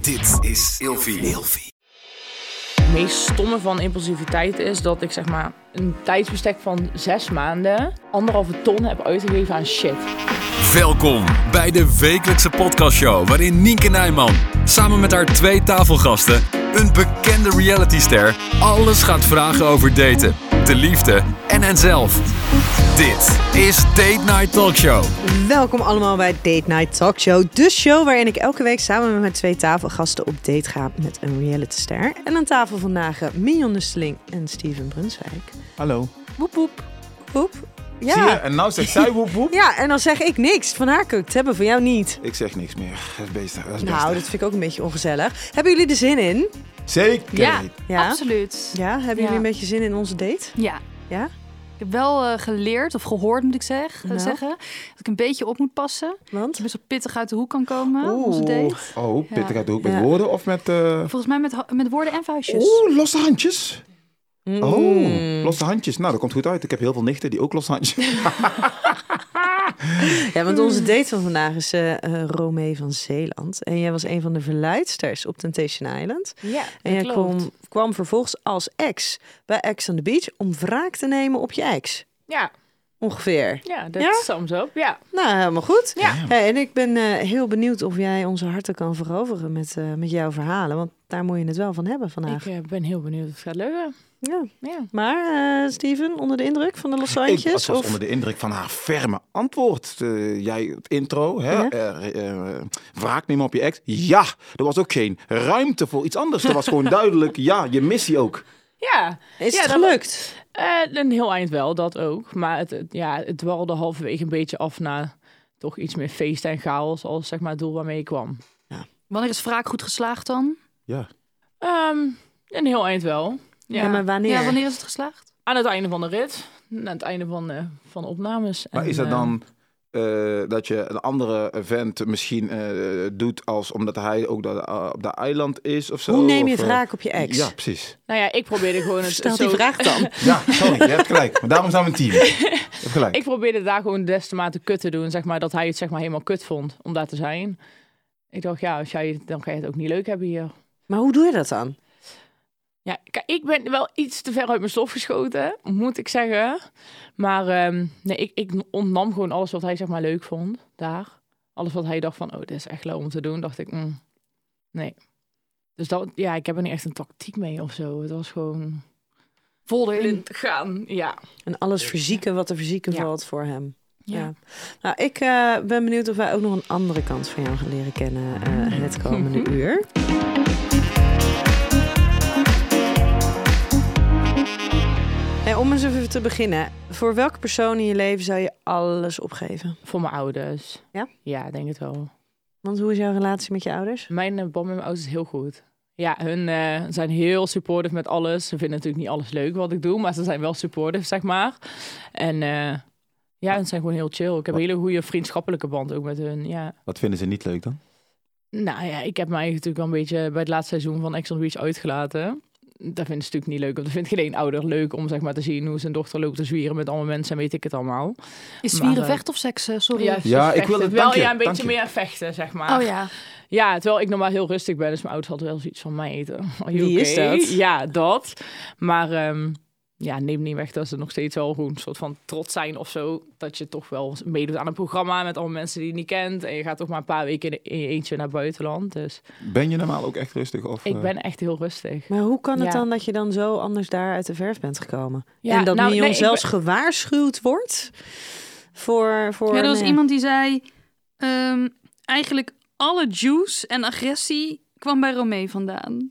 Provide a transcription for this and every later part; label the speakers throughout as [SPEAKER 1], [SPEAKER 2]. [SPEAKER 1] Dit is Ilfie. Ilfie.
[SPEAKER 2] Het meest stomme van impulsiviteit is dat ik zeg maar een tijdsbestek van zes maanden anderhalve ton heb uitgegeven aan shit.
[SPEAKER 1] Welkom bij de wekelijkse podcastshow waarin Nienke Nijman samen met haar twee tafelgasten, een bekende realityster, alles gaat vragen over daten, de liefde en henzelf. Dit is Date Night Talkshow.
[SPEAKER 3] Welkom allemaal bij Date Night Talk Show. De show waarin ik elke week samen met mijn twee tafelgasten op date ga met een realityster. En aan tafel vandaag eh, Mignon Nusteling en Steven Brunswijk.
[SPEAKER 4] Hallo.
[SPEAKER 3] Woep woep. Woep.
[SPEAKER 4] Zie je?
[SPEAKER 3] Ja.
[SPEAKER 4] En nou zegt zij woep woep.
[SPEAKER 3] ja, en dan zeg ik niks. Van haar kun je het hebben, van jou niet.
[SPEAKER 4] Ik zeg niks meer. Dat is beestig. Dat is
[SPEAKER 3] Nou, dat
[SPEAKER 4] beestig.
[SPEAKER 3] vind ik ook een beetje ongezellig. Hebben jullie er zin in?
[SPEAKER 4] Zeker.
[SPEAKER 5] Ja,
[SPEAKER 3] Ja?
[SPEAKER 5] absoluut. Ja.
[SPEAKER 3] Ja, hebben
[SPEAKER 5] Ja.
[SPEAKER 3] jullie een beetje zin in onze date? Ja?
[SPEAKER 5] Ik heb wel eh, geleerd, of gehoord moet ik zeg, eh,
[SPEAKER 3] Nou.
[SPEAKER 5] zeggen, dat ik een beetje op moet passen. Dat
[SPEAKER 3] Want?
[SPEAKER 5] ik best wel pittig uit de hoek kan komen, onze date.
[SPEAKER 4] Oh, pittig
[SPEAKER 5] Ja.
[SPEAKER 4] uit de hoek. Met
[SPEAKER 3] Ah, Ja.
[SPEAKER 4] woorden of met... eh,
[SPEAKER 5] Volgens mij met, ho- met woorden en vuistjes.
[SPEAKER 4] Oeh, losse handjes.
[SPEAKER 3] Mm.
[SPEAKER 4] Oh, losse handjes. Nou, dat komt goed uit. Ik heb heel veel nichten die ook losse handjes...
[SPEAKER 3] Ja, want onze date van vandaag is eh eh, Romee van Zeeland. En jij was een van de verleidsters op Temptation Island.
[SPEAKER 5] Ja,
[SPEAKER 3] En jij kwam, kwam vervolgens als ex bij Ex on the Beach om wraak te nemen op je ex.
[SPEAKER 2] Ja,
[SPEAKER 3] Ongeveer.
[SPEAKER 2] ja, dat
[SPEAKER 3] Ja?
[SPEAKER 2] sums up. Ja.
[SPEAKER 3] Nou, helemaal goed.
[SPEAKER 2] Ja.
[SPEAKER 3] Hey, en ik ben eh, heel benieuwd of jij onze harten kan veroveren met, eh, met jouw verhalen. Want daar moet je het wel van hebben vandaag.
[SPEAKER 2] Ik eh, ben heel benieuwd of het gaat lukken.
[SPEAKER 3] Ja.
[SPEAKER 2] Ja.
[SPEAKER 3] Maar eh, Steven, onder de indruk van de Los
[SPEAKER 4] Ik
[SPEAKER 3] Angeles?
[SPEAKER 4] was, was
[SPEAKER 3] of...
[SPEAKER 4] onder de indruk van haar ferme antwoord. Eh, jij het intro, hè?
[SPEAKER 3] Ja.
[SPEAKER 4] eh, eh, wraak nemen op je ex. Ja, er was ook geen ruimte voor iets anders. Er was gewoon duidelijk, ja, je missie ook.
[SPEAKER 2] Ja,
[SPEAKER 3] Is
[SPEAKER 2] Ja,
[SPEAKER 3] het
[SPEAKER 2] dat-
[SPEAKER 3] gelukt?
[SPEAKER 2] Eh, een heel eind wel, dat ook. Maar het, het- ja, het dwarrelde halverwege een beetje af naar toch iets meer feest en chaos als zeg maar het doel waarmee ik kwam.
[SPEAKER 5] Wanneer is wraak goed geslaagd dan?
[SPEAKER 4] Ja.
[SPEAKER 2] Ehm, een heel eind wel.
[SPEAKER 3] Ja,
[SPEAKER 2] Ja.
[SPEAKER 3] maar wanneer?
[SPEAKER 5] Ja, wanneer is het geslaagd?
[SPEAKER 2] Aan het einde van de rit, aan het einde van, eh, van de opnames.
[SPEAKER 4] Maar
[SPEAKER 2] en,
[SPEAKER 4] is dat
[SPEAKER 2] eh,
[SPEAKER 4] dan eh, dat je een andere vent misschien eh, doet als omdat hij ook dat, eh, op dat eiland is of zo?
[SPEAKER 3] Hoe neem je
[SPEAKER 4] Of, eh,
[SPEAKER 3] wraak op je ex?
[SPEAKER 4] Ja, precies.
[SPEAKER 2] Nou ja, ik probeerde gewoon het,
[SPEAKER 3] Stel
[SPEAKER 2] het
[SPEAKER 3] die
[SPEAKER 2] zo-
[SPEAKER 3] vraag dan.
[SPEAKER 4] Ja, sorry, je hebt gelijk. Maar daarom zijn we een team. Je hebt gelijk.
[SPEAKER 2] Ik probeerde daar gewoon des te maar te kut te doen, zeg maar, dat hij het zeg maar helemaal kut vond om daar te zijn. Ik dacht, ja, als jij, dan ga je het ook niet leuk hebben hier.
[SPEAKER 3] Maar hoe doe je dat dan?
[SPEAKER 2] Ja, kijk, ik ben wel iets te ver uit mijn stof geschoten, moet ik zeggen. Maar ehm, nee, ik, ik ontnam gewoon alles wat hij zeg maar leuk vond daar. Alles wat hij dacht van, oh, dit is echt leuk om te doen, dacht ik, mm, nee. Dus dat, ja, ik heb er niet echt een tactiek mee of zo. Het was gewoon
[SPEAKER 5] Vol erin.
[SPEAKER 2] blind gaan, ja.
[SPEAKER 3] En alles fysieke wat er fysieke
[SPEAKER 2] Ja.
[SPEAKER 3] valt voor hem. Ja.
[SPEAKER 2] Ja.
[SPEAKER 3] Nou, ik eh, ben benieuwd of wij ook nog een andere kant van jou gaan leren kennen eh, het
[SPEAKER 2] Mhm.
[SPEAKER 3] komende uur. Hey, om eens even te beginnen. Voor welke persoon in je leven zou je alles opgeven?
[SPEAKER 2] Voor mijn ouders.
[SPEAKER 3] Ja?
[SPEAKER 2] Ja, ik denk het wel.
[SPEAKER 3] Want hoe is jouw relatie met je ouders?
[SPEAKER 2] Mijn eh, band met mijn ouders is heel goed. Ja, hun eh, zijn heel supportive met alles. Ze vinden natuurlijk niet alles leuk wat ik doe, maar ze zijn wel supportive, zeg maar. En eh, ja, ze zijn gewoon heel chill. Ik heb een hele goede vriendschappelijke band ook met hun, ja.
[SPEAKER 4] Wat vinden ze niet leuk dan?
[SPEAKER 2] Nou ja, ik heb mij natuurlijk wel een beetje bij het laatste seizoen van Ex on the Beach uitgelaten. Dat vinden ze natuurlijk niet leuk, want dat vindt geen ouder leuk om zeg maar, te zien hoe zijn dochter loopt te zwieren met allemaal mensen en weet ik het allemaal.
[SPEAKER 5] Is
[SPEAKER 2] Maar,
[SPEAKER 5] zwieren
[SPEAKER 2] eh,
[SPEAKER 5] vecht of seks? eh, sorry.
[SPEAKER 2] Ja, ze
[SPEAKER 4] Ja, ik wil
[SPEAKER 2] vechten.
[SPEAKER 4] het-
[SPEAKER 2] wel
[SPEAKER 4] dank je,
[SPEAKER 2] ja, een
[SPEAKER 4] dank
[SPEAKER 2] beetje
[SPEAKER 4] je.
[SPEAKER 2] meer vechten, zeg maar.
[SPEAKER 5] Oh ja.
[SPEAKER 2] Ja, terwijl ik normaal heel rustig ben, dus mijn ouders hadden wel zoiets van mij eten. Are you
[SPEAKER 3] Wie is
[SPEAKER 2] okay?
[SPEAKER 3] dat?
[SPEAKER 2] Ja, dat. Maar ehm, ja, neem niet weg dat ze nog steeds wel gewoon een soort van trots zijn of zo. Dat je toch wel meedoet aan een programma met allemaal mensen die je niet kent. En je gaat toch maar een paar weken in, in je eentje naar buitenland. Dus
[SPEAKER 4] Ben je normaal ook echt rustig? Of, eh,
[SPEAKER 2] ik ben echt heel rustig.
[SPEAKER 3] Maar hoe kan het
[SPEAKER 2] Ja.
[SPEAKER 3] dan dat je dan zo anders daar uit de verf bent gekomen?
[SPEAKER 2] Ja,
[SPEAKER 3] en dat
[SPEAKER 2] nou,
[SPEAKER 3] Mion
[SPEAKER 2] nee, ik
[SPEAKER 3] zelfs gewaarschuwd wordt voor... voor
[SPEAKER 5] Ja, er was
[SPEAKER 3] nee.
[SPEAKER 5] iemand die zei... ehm, eigenlijk alle juice en agressie kwam bij Romee vandaan.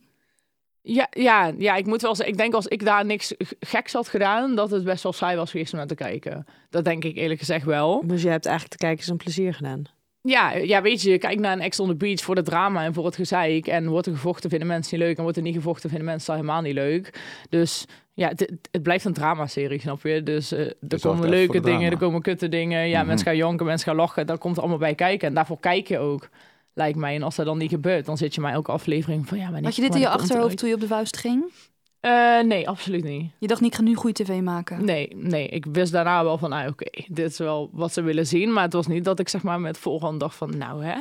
[SPEAKER 2] Ja, ja, ja, ik moet wel zeggen, ik denk als ik daar niks g- geks had gedaan, dat het best wel saai was geweest om naar te kijken. Dat denk ik eerlijk gezegd wel.
[SPEAKER 3] Dus jij hebt eigenlijk de kijkers een plezier gedaan.
[SPEAKER 2] Ja, ja, weet je, je kijkt naar een Ex on the Beach voor het drama en voor het gezeik. En wordt er gevochten, vinden mensen niet leuk. En wordt er niet gevochten, vinden mensen dat helemaal niet leuk. Dus ja, het, het- het blijft een dramaserie, snap je? Dus eh, er
[SPEAKER 4] zorgt
[SPEAKER 2] komen
[SPEAKER 4] echt voor
[SPEAKER 2] leuke dingen,
[SPEAKER 4] het drama. Mhm.
[SPEAKER 2] er komen kutte dingen. Ja, mensen gaan jonken, mensen gaan lachen. Daar komt allemaal bij kijken. En daarvoor kijk je ook, lijkt mij. En als dat dan niet gebeurt, dan zit je maar elke aflevering van... Ja, wanneer
[SPEAKER 5] Had je dit in je
[SPEAKER 2] wanneer komt het
[SPEAKER 5] achterhoofd toen je op de vuist ging?
[SPEAKER 2] uit? Eh, nee, absoluut niet.
[SPEAKER 5] Je dacht niet, ik ga nu goede tv maken.
[SPEAKER 2] Nee, nee. Ik wist daarna wel van, ah, oké, dit is wel wat ze willen zien. Maar het was niet dat ik zeg maar met voorhand dacht van, nou hè...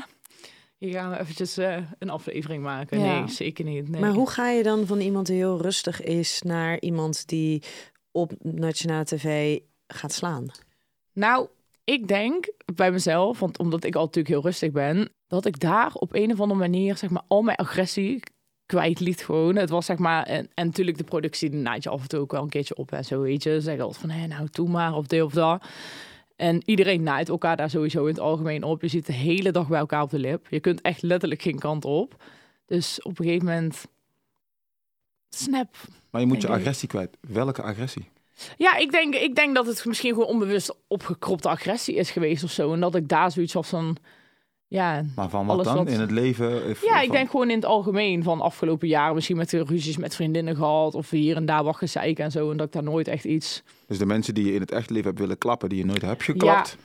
[SPEAKER 2] Hier gaan we eventjes eh, een aflevering maken.
[SPEAKER 3] Ja.
[SPEAKER 2] Nee, zeker niet. Nee.
[SPEAKER 3] Maar hoe ga je dan van iemand die heel rustig is naar iemand die op nationale tv gaat slaan?
[SPEAKER 2] Nou, ik denk bij mezelf, want omdat ik al natuurlijk heel rustig ben, dat ik daar op een of andere manier zeg maar al mijn agressie kwijt liet gewoon. Het was zeg maar, en, en natuurlijk de productie die naait je af en toe ook wel een keertje op en zo weet je. Ze Zeggen altijd van, hé nou doe maar of dit of dat. En iedereen naait elkaar daar sowieso in het algemeen op. Je zit de hele dag bij elkaar op de lip. Je kunt echt letterlijk geen kant op. Dus op een gegeven moment, snap,
[SPEAKER 4] Maar je moet je
[SPEAKER 2] Oké.
[SPEAKER 4] agressie kwijt. Welke agressie?
[SPEAKER 2] Ja, ik denk, ik denk dat het misschien gewoon onbewust opgekropte agressie is geweest of zo. En dat ik daar zoiets was van. Ja,
[SPEAKER 4] Maar van wat
[SPEAKER 2] Alles
[SPEAKER 4] dan?
[SPEAKER 2] wat-
[SPEAKER 4] In het leven? Of-
[SPEAKER 2] ja ik
[SPEAKER 4] van-
[SPEAKER 2] denk gewoon in het algemeen van afgelopen jaren misschien met de ruzies met vriendinnen gehad. Of hier en daar wat gezeik en zo. En dat ik daar nooit echt iets.
[SPEAKER 4] Dus de mensen die je in het echt leven hebt willen klappen, die je nooit hebt geklapt.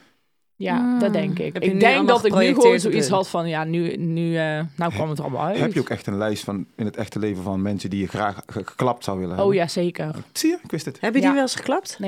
[SPEAKER 2] Ja,
[SPEAKER 5] Hmm.
[SPEAKER 2] dat denk ik.
[SPEAKER 3] Heb je nu
[SPEAKER 2] Ik denk
[SPEAKER 3] allemaal
[SPEAKER 2] dat ik nu gewoon
[SPEAKER 3] geprojecteerd op
[SPEAKER 2] zoiets
[SPEAKER 3] hun?
[SPEAKER 2] had van ja, nu, nu eh, nou kwam het er allemaal uit.
[SPEAKER 4] Heb je ook echt een lijst van in het echte leven van mensen die je graag ge- geklapt zou willen
[SPEAKER 2] Oh
[SPEAKER 4] hebben?
[SPEAKER 2] ja, zeker.
[SPEAKER 4] Zie je, ik wist het.
[SPEAKER 3] Heb je die
[SPEAKER 2] Ja.
[SPEAKER 3] wel eens geklapt?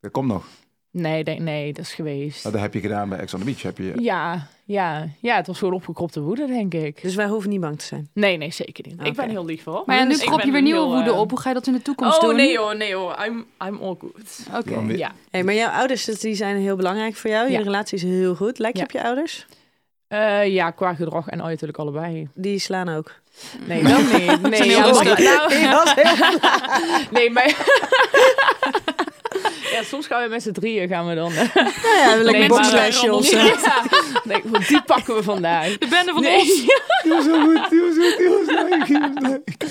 [SPEAKER 4] Dat komt nog.
[SPEAKER 2] Nee, ik denk, nee, dat is geweest.
[SPEAKER 4] Nou, dat heb je gedaan bij Ex on the Beach. Heb je...
[SPEAKER 2] Ja, ja, ja, het was gewoon opgekropte woede, denk ik.
[SPEAKER 3] Dus wij hoeven niet bang te zijn.
[SPEAKER 2] Nee, nee, zeker niet. Ik
[SPEAKER 3] Oké.
[SPEAKER 2] ben heel lief hoor.
[SPEAKER 5] Ah, Maar ja, nu
[SPEAKER 2] Dus ik
[SPEAKER 5] krop je
[SPEAKER 2] ben
[SPEAKER 5] weer nieuwe
[SPEAKER 2] heel,
[SPEAKER 5] woede
[SPEAKER 2] eh,
[SPEAKER 5] op. Hoe ga je dat in de toekomst
[SPEAKER 2] oh,
[SPEAKER 5] doen?
[SPEAKER 2] nee hoor, nee hoor. I'm, I'm all good.
[SPEAKER 5] Oké.
[SPEAKER 4] Ja, maar-
[SPEAKER 2] Ja.
[SPEAKER 3] Hey, maar jouw ouders dat- die zijn heel belangrijk voor jou. Je
[SPEAKER 2] Ja.
[SPEAKER 3] relatie is heel goed. Lijkt
[SPEAKER 2] Ja.
[SPEAKER 3] je op je ouders?
[SPEAKER 2] Eh, ja, qua gedrag en uiterlijk allebei.
[SPEAKER 3] Die slaan ook.
[SPEAKER 2] Nee, dat niet. Nee,
[SPEAKER 5] heel
[SPEAKER 2] ja, maar-
[SPEAKER 5] rustig.
[SPEAKER 2] nou,
[SPEAKER 3] Ik was heel
[SPEAKER 2] nee, maar... ja, soms gaan we met z'n drieën gaan we dan... eh,
[SPEAKER 3] Nou ja, lekker
[SPEAKER 2] Nee,
[SPEAKER 3] een
[SPEAKER 2] maar-
[SPEAKER 3] boxlijstje of zo.
[SPEAKER 2] Ja. Nee, want die pakken we vandaag.
[SPEAKER 5] De bende van
[SPEAKER 2] Nee.
[SPEAKER 5] ons.
[SPEAKER 4] Die was zo goed, die was goed, die was leuk, die was leuk.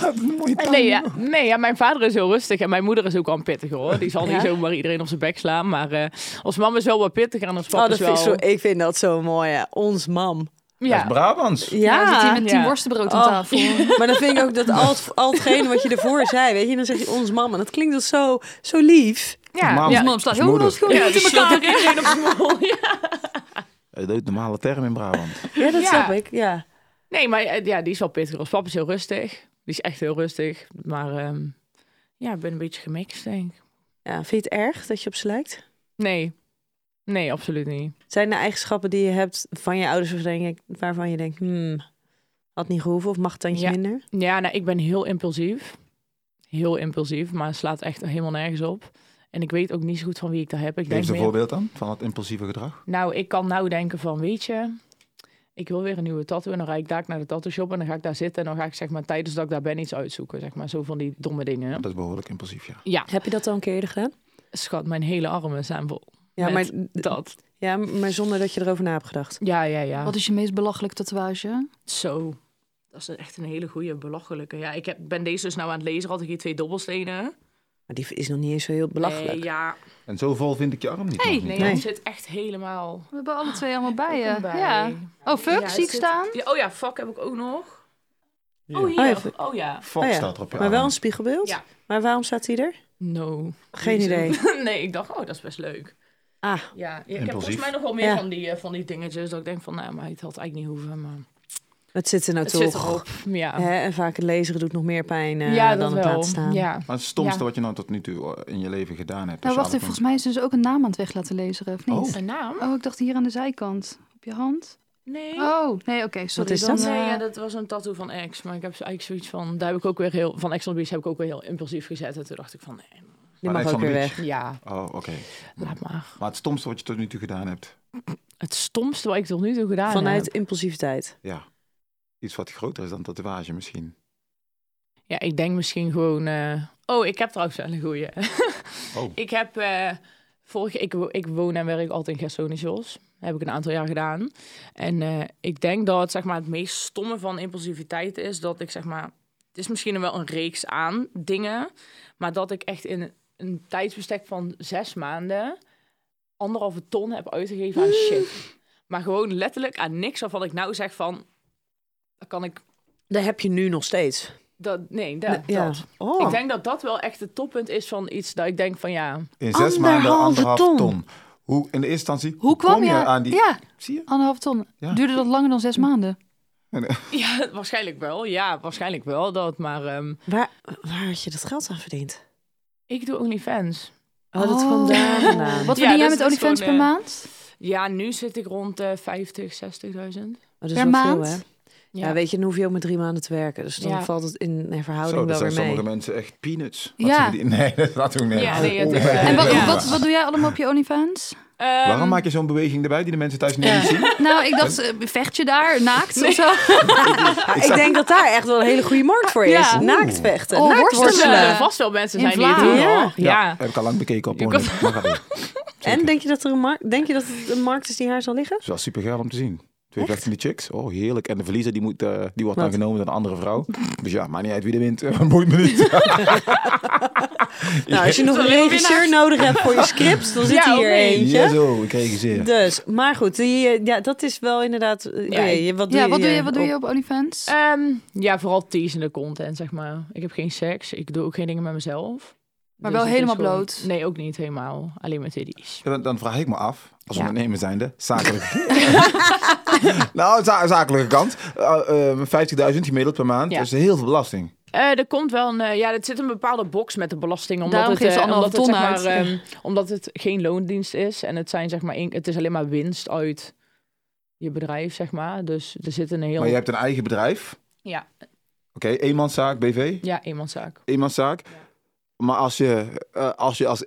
[SPEAKER 4] Had een mooie taal.
[SPEAKER 2] Nee, ja, nee ja, mijn vader is heel rustig en mijn moeder is ook al een pittiger hoor. Die zal
[SPEAKER 3] Ja?
[SPEAKER 2] niet zomaar iedereen op zijn bek slaan. Maar eh ons mam is wel wat pittiger en ons papa
[SPEAKER 3] Oh, dat
[SPEAKER 2] is
[SPEAKER 3] vind
[SPEAKER 2] wel...
[SPEAKER 3] ik, zo, ik vind dat zo mooi. hè. Ons mam.
[SPEAKER 4] Dat
[SPEAKER 2] ja.
[SPEAKER 4] is Brabants.
[SPEAKER 5] Ja, dan zit hij met tien
[SPEAKER 2] Ja.
[SPEAKER 5] worstenbrood aan
[SPEAKER 3] Oh.
[SPEAKER 5] tafel.
[SPEAKER 3] Maar dan vind ik ook dat al, het- al hetgene wat je ervoor zei, weet je, dan zeg je ons mam. En dat klinkt dus zo, zo lief.
[SPEAKER 2] Ja,
[SPEAKER 4] Mam.
[SPEAKER 2] ja.
[SPEAKER 5] Mom slaat
[SPEAKER 4] Als
[SPEAKER 5] heel
[SPEAKER 4] moeder.
[SPEAKER 5] veel schoenen
[SPEAKER 2] Ja,
[SPEAKER 5] in
[SPEAKER 2] die
[SPEAKER 5] elkaar.
[SPEAKER 2] slaat iedereen op zijn mol. Ja.
[SPEAKER 4] Dat is een normale term in Brabant.
[SPEAKER 3] Ja, dat
[SPEAKER 2] Ja.
[SPEAKER 3] snap ik. Ja.
[SPEAKER 2] Nee, maar eh, ja, die is wel pittig. Als papa is heel rustig. Die is echt heel rustig. Maar ehm, ja, ik ben een beetje gemixt, denk ik.
[SPEAKER 3] ja. Vind je het erg dat je op ze lijkt?
[SPEAKER 2] Nee. Nee, absoluut niet.
[SPEAKER 3] Zijn er eigenschappen die je hebt van je ouders of denk ik, waarvan je denkt, hmm, had niet gehoeven of mag het tandje
[SPEAKER 2] Ja.
[SPEAKER 3] minder?
[SPEAKER 2] Ja, nou, ik ben heel impulsief. Heel impulsief, maar het slaat echt helemaal nergens op. En ik weet ook niet zo goed van wie ik daar heb. Ik
[SPEAKER 4] Geef
[SPEAKER 2] denk
[SPEAKER 4] eens een
[SPEAKER 2] meer,
[SPEAKER 4] voorbeeld dan van dat impulsieve gedrag.
[SPEAKER 2] nou, ik kan nou denken van, weet je, ik wil weer een nieuwe tattoo. En dan rijd ik daar naar de tattoo shop en dan ga ik daar zitten. En dan ga ik zeg maar tijdens dat ik daar ben iets uitzoeken. Zeg maar zo van die domme dingen.
[SPEAKER 4] Dat is behoorlijk impulsief, ja.
[SPEAKER 2] Ja,
[SPEAKER 3] Heb je dat al een keer eerder gedaan?
[SPEAKER 2] schat, mijn hele armen zijn vol.
[SPEAKER 3] Ja, maar,
[SPEAKER 2] Met Dat.
[SPEAKER 3] ja, maar zonder dat je erover na hebt gedacht.
[SPEAKER 2] Ja, ja, ja.
[SPEAKER 5] Wat is je meest belachelijk tatoeage?
[SPEAKER 2] Zo. Dat is echt een hele goede, belachelijke. Ja, ik heb, ben deze dus nou aan het lezen. Had ik hier twee dobbelstenen.
[SPEAKER 3] Maar die is nog niet eens zo heel belachelijk.
[SPEAKER 2] Nee, ja.
[SPEAKER 4] En zo vol vind ik je arm niet.
[SPEAKER 5] Hey,
[SPEAKER 4] nog niet.
[SPEAKER 2] Nee,
[SPEAKER 3] Nee.
[SPEAKER 2] het zit echt helemaal...
[SPEAKER 5] We hebben alle twee allemaal bij je.
[SPEAKER 2] bij.
[SPEAKER 5] Ja. Oh, fuck,
[SPEAKER 2] het
[SPEAKER 5] zie ik
[SPEAKER 2] zit-
[SPEAKER 5] staan.
[SPEAKER 2] Ja, oh ja, fuck heb ik ook nog.
[SPEAKER 4] Ja.
[SPEAKER 2] Oh,
[SPEAKER 3] Oh ja,
[SPEAKER 2] hier.
[SPEAKER 3] fuck.
[SPEAKER 2] Oh ja.
[SPEAKER 4] Fuck
[SPEAKER 3] Oh ja,
[SPEAKER 4] staat er op je
[SPEAKER 3] Maar wel
[SPEAKER 4] arm.
[SPEAKER 3] een spiegelbeeld?
[SPEAKER 2] Ja.
[SPEAKER 3] Maar waarom staat die er?
[SPEAKER 2] No.
[SPEAKER 3] Geen idee.
[SPEAKER 2] nee, ik dacht, oh, dat is best leuk.
[SPEAKER 3] Ah,
[SPEAKER 2] Ja, ik heb
[SPEAKER 4] Impulsief.
[SPEAKER 2] volgens mij nog wel meer
[SPEAKER 3] Ja.
[SPEAKER 2] van, die, eh, van die dingetjes. Dat ik denk van, nou, maar het had eigenlijk niet hoeven. Maar
[SPEAKER 3] het zit er nou
[SPEAKER 2] het
[SPEAKER 3] toch.
[SPEAKER 2] zit erop. Ja,
[SPEAKER 3] Hè, en vaak het lezen doet nog meer pijn eh,
[SPEAKER 2] ja dat
[SPEAKER 3] dan het
[SPEAKER 2] wel.
[SPEAKER 3] laten staan.
[SPEAKER 2] Ja.
[SPEAKER 4] Maar het stomste
[SPEAKER 2] Ja.
[SPEAKER 4] wat je nou tot nu toe eh, in je leven gedaan hebt.
[SPEAKER 5] Nou,
[SPEAKER 4] dus
[SPEAKER 5] wacht even.
[SPEAKER 4] eigenlijk
[SPEAKER 5] Volgens mij is ze dus ook een naam aan het weg laten lezen, of niet?
[SPEAKER 2] Een naam?
[SPEAKER 5] Oh, ik dacht hier aan de zijkant. Op je hand?
[SPEAKER 2] Nee.
[SPEAKER 5] Oh, nee, oké. sorry.
[SPEAKER 3] Wat is
[SPEAKER 5] dan,
[SPEAKER 3] dat?
[SPEAKER 2] Nee,
[SPEAKER 5] eh,
[SPEAKER 2] ja, dat was een tattoo van ex. Maar ik heb eigenlijk zoiets van... Daar heb ik ook weer heel... Van ex on the beach heb ik ook weer heel impulsief gezet. En toen dacht ik van, nee,
[SPEAKER 3] Die
[SPEAKER 4] Maar
[SPEAKER 3] mag ook
[SPEAKER 4] Alexander
[SPEAKER 3] weer
[SPEAKER 4] Beach.
[SPEAKER 3] weg.
[SPEAKER 2] ja,
[SPEAKER 4] Oh, oké.
[SPEAKER 2] laat maar.
[SPEAKER 4] Maar het stomste wat je tot nu toe gedaan hebt.
[SPEAKER 2] Het stomste wat ik tot nu toe gedaan
[SPEAKER 3] Vanuit
[SPEAKER 2] heb...
[SPEAKER 3] impulsiviteit.
[SPEAKER 4] Ja. Iets wat groter is dan tatoeage misschien.
[SPEAKER 2] Ja, ik denk misschien gewoon... eh, Oh, ik heb trouwens wel een goeie.
[SPEAKER 4] Oh.
[SPEAKER 2] ik heb... eh vorige, ik, wo- ik woon en werk altijd in Gersonisos. Heb ik een aantal jaar gedaan. En eh, ik denk dat zeg maar, het meest stomme van impulsiviteit is... dat ik zeg maar... Het is misschien wel een reeks aan dingen... maar dat ik echt in een tijdsbestek van zes maanden... anderhalve ton heb uitgegeven aan shit. Maar gewoon letterlijk aan niks waarvan ik nou zeg van... Dat kan ik...
[SPEAKER 3] Dat heb je nu nog steeds.
[SPEAKER 2] Dat, nee, dat,
[SPEAKER 3] ja.
[SPEAKER 2] dat.
[SPEAKER 3] Oh.
[SPEAKER 2] Ik denk dat dat wel echt het toppunt is van iets dat ik denk van ja,
[SPEAKER 4] In zes maanden
[SPEAKER 3] Anderhalve
[SPEAKER 4] anderhalf
[SPEAKER 3] ton.
[SPEAKER 4] ton. Hoe, in de eerste instantie,
[SPEAKER 5] Hoe kwam
[SPEAKER 4] je
[SPEAKER 5] je
[SPEAKER 4] aan die...
[SPEAKER 5] Ja,
[SPEAKER 4] Zie je?
[SPEAKER 5] anderhalf ton.
[SPEAKER 4] Ja.
[SPEAKER 5] Duurde dat langer dan zes maanden?
[SPEAKER 4] eh,
[SPEAKER 2] ja waarschijnlijk wel. Ja, waarschijnlijk wel dat. Maar ehm,
[SPEAKER 3] Waar, waar had je dat geld aan verdiend?
[SPEAKER 2] ik doe OnlyFans.
[SPEAKER 3] Oh, dat kwam daar vandaan.
[SPEAKER 5] Wat
[SPEAKER 2] Ja,
[SPEAKER 5] verdien jij
[SPEAKER 2] dus
[SPEAKER 5] met
[SPEAKER 2] dat is
[SPEAKER 5] OnlyFans per
[SPEAKER 2] gewoon, eh,
[SPEAKER 5] maand?
[SPEAKER 2] Ja, nu zit ik rond eh 50, 60.000.
[SPEAKER 3] Maar Oh, dat is wel
[SPEAKER 5] Per
[SPEAKER 3] veel,
[SPEAKER 5] maand?
[SPEAKER 3] hè? Ja. weet je, dan hoef je ook met drie maanden te werken. Dus dan
[SPEAKER 2] Ja.
[SPEAKER 3] valt het in een verhouding
[SPEAKER 4] Zo, dat
[SPEAKER 3] wel
[SPEAKER 4] zijn
[SPEAKER 3] weer mee.
[SPEAKER 4] sommige mensen echt peanuts.
[SPEAKER 5] Ja.
[SPEAKER 4] Laten we die- nee, dat laten we niet.
[SPEAKER 2] Ja, nee, het is, eh,
[SPEAKER 5] En wat,
[SPEAKER 2] Ja.
[SPEAKER 5] wat, wat doe jij allemaal op je OnlyFans?
[SPEAKER 2] Ehm,
[SPEAKER 4] Waarom maak je zo'n beweging erbij die de mensen thuis niet
[SPEAKER 2] Ja.
[SPEAKER 4] eens zien?
[SPEAKER 5] Nou, ik dacht, eh, vecht je daar naakt of zo?
[SPEAKER 3] Ah, ik denk dat daar echt wel een hele goede markt voor is.
[SPEAKER 5] Ja.
[SPEAKER 3] Naakt vechten.
[SPEAKER 5] Oh,
[SPEAKER 3] naakt
[SPEAKER 5] worstelen.
[SPEAKER 2] er zullen
[SPEAKER 3] worstelen.
[SPEAKER 2] eh, vast wel mensen zijn
[SPEAKER 5] In
[SPEAKER 2] die het doen,
[SPEAKER 5] Vlaanderen.
[SPEAKER 3] Ja.
[SPEAKER 2] hoor. Ja.
[SPEAKER 4] heb ik al lang bekeken op
[SPEAKER 2] Je
[SPEAKER 4] Pornhub.
[SPEAKER 2] kan-
[SPEAKER 4] Maar ga door.
[SPEAKER 3] En denk je, dat er een markt, denk je dat het een markt is die haar zal liggen?
[SPEAKER 4] Het is wel super geil om te zien. Twee vechtende chicks. Oh, heerlijk. En de verliezer die, moet, eh, die wordt dan
[SPEAKER 3] Wat?
[SPEAKER 4] genomen door een andere vrouw. Dus ja, maakt niet uit wie er wint. Mooi minuut.
[SPEAKER 3] Nou, als je nog een regisseur nodig hebt voor je scripts, dan zit
[SPEAKER 2] Ja,
[SPEAKER 3] hier
[SPEAKER 2] oké.
[SPEAKER 3] eentje.
[SPEAKER 4] Ja, zo. Ik kreeg zeer.
[SPEAKER 3] Dus, maar goed, die, eh, ja, dat is wel inderdaad... eh,
[SPEAKER 2] Ja, ik-
[SPEAKER 3] je- wat doe
[SPEAKER 5] Ja,
[SPEAKER 3] je,
[SPEAKER 5] wat doe
[SPEAKER 3] hier
[SPEAKER 5] je, wat doe
[SPEAKER 3] op-
[SPEAKER 5] je op OnlyFans?
[SPEAKER 2] Ehm, ja, vooral teasende content, zeg maar. Ik heb geen seks. Ik doe ook geen dingen met mezelf.
[SPEAKER 5] Maar
[SPEAKER 2] Dus het
[SPEAKER 5] wel
[SPEAKER 2] is
[SPEAKER 5] helemaal
[SPEAKER 2] gewoon-
[SPEAKER 5] bloot?
[SPEAKER 2] Nee, ook niet helemaal. Alleen met titties.
[SPEAKER 4] Dan, dan vraag ik me af, als
[SPEAKER 2] Ja.
[SPEAKER 4] ondernemer zijnde, zakelijk. nou, za- zakelijke kant. Eh, eh, 50.000 gemiddeld per maand.
[SPEAKER 2] Ja.
[SPEAKER 4] Dat is heel veel belasting.
[SPEAKER 2] Eh, er komt wel een, eh, ja, er zit een bepaalde box met de belasting. Omdat
[SPEAKER 5] Daarom
[SPEAKER 2] het,
[SPEAKER 5] geven ze
[SPEAKER 2] eh,
[SPEAKER 5] anderhalve
[SPEAKER 2] omdat het,
[SPEAKER 5] ton
[SPEAKER 2] zeg maar,
[SPEAKER 5] uit.
[SPEAKER 2] ehm, omdat het geen loondienst is en het, zijn, zeg maar, in- het is alleen maar winst uit je bedrijf, zeg maar. Dus er zit een heel.
[SPEAKER 4] Maar je hebt een eigen bedrijf.
[SPEAKER 2] Ja,
[SPEAKER 4] Oké, eenmanszaak, BV.
[SPEAKER 2] ja, eenmanszaak.
[SPEAKER 4] Eenmanszaak. Maar als je, eh, als, je als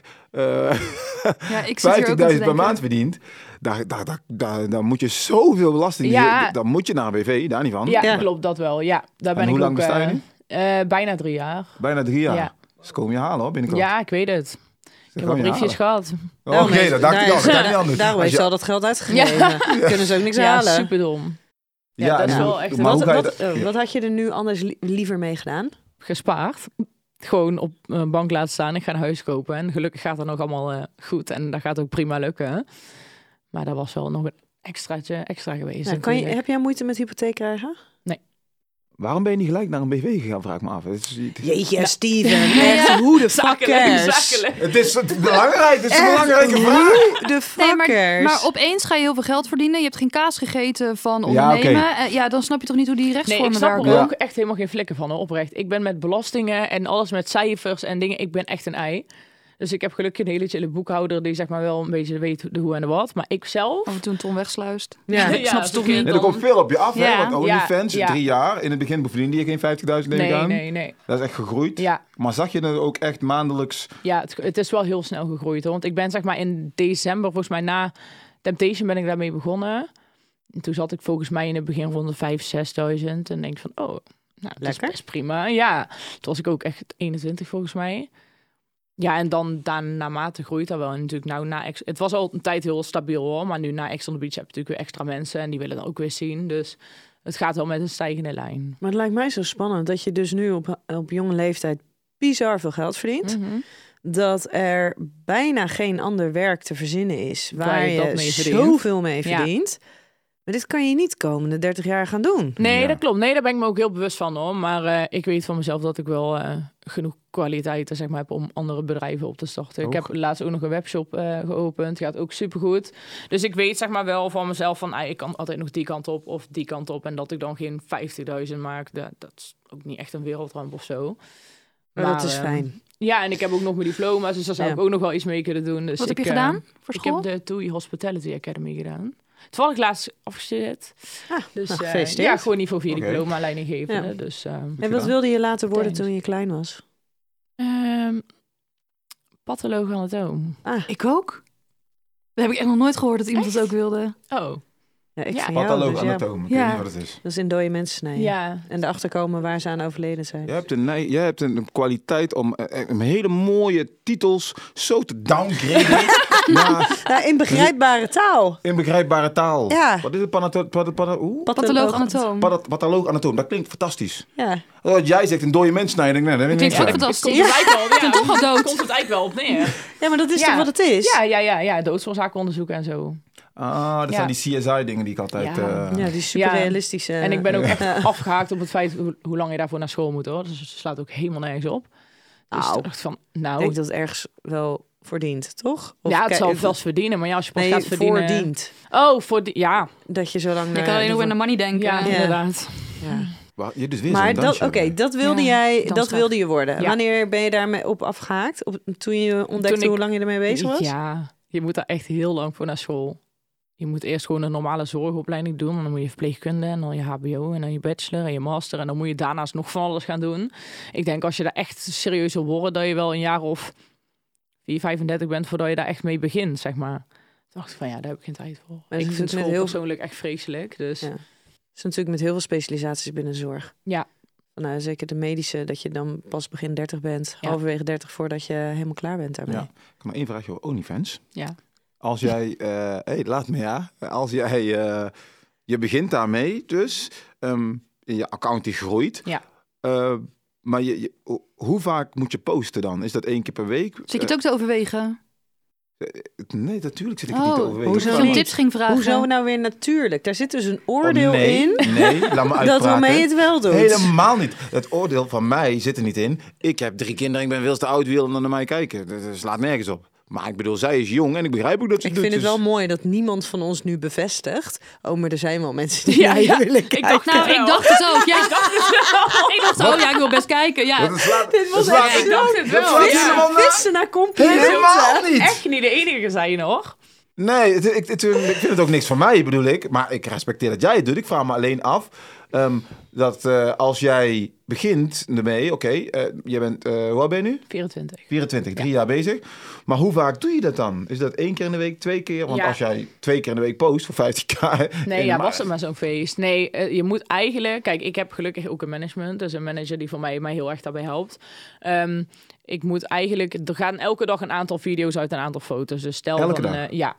[SPEAKER 4] eh,
[SPEAKER 5] Ja, ik zit hier ook aan te
[SPEAKER 4] 50.000 per
[SPEAKER 5] denken.
[SPEAKER 4] maand verdient, daar, daar, daar, daar, daar moet je zoveel belasting...
[SPEAKER 2] Ja.
[SPEAKER 4] Dan moet je naar een BV, daar niet van.
[SPEAKER 2] Ja,
[SPEAKER 3] Ja.
[SPEAKER 2] klopt dat wel. Ja, daar ben
[SPEAKER 4] Oh, hoe
[SPEAKER 2] ik
[SPEAKER 4] lang
[SPEAKER 2] ook.
[SPEAKER 4] besta je
[SPEAKER 2] eh,
[SPEAKER 4] nu?
[SPEAKER 2] eh, bijna drie jaar.
[SPEAKER 4] Bijna drie jaar.
[SPEAKER 2] Ja.
[SPEAKER 4] Dus kom je halen hoor, binnenkort.
[SPEAKER 2] Ja, ik weet het. Ik heb al briefjes gehad.
[SPEAKER 4] Oh, Oké, dat dacht ik al. Dat kan niet anders.
[SPEAKER 3] Daarom heeft
[SPEAKER 4] Als je-
[SPEAKER 3] ze al dat geld uitgegeven. Kunnen ze ook niks
[SPEAKER 2] Ja,
[SPEAKER 3] halen.
[SPEAKER 2] super dom. Ja, dat is
[SPEAKER 4] en
[SPEAKER 2] wel
[SPEAKER 4] hoe-
[SPEAKER 2] echt-
[SPEAKER 4] maar
[SPEAKER 3] Wat,
[SPEAKER 4] hoe ga je
[SPEAKER 3] wat,
[SPEAKER 4] dat-
[SPEAKER 3] eh, wat had je er nu anders li- liever mee gedaan?
[SPEAKER 2] Gespaard. Gewoon op een bank laten staan. Ik ga een huis kopen. En gelukkig gaat dat nog allemaal eh, goed. En dat gaat ook prima lukken. Maar dat was wel nog een extraatje extra geweest.
[SPEAKER 3] Nou, kan je,
[SPEAKER 2] natuurlijk.
[SPEAKER 3] heb jij moeite met hypotheek krijgen?
[SPEAKER 4] Waarom ben je niet gelijk naar een BV gegaan, vraag ik me af. Het is, het is-
[SPEAKER 3] Jeetje, Steven. Echt, hoe de fuck
[SPEAKER 2] Zakelijk,
[SPEAKER 3] cares?
[SPEAKER 2] zakelijk.
[SPEAKER 4] het is belangrijk, het is een
[SPEAKER 3] Echt,
[SPEAKER 4] belangrijke vraag.
[SPEAKER 3] Hoe de fuck
[SPEAKER 5] Nee, maar,
[SPEAKER 3] cares?
[SPEAKER 5] maar opeens ga je heel veel geld verdienen. Je hebt geen kaas gegeten van ondernemen.
[SPEAKER 4] oké.
[SPEAKER 5] Eh, ja dan snap je toch niet hoe die
[SPEAKER 2] Nee, ik
[SPEAKER 5] rechtsvormen
[SPEAKER 2] snap
[SPEAKER 5] werken.
[SPEAKER 2] er
[SPEAKER 4] Ja.
[SPEAKER 2] ook echt helemaal geen flikken van, hoor, oprecht. Ik ben met belastingen en alles met cijfers en dingen, ik ben echt een ei. Dus ik heb gelukkig een hele chille boekhouder die zeg maar wel een beetje weet de hoe en de wat. Maar ik zelf...
[SPEAKER 3] Oh,
[SPEAKER 5] Af en toe een ton wegsluist.
[SPEAKER 3] Ja.
[SPEAKER 5] ik snap ze
[SPEAKER 2] zo
[SPEAKER 5] toch
[SPEAKER 2] kun je
[SPEAKER 5] niet.
[SPEAKER 4] Nee,
[SPEAKER 2] het
[SPEAKER 4] er
[SPEAKER 2] dan-
[SPEAKER 4] komt veel op je af, hè?
[SPEAKER 5] Ja,
[SPEAKER 4] Want OnlyFans,
[SPEAKER 2] ja, ja.
[SPEAKER 4] drie jaar. In het begin verdiende je geen 50.000 neem ik
[SPEAKER 2] Nee,
[SPEAKER 4] aan.
[SPEAKER 2] nee, nee.
[SPEAKER 4] Dat is echt gegroeid.
[SPEAKER 2] Ja,
[SPEAKER 4] Maar zag je dan ook echt maandelijks...
[SPEAKER 2] ja het, het is wel heel snel gegroeid. Hoor. Want ik ben zeg maar in december, volgens mij na Temptation ben ik daarmee begonnen. En toen zat ik volgens mij in het begin rond de 5.000, 6.000. En denk ik van, oh, nou, dat is
[SPEAKER 3] Lekker.
[SPEAKER 2] best prima. Ja, toen was ik ook echt 21 volgens mij. Ja, en dan daarna naarmate groeit dat wel. En natuurlijk nou na... Ex- Het was al een tijd heel stabiel hoor. Maar nu na Ex on the Beach heb je natuurlijk weer extra mensen. En die willen dan ook weer zien. Dus het gaat wel met een stijgende lijn.
[SPEAKER 3] Maar het lijkt mij zo spannend dat je dus nu op, op jonge leeftijd bizar veel geld verdient. Dat er bijna geen ander werk te verzinnen is waar,
[SPEAKER 2] Waar je
[SPEAKER 3] je,
[SPEAKER 2] dat mee verdient.
[SPEAKER 3] zoveel mee
[SPEAKER 2] Ja.
[SPEAKER 3] verdient. Maar dit kan je niet komende 30 jaar gaan doen.
[SPEAKER 2] Nee,
[SPEAKER 4] Ja.
[SPEAKER 2] dat klopt. Nee, daar ben ik me ook heel bewust van hoor. Maar eh, ik weet van mezelf dat ik wel eh, genoeg kwaliteiten zeg maar, heb om andere bedrijven op te starten. Ik
[SPEAKER 4] Ook.
[SPEAKER 2] heb laatst ook nog een webshop eh, geopend. Gaat ook supergoed. Dus ik weet zeg maar wel van mezelf van ah, ik kan altijd nog die kant op of die kant op. En dat ik dan geen 50.000 maak, dat, dat is ook niet echt een wereldramp of zo.
[SPEAKER 3] Maar, dat is
[SPEAKER 2] eh,
[SPEAKER 3] fijn.
[SPEAKER 2] ja, en ik heb ook nog mijn diploma's, dus daar zou
[SPEAKER 3] Ja.
[SPEAKER 2] ik ook nog wel iets mee kunnen doen. Dus
[SPEAKER 5] Wat heb je
[SPEAKER 2] ik, eh,
[SPEAKER 5] gedaan voor
[SPEAKER 2] ik heb
[SPEAKER 5] school?
[SPEAKER 2] de TUI Hospitality Academy gedaan. Toevallig laatst afgestudeerd.
[SPEAKER 3] Ah,
[SPEAKER 2] dus
[SPEAKER 3] nou,
[SPEAKER 2] eh,
[SPEAKER 3] gefeliciteerd.
[SPEAKER 2] ja, gewoon niveau 4
[SPEAKER 4] Oké.
[SPEAKER 2] diploma leidinggevende.
[SPEAKER 3] Ja.
[SPEAKER 2] Dus eh,
[SPEAKER 3] En wat
[SPEAKER 4] gedaan?
[SPEAKER 3] wilde je later worden
[SPEAKER 2] Thanks.
[SPEAKER 3] toen je klein was?
[SPEAKER 2] ehm patholoog anatoom.
[SPEAKER 3] Ah,
[SPEAKER 5] Ik ook. Dat heb ik echt nog nooit gehoord dat iemand
[SPEAKER 2] Echt?
[SPEAKER 5] dat ook wilde.
[SPEAKER 2] Oh,
[SPEAKER 3] ja, ik
[SPEAKER 2] Ja.
[SPEAKER 3] van jou,
[SPEAKER 4] Pataloog
[SPEAKER 3] dus ja.
[SPEAKER 4] anatoom. Ik
[SPEAKER 5] Ja.
[SPEAKER 4] weet niet wat het is.
[SPEAKER 3] Dat is in dode mensen snijden.
[SPEAKER 2] ja.
[SPEAKER 3] En erachter komen waar ze aan overleden zijn.
[SPEAKER 4] Jij hebt een, nei- jij hebt een een kwaliteit om eh, eh, een hele mooie titels zo te downgraden naar
[SPEAKER 3] Ja, in begrijpbare taal.
[SPEAKER 4] inbegrijpbare taal.
[SPEAKER 3] Ja.
[SPEAKER 4] Wat is het? Panato- pad- pad- oeh?
[SPEAKER 5] Patholoog anatoom.
[SPEAKER 4] Padat- Pataloog anatoom. Dat klinkt fantastisch.
[SPEAKER 3] Ja.
[SPEAKER 4] Wat jij zegt, een dode mens snijden. Nee, dat weet ik
[SPEAKER 5] Klinkt
[SPEAKER 4] niet.
[SPEAKER 5] ook
[SPEAKER 4] aan.
[SPEAKER 5] fantastisch.
[SPEAKER 2] Komt het eigenlijk wel, ja,
[SPEAKER 5] toch al dood.
[SPEAKER 2] Komt het eigenlijk wel op neer.
[SPEAKER 3] ja, maar dat is
[SPEAKER 2] Ja.
[SPEAKER 3] toch wat het is?
[SPEAKER 2] Ja, ja, ja, ja. Doodsoorzakenonderzoek en zo.
[SPEAKER 4] Ah, dat
[SPEAKER 2] Ja.
[SPEAKER 4] zijn die CSI-dingen die ik altijd...
[SPEAKER 2] Ja.
[SPEAKER 4] eh,
[SPEAKER 3] Ja, die eh, superrealistische...
[SPEAKER 2] En ik ben ook echt afgehaakt op het feit hoe, hoe lang je daarvoor naar school moet hoor. Dus het slaat ook helemaal nergens op. Dus
[SPEAKER 3] Au.
[SPEAKER 2] ik dacht van, nou,
[SPEAKER 3] Ik denk dat het ergens wel verdient, toch? Of
[SPEAKER 2] ja, het
[SPEAKER 3] kijk,
[SPEAKER 2] zal
[SPEAKER 3] of-
[SPEAKER 2] vast verdienen. Maar ja, als je pas
[SPEAKER 3] nee,
[SPEAKER 2] gaat verdienen...
[SPEAKER 3] voordient.
[SPEAKER 2] Oh, voor die, ja.
[SPEAKER 3] Dat je zo lang...
[SPEAKER 5] Je
[SPEAKER 3] eh,
[SPEAKER 5] kan alleen
[SPEAKER 3] dat-
[SPEAKER 5] nog aan de money denken.
[SPEAKER 2] Ja,
[SPEAKER 3] Ja.
[SPEAKER 2] inderdaad.
[SPEAKER 3] Ja.
[SPEAKER 4] waar- je dus weer
[SPEAKER 3] Maar
[SPEAKER 4] zo'n
[SPEAKER 3] dat,
[SPEAKER 4] dansje
[SPEAKER 3] oké,
[SPEAKER 4] hebt.
[SPEAKER 3] dat wilde
[SPEAKER 5] Ja,
[SPEAKER 3] jij, dat
[SPEAKER 5] dansdag.
[SPEAKER 3] wilde je worden.
[SPEAKER 2] Ja.
[SPEAKER 3] Wanneer ben je daarmee op afgehaakt? Op, toen je ontdekte
[SPEAKER 2] Toen ik-
[SPEAKER 3] hoe lang je ermee bezig was?
[SPEAKER 2] Ja, je moet daar echt heel lang voor naar school. Je moet eerst gewoon een normale zorgopleiding doen. En dan moet je verpleegkunde en dan je HBO en dan je bachelor en je master. En dan moet je daarnaast nog van alles gaan doen. Ik denk als je daar echt serieus wil worden, dat je wel een jaar of 4, 35 bent voordat je daar echt mee begint, zeg maar. Toen dacht ik van ja, daar heb ik geen tijd voor.
[SPEAKER 3] Maar
[SPEAKER 2] ik
[SPEAKER 3] ze
[SPEAKER 2] vind
[SPEAKER 3] zitten
[SPEAKER 2] het
[SPEAKER 3] met
[SPEAKER 2] heel
[SPEAKER 3] heel-
[SPEAKER 2] persoonlijk echt vreselijk. Dus
[SPEAKER 3] Ja. is natuurlijk met heel veel specialisaties binnen de zorg.
[SPEAKER 2] Ja.
[SPEAKER 3] Nou, zeker de medische, dat je dan pas begin 30 bent,
[SPEAKER 2] Ja.
[SPEAKER 3] halverwege 30 voordat je helemaal klaar bent daarmee.
[SPEAKER 4] Ja. Ik heb nog één vraagje over OnlyFans.
[SPEAKER 2] Ja.
[SPEAKER 4] Als jij, eh hey, laat me ja. Als jij, eh, je begint daarmee dus, ehm, en je account die groeit.
[SPEAKER 2] Ja.
[SPEAKER 4] Eh, maar je, je- ho- hoe vaak moet je posten dan? Is dat één keer per week?
[SPEAKER 5] Zit je het ook te overwegen?
[SPEAKER 4] Eh, nee, natuurlijk zit ik het
[SPEAKER 5] oh,
[SPEAKER 4] niet te overwegen.
[SPEAKER 3] hoezo
[SPEAKER 5] hoezo
[SPEAKER 4] Ik
[SPEAKER 5] ik
[SPEAKER 4] kan
[SPEAKER 5] om
[SPEAKER 3] niet?
[SPEAKER 5] tips ging vragen.
[SPEAKER 3] Hoezo nou weer natuurlijk? Daar zit dus een
[SPEAKER 4] Oh,
[SPEAKER 3] oordeel
[SPEAKER 4] nee,
[SPEAKER 3] in
[SPEAKER 4] Nee, laat me
[SPEAKER 3] dat
[SPEAKER 4] uitpraten.
[SPEAKER 3] Romee het wel doet.
[SPEAKER 4] Helemaal niet. Het oordeel van mij zit er niet in. Ik heb drie kinderen, ik ben veel te oud, wil dan naar mij kijken. Dat dat slaat nergens op. Maar ik bedoel, zij is jong en ik begrijp ook dat ze
[SPEAKER 3] Ik
[SPEAKER 4] doet.
[SPEAKER 3] vind het
[SPEAKER 4] dus-
[SPEAKER 3] wel mooi dat niemand van ons nu bevestigt. Oh, maar er zijn wel mensen die
[SPEAKER 2] Ja,
[SPEAKER 3] ja,
[SPEAKER 2] ja.
[SPEAKER 3] willen
[SPEAKER 2] Ik
[SPEAKER 3] kijken.
[SPEAKER 2] dacht
[SPEAKER 5] Nou, ik dacht het ook. Ja. ik dacht, oh ja, ik wil best kijken. Ja.
[SPEAKER 4] Dat slaat,
[SPEAKER 3] Dit was
[SPEAKER 4] dat slaat-
[SPEAKER 3] echt
[SPEAKER 2] ik dacht het
[SPEAKER 4] dat
[SPEAKER 2] wel.
[SPEAKER 4] slaat
[SPEAKER 2] Ja.
[SPEAKER 4] helemaal nergens
[SPEAKER 3] Vissen naar complimenten.
[SPEAKER 4] Helemaal niet.
[SPEAKER 2] echt niet de enige zijn hoor.
[SPEAKER 4] Nee, het- ik, het- ik vind het ook niks van mij, bedoel ik. Maar ik respecteer dat jij het doet. Ik vraag me alleen af ehm, dat eh, als jij begint ermee... Oké, eh, je bent... eh, hoe oud ben je nu?
[SPEAKER 2] 24.
[SPEAKER 4] 24, drie jaar bezig. Maar hoe vaak doe je dat dan? Is dat één keer in de week, twee keer? Want
[SPEAKER 2] Ja.
[SPEAKER 4] als jij twee keer in de week post voor 50k...
[SPEAKER 2] Nee,
[SPEAKER 4] in
[SPEAKER 2] ja,
[SPEAKER 4] ma-
[SPEAKER 2] was het maar zo'n feest. Nee, eh, je moet eigenlijk... Kijk, ik heb gelukkig ook een management. Dus een manager die voor mij, mij heel erg daarbij helpt. Ehm, ik moet eigenlijk... Er gaan elke dag een aantal video's uit, een aantal foto's. Dus stel
[SPEAKER 4] Elke
[SPEAKER 2] dan...
[SPEAKER 4] dag?
[SPEAKER 2] eh, ja.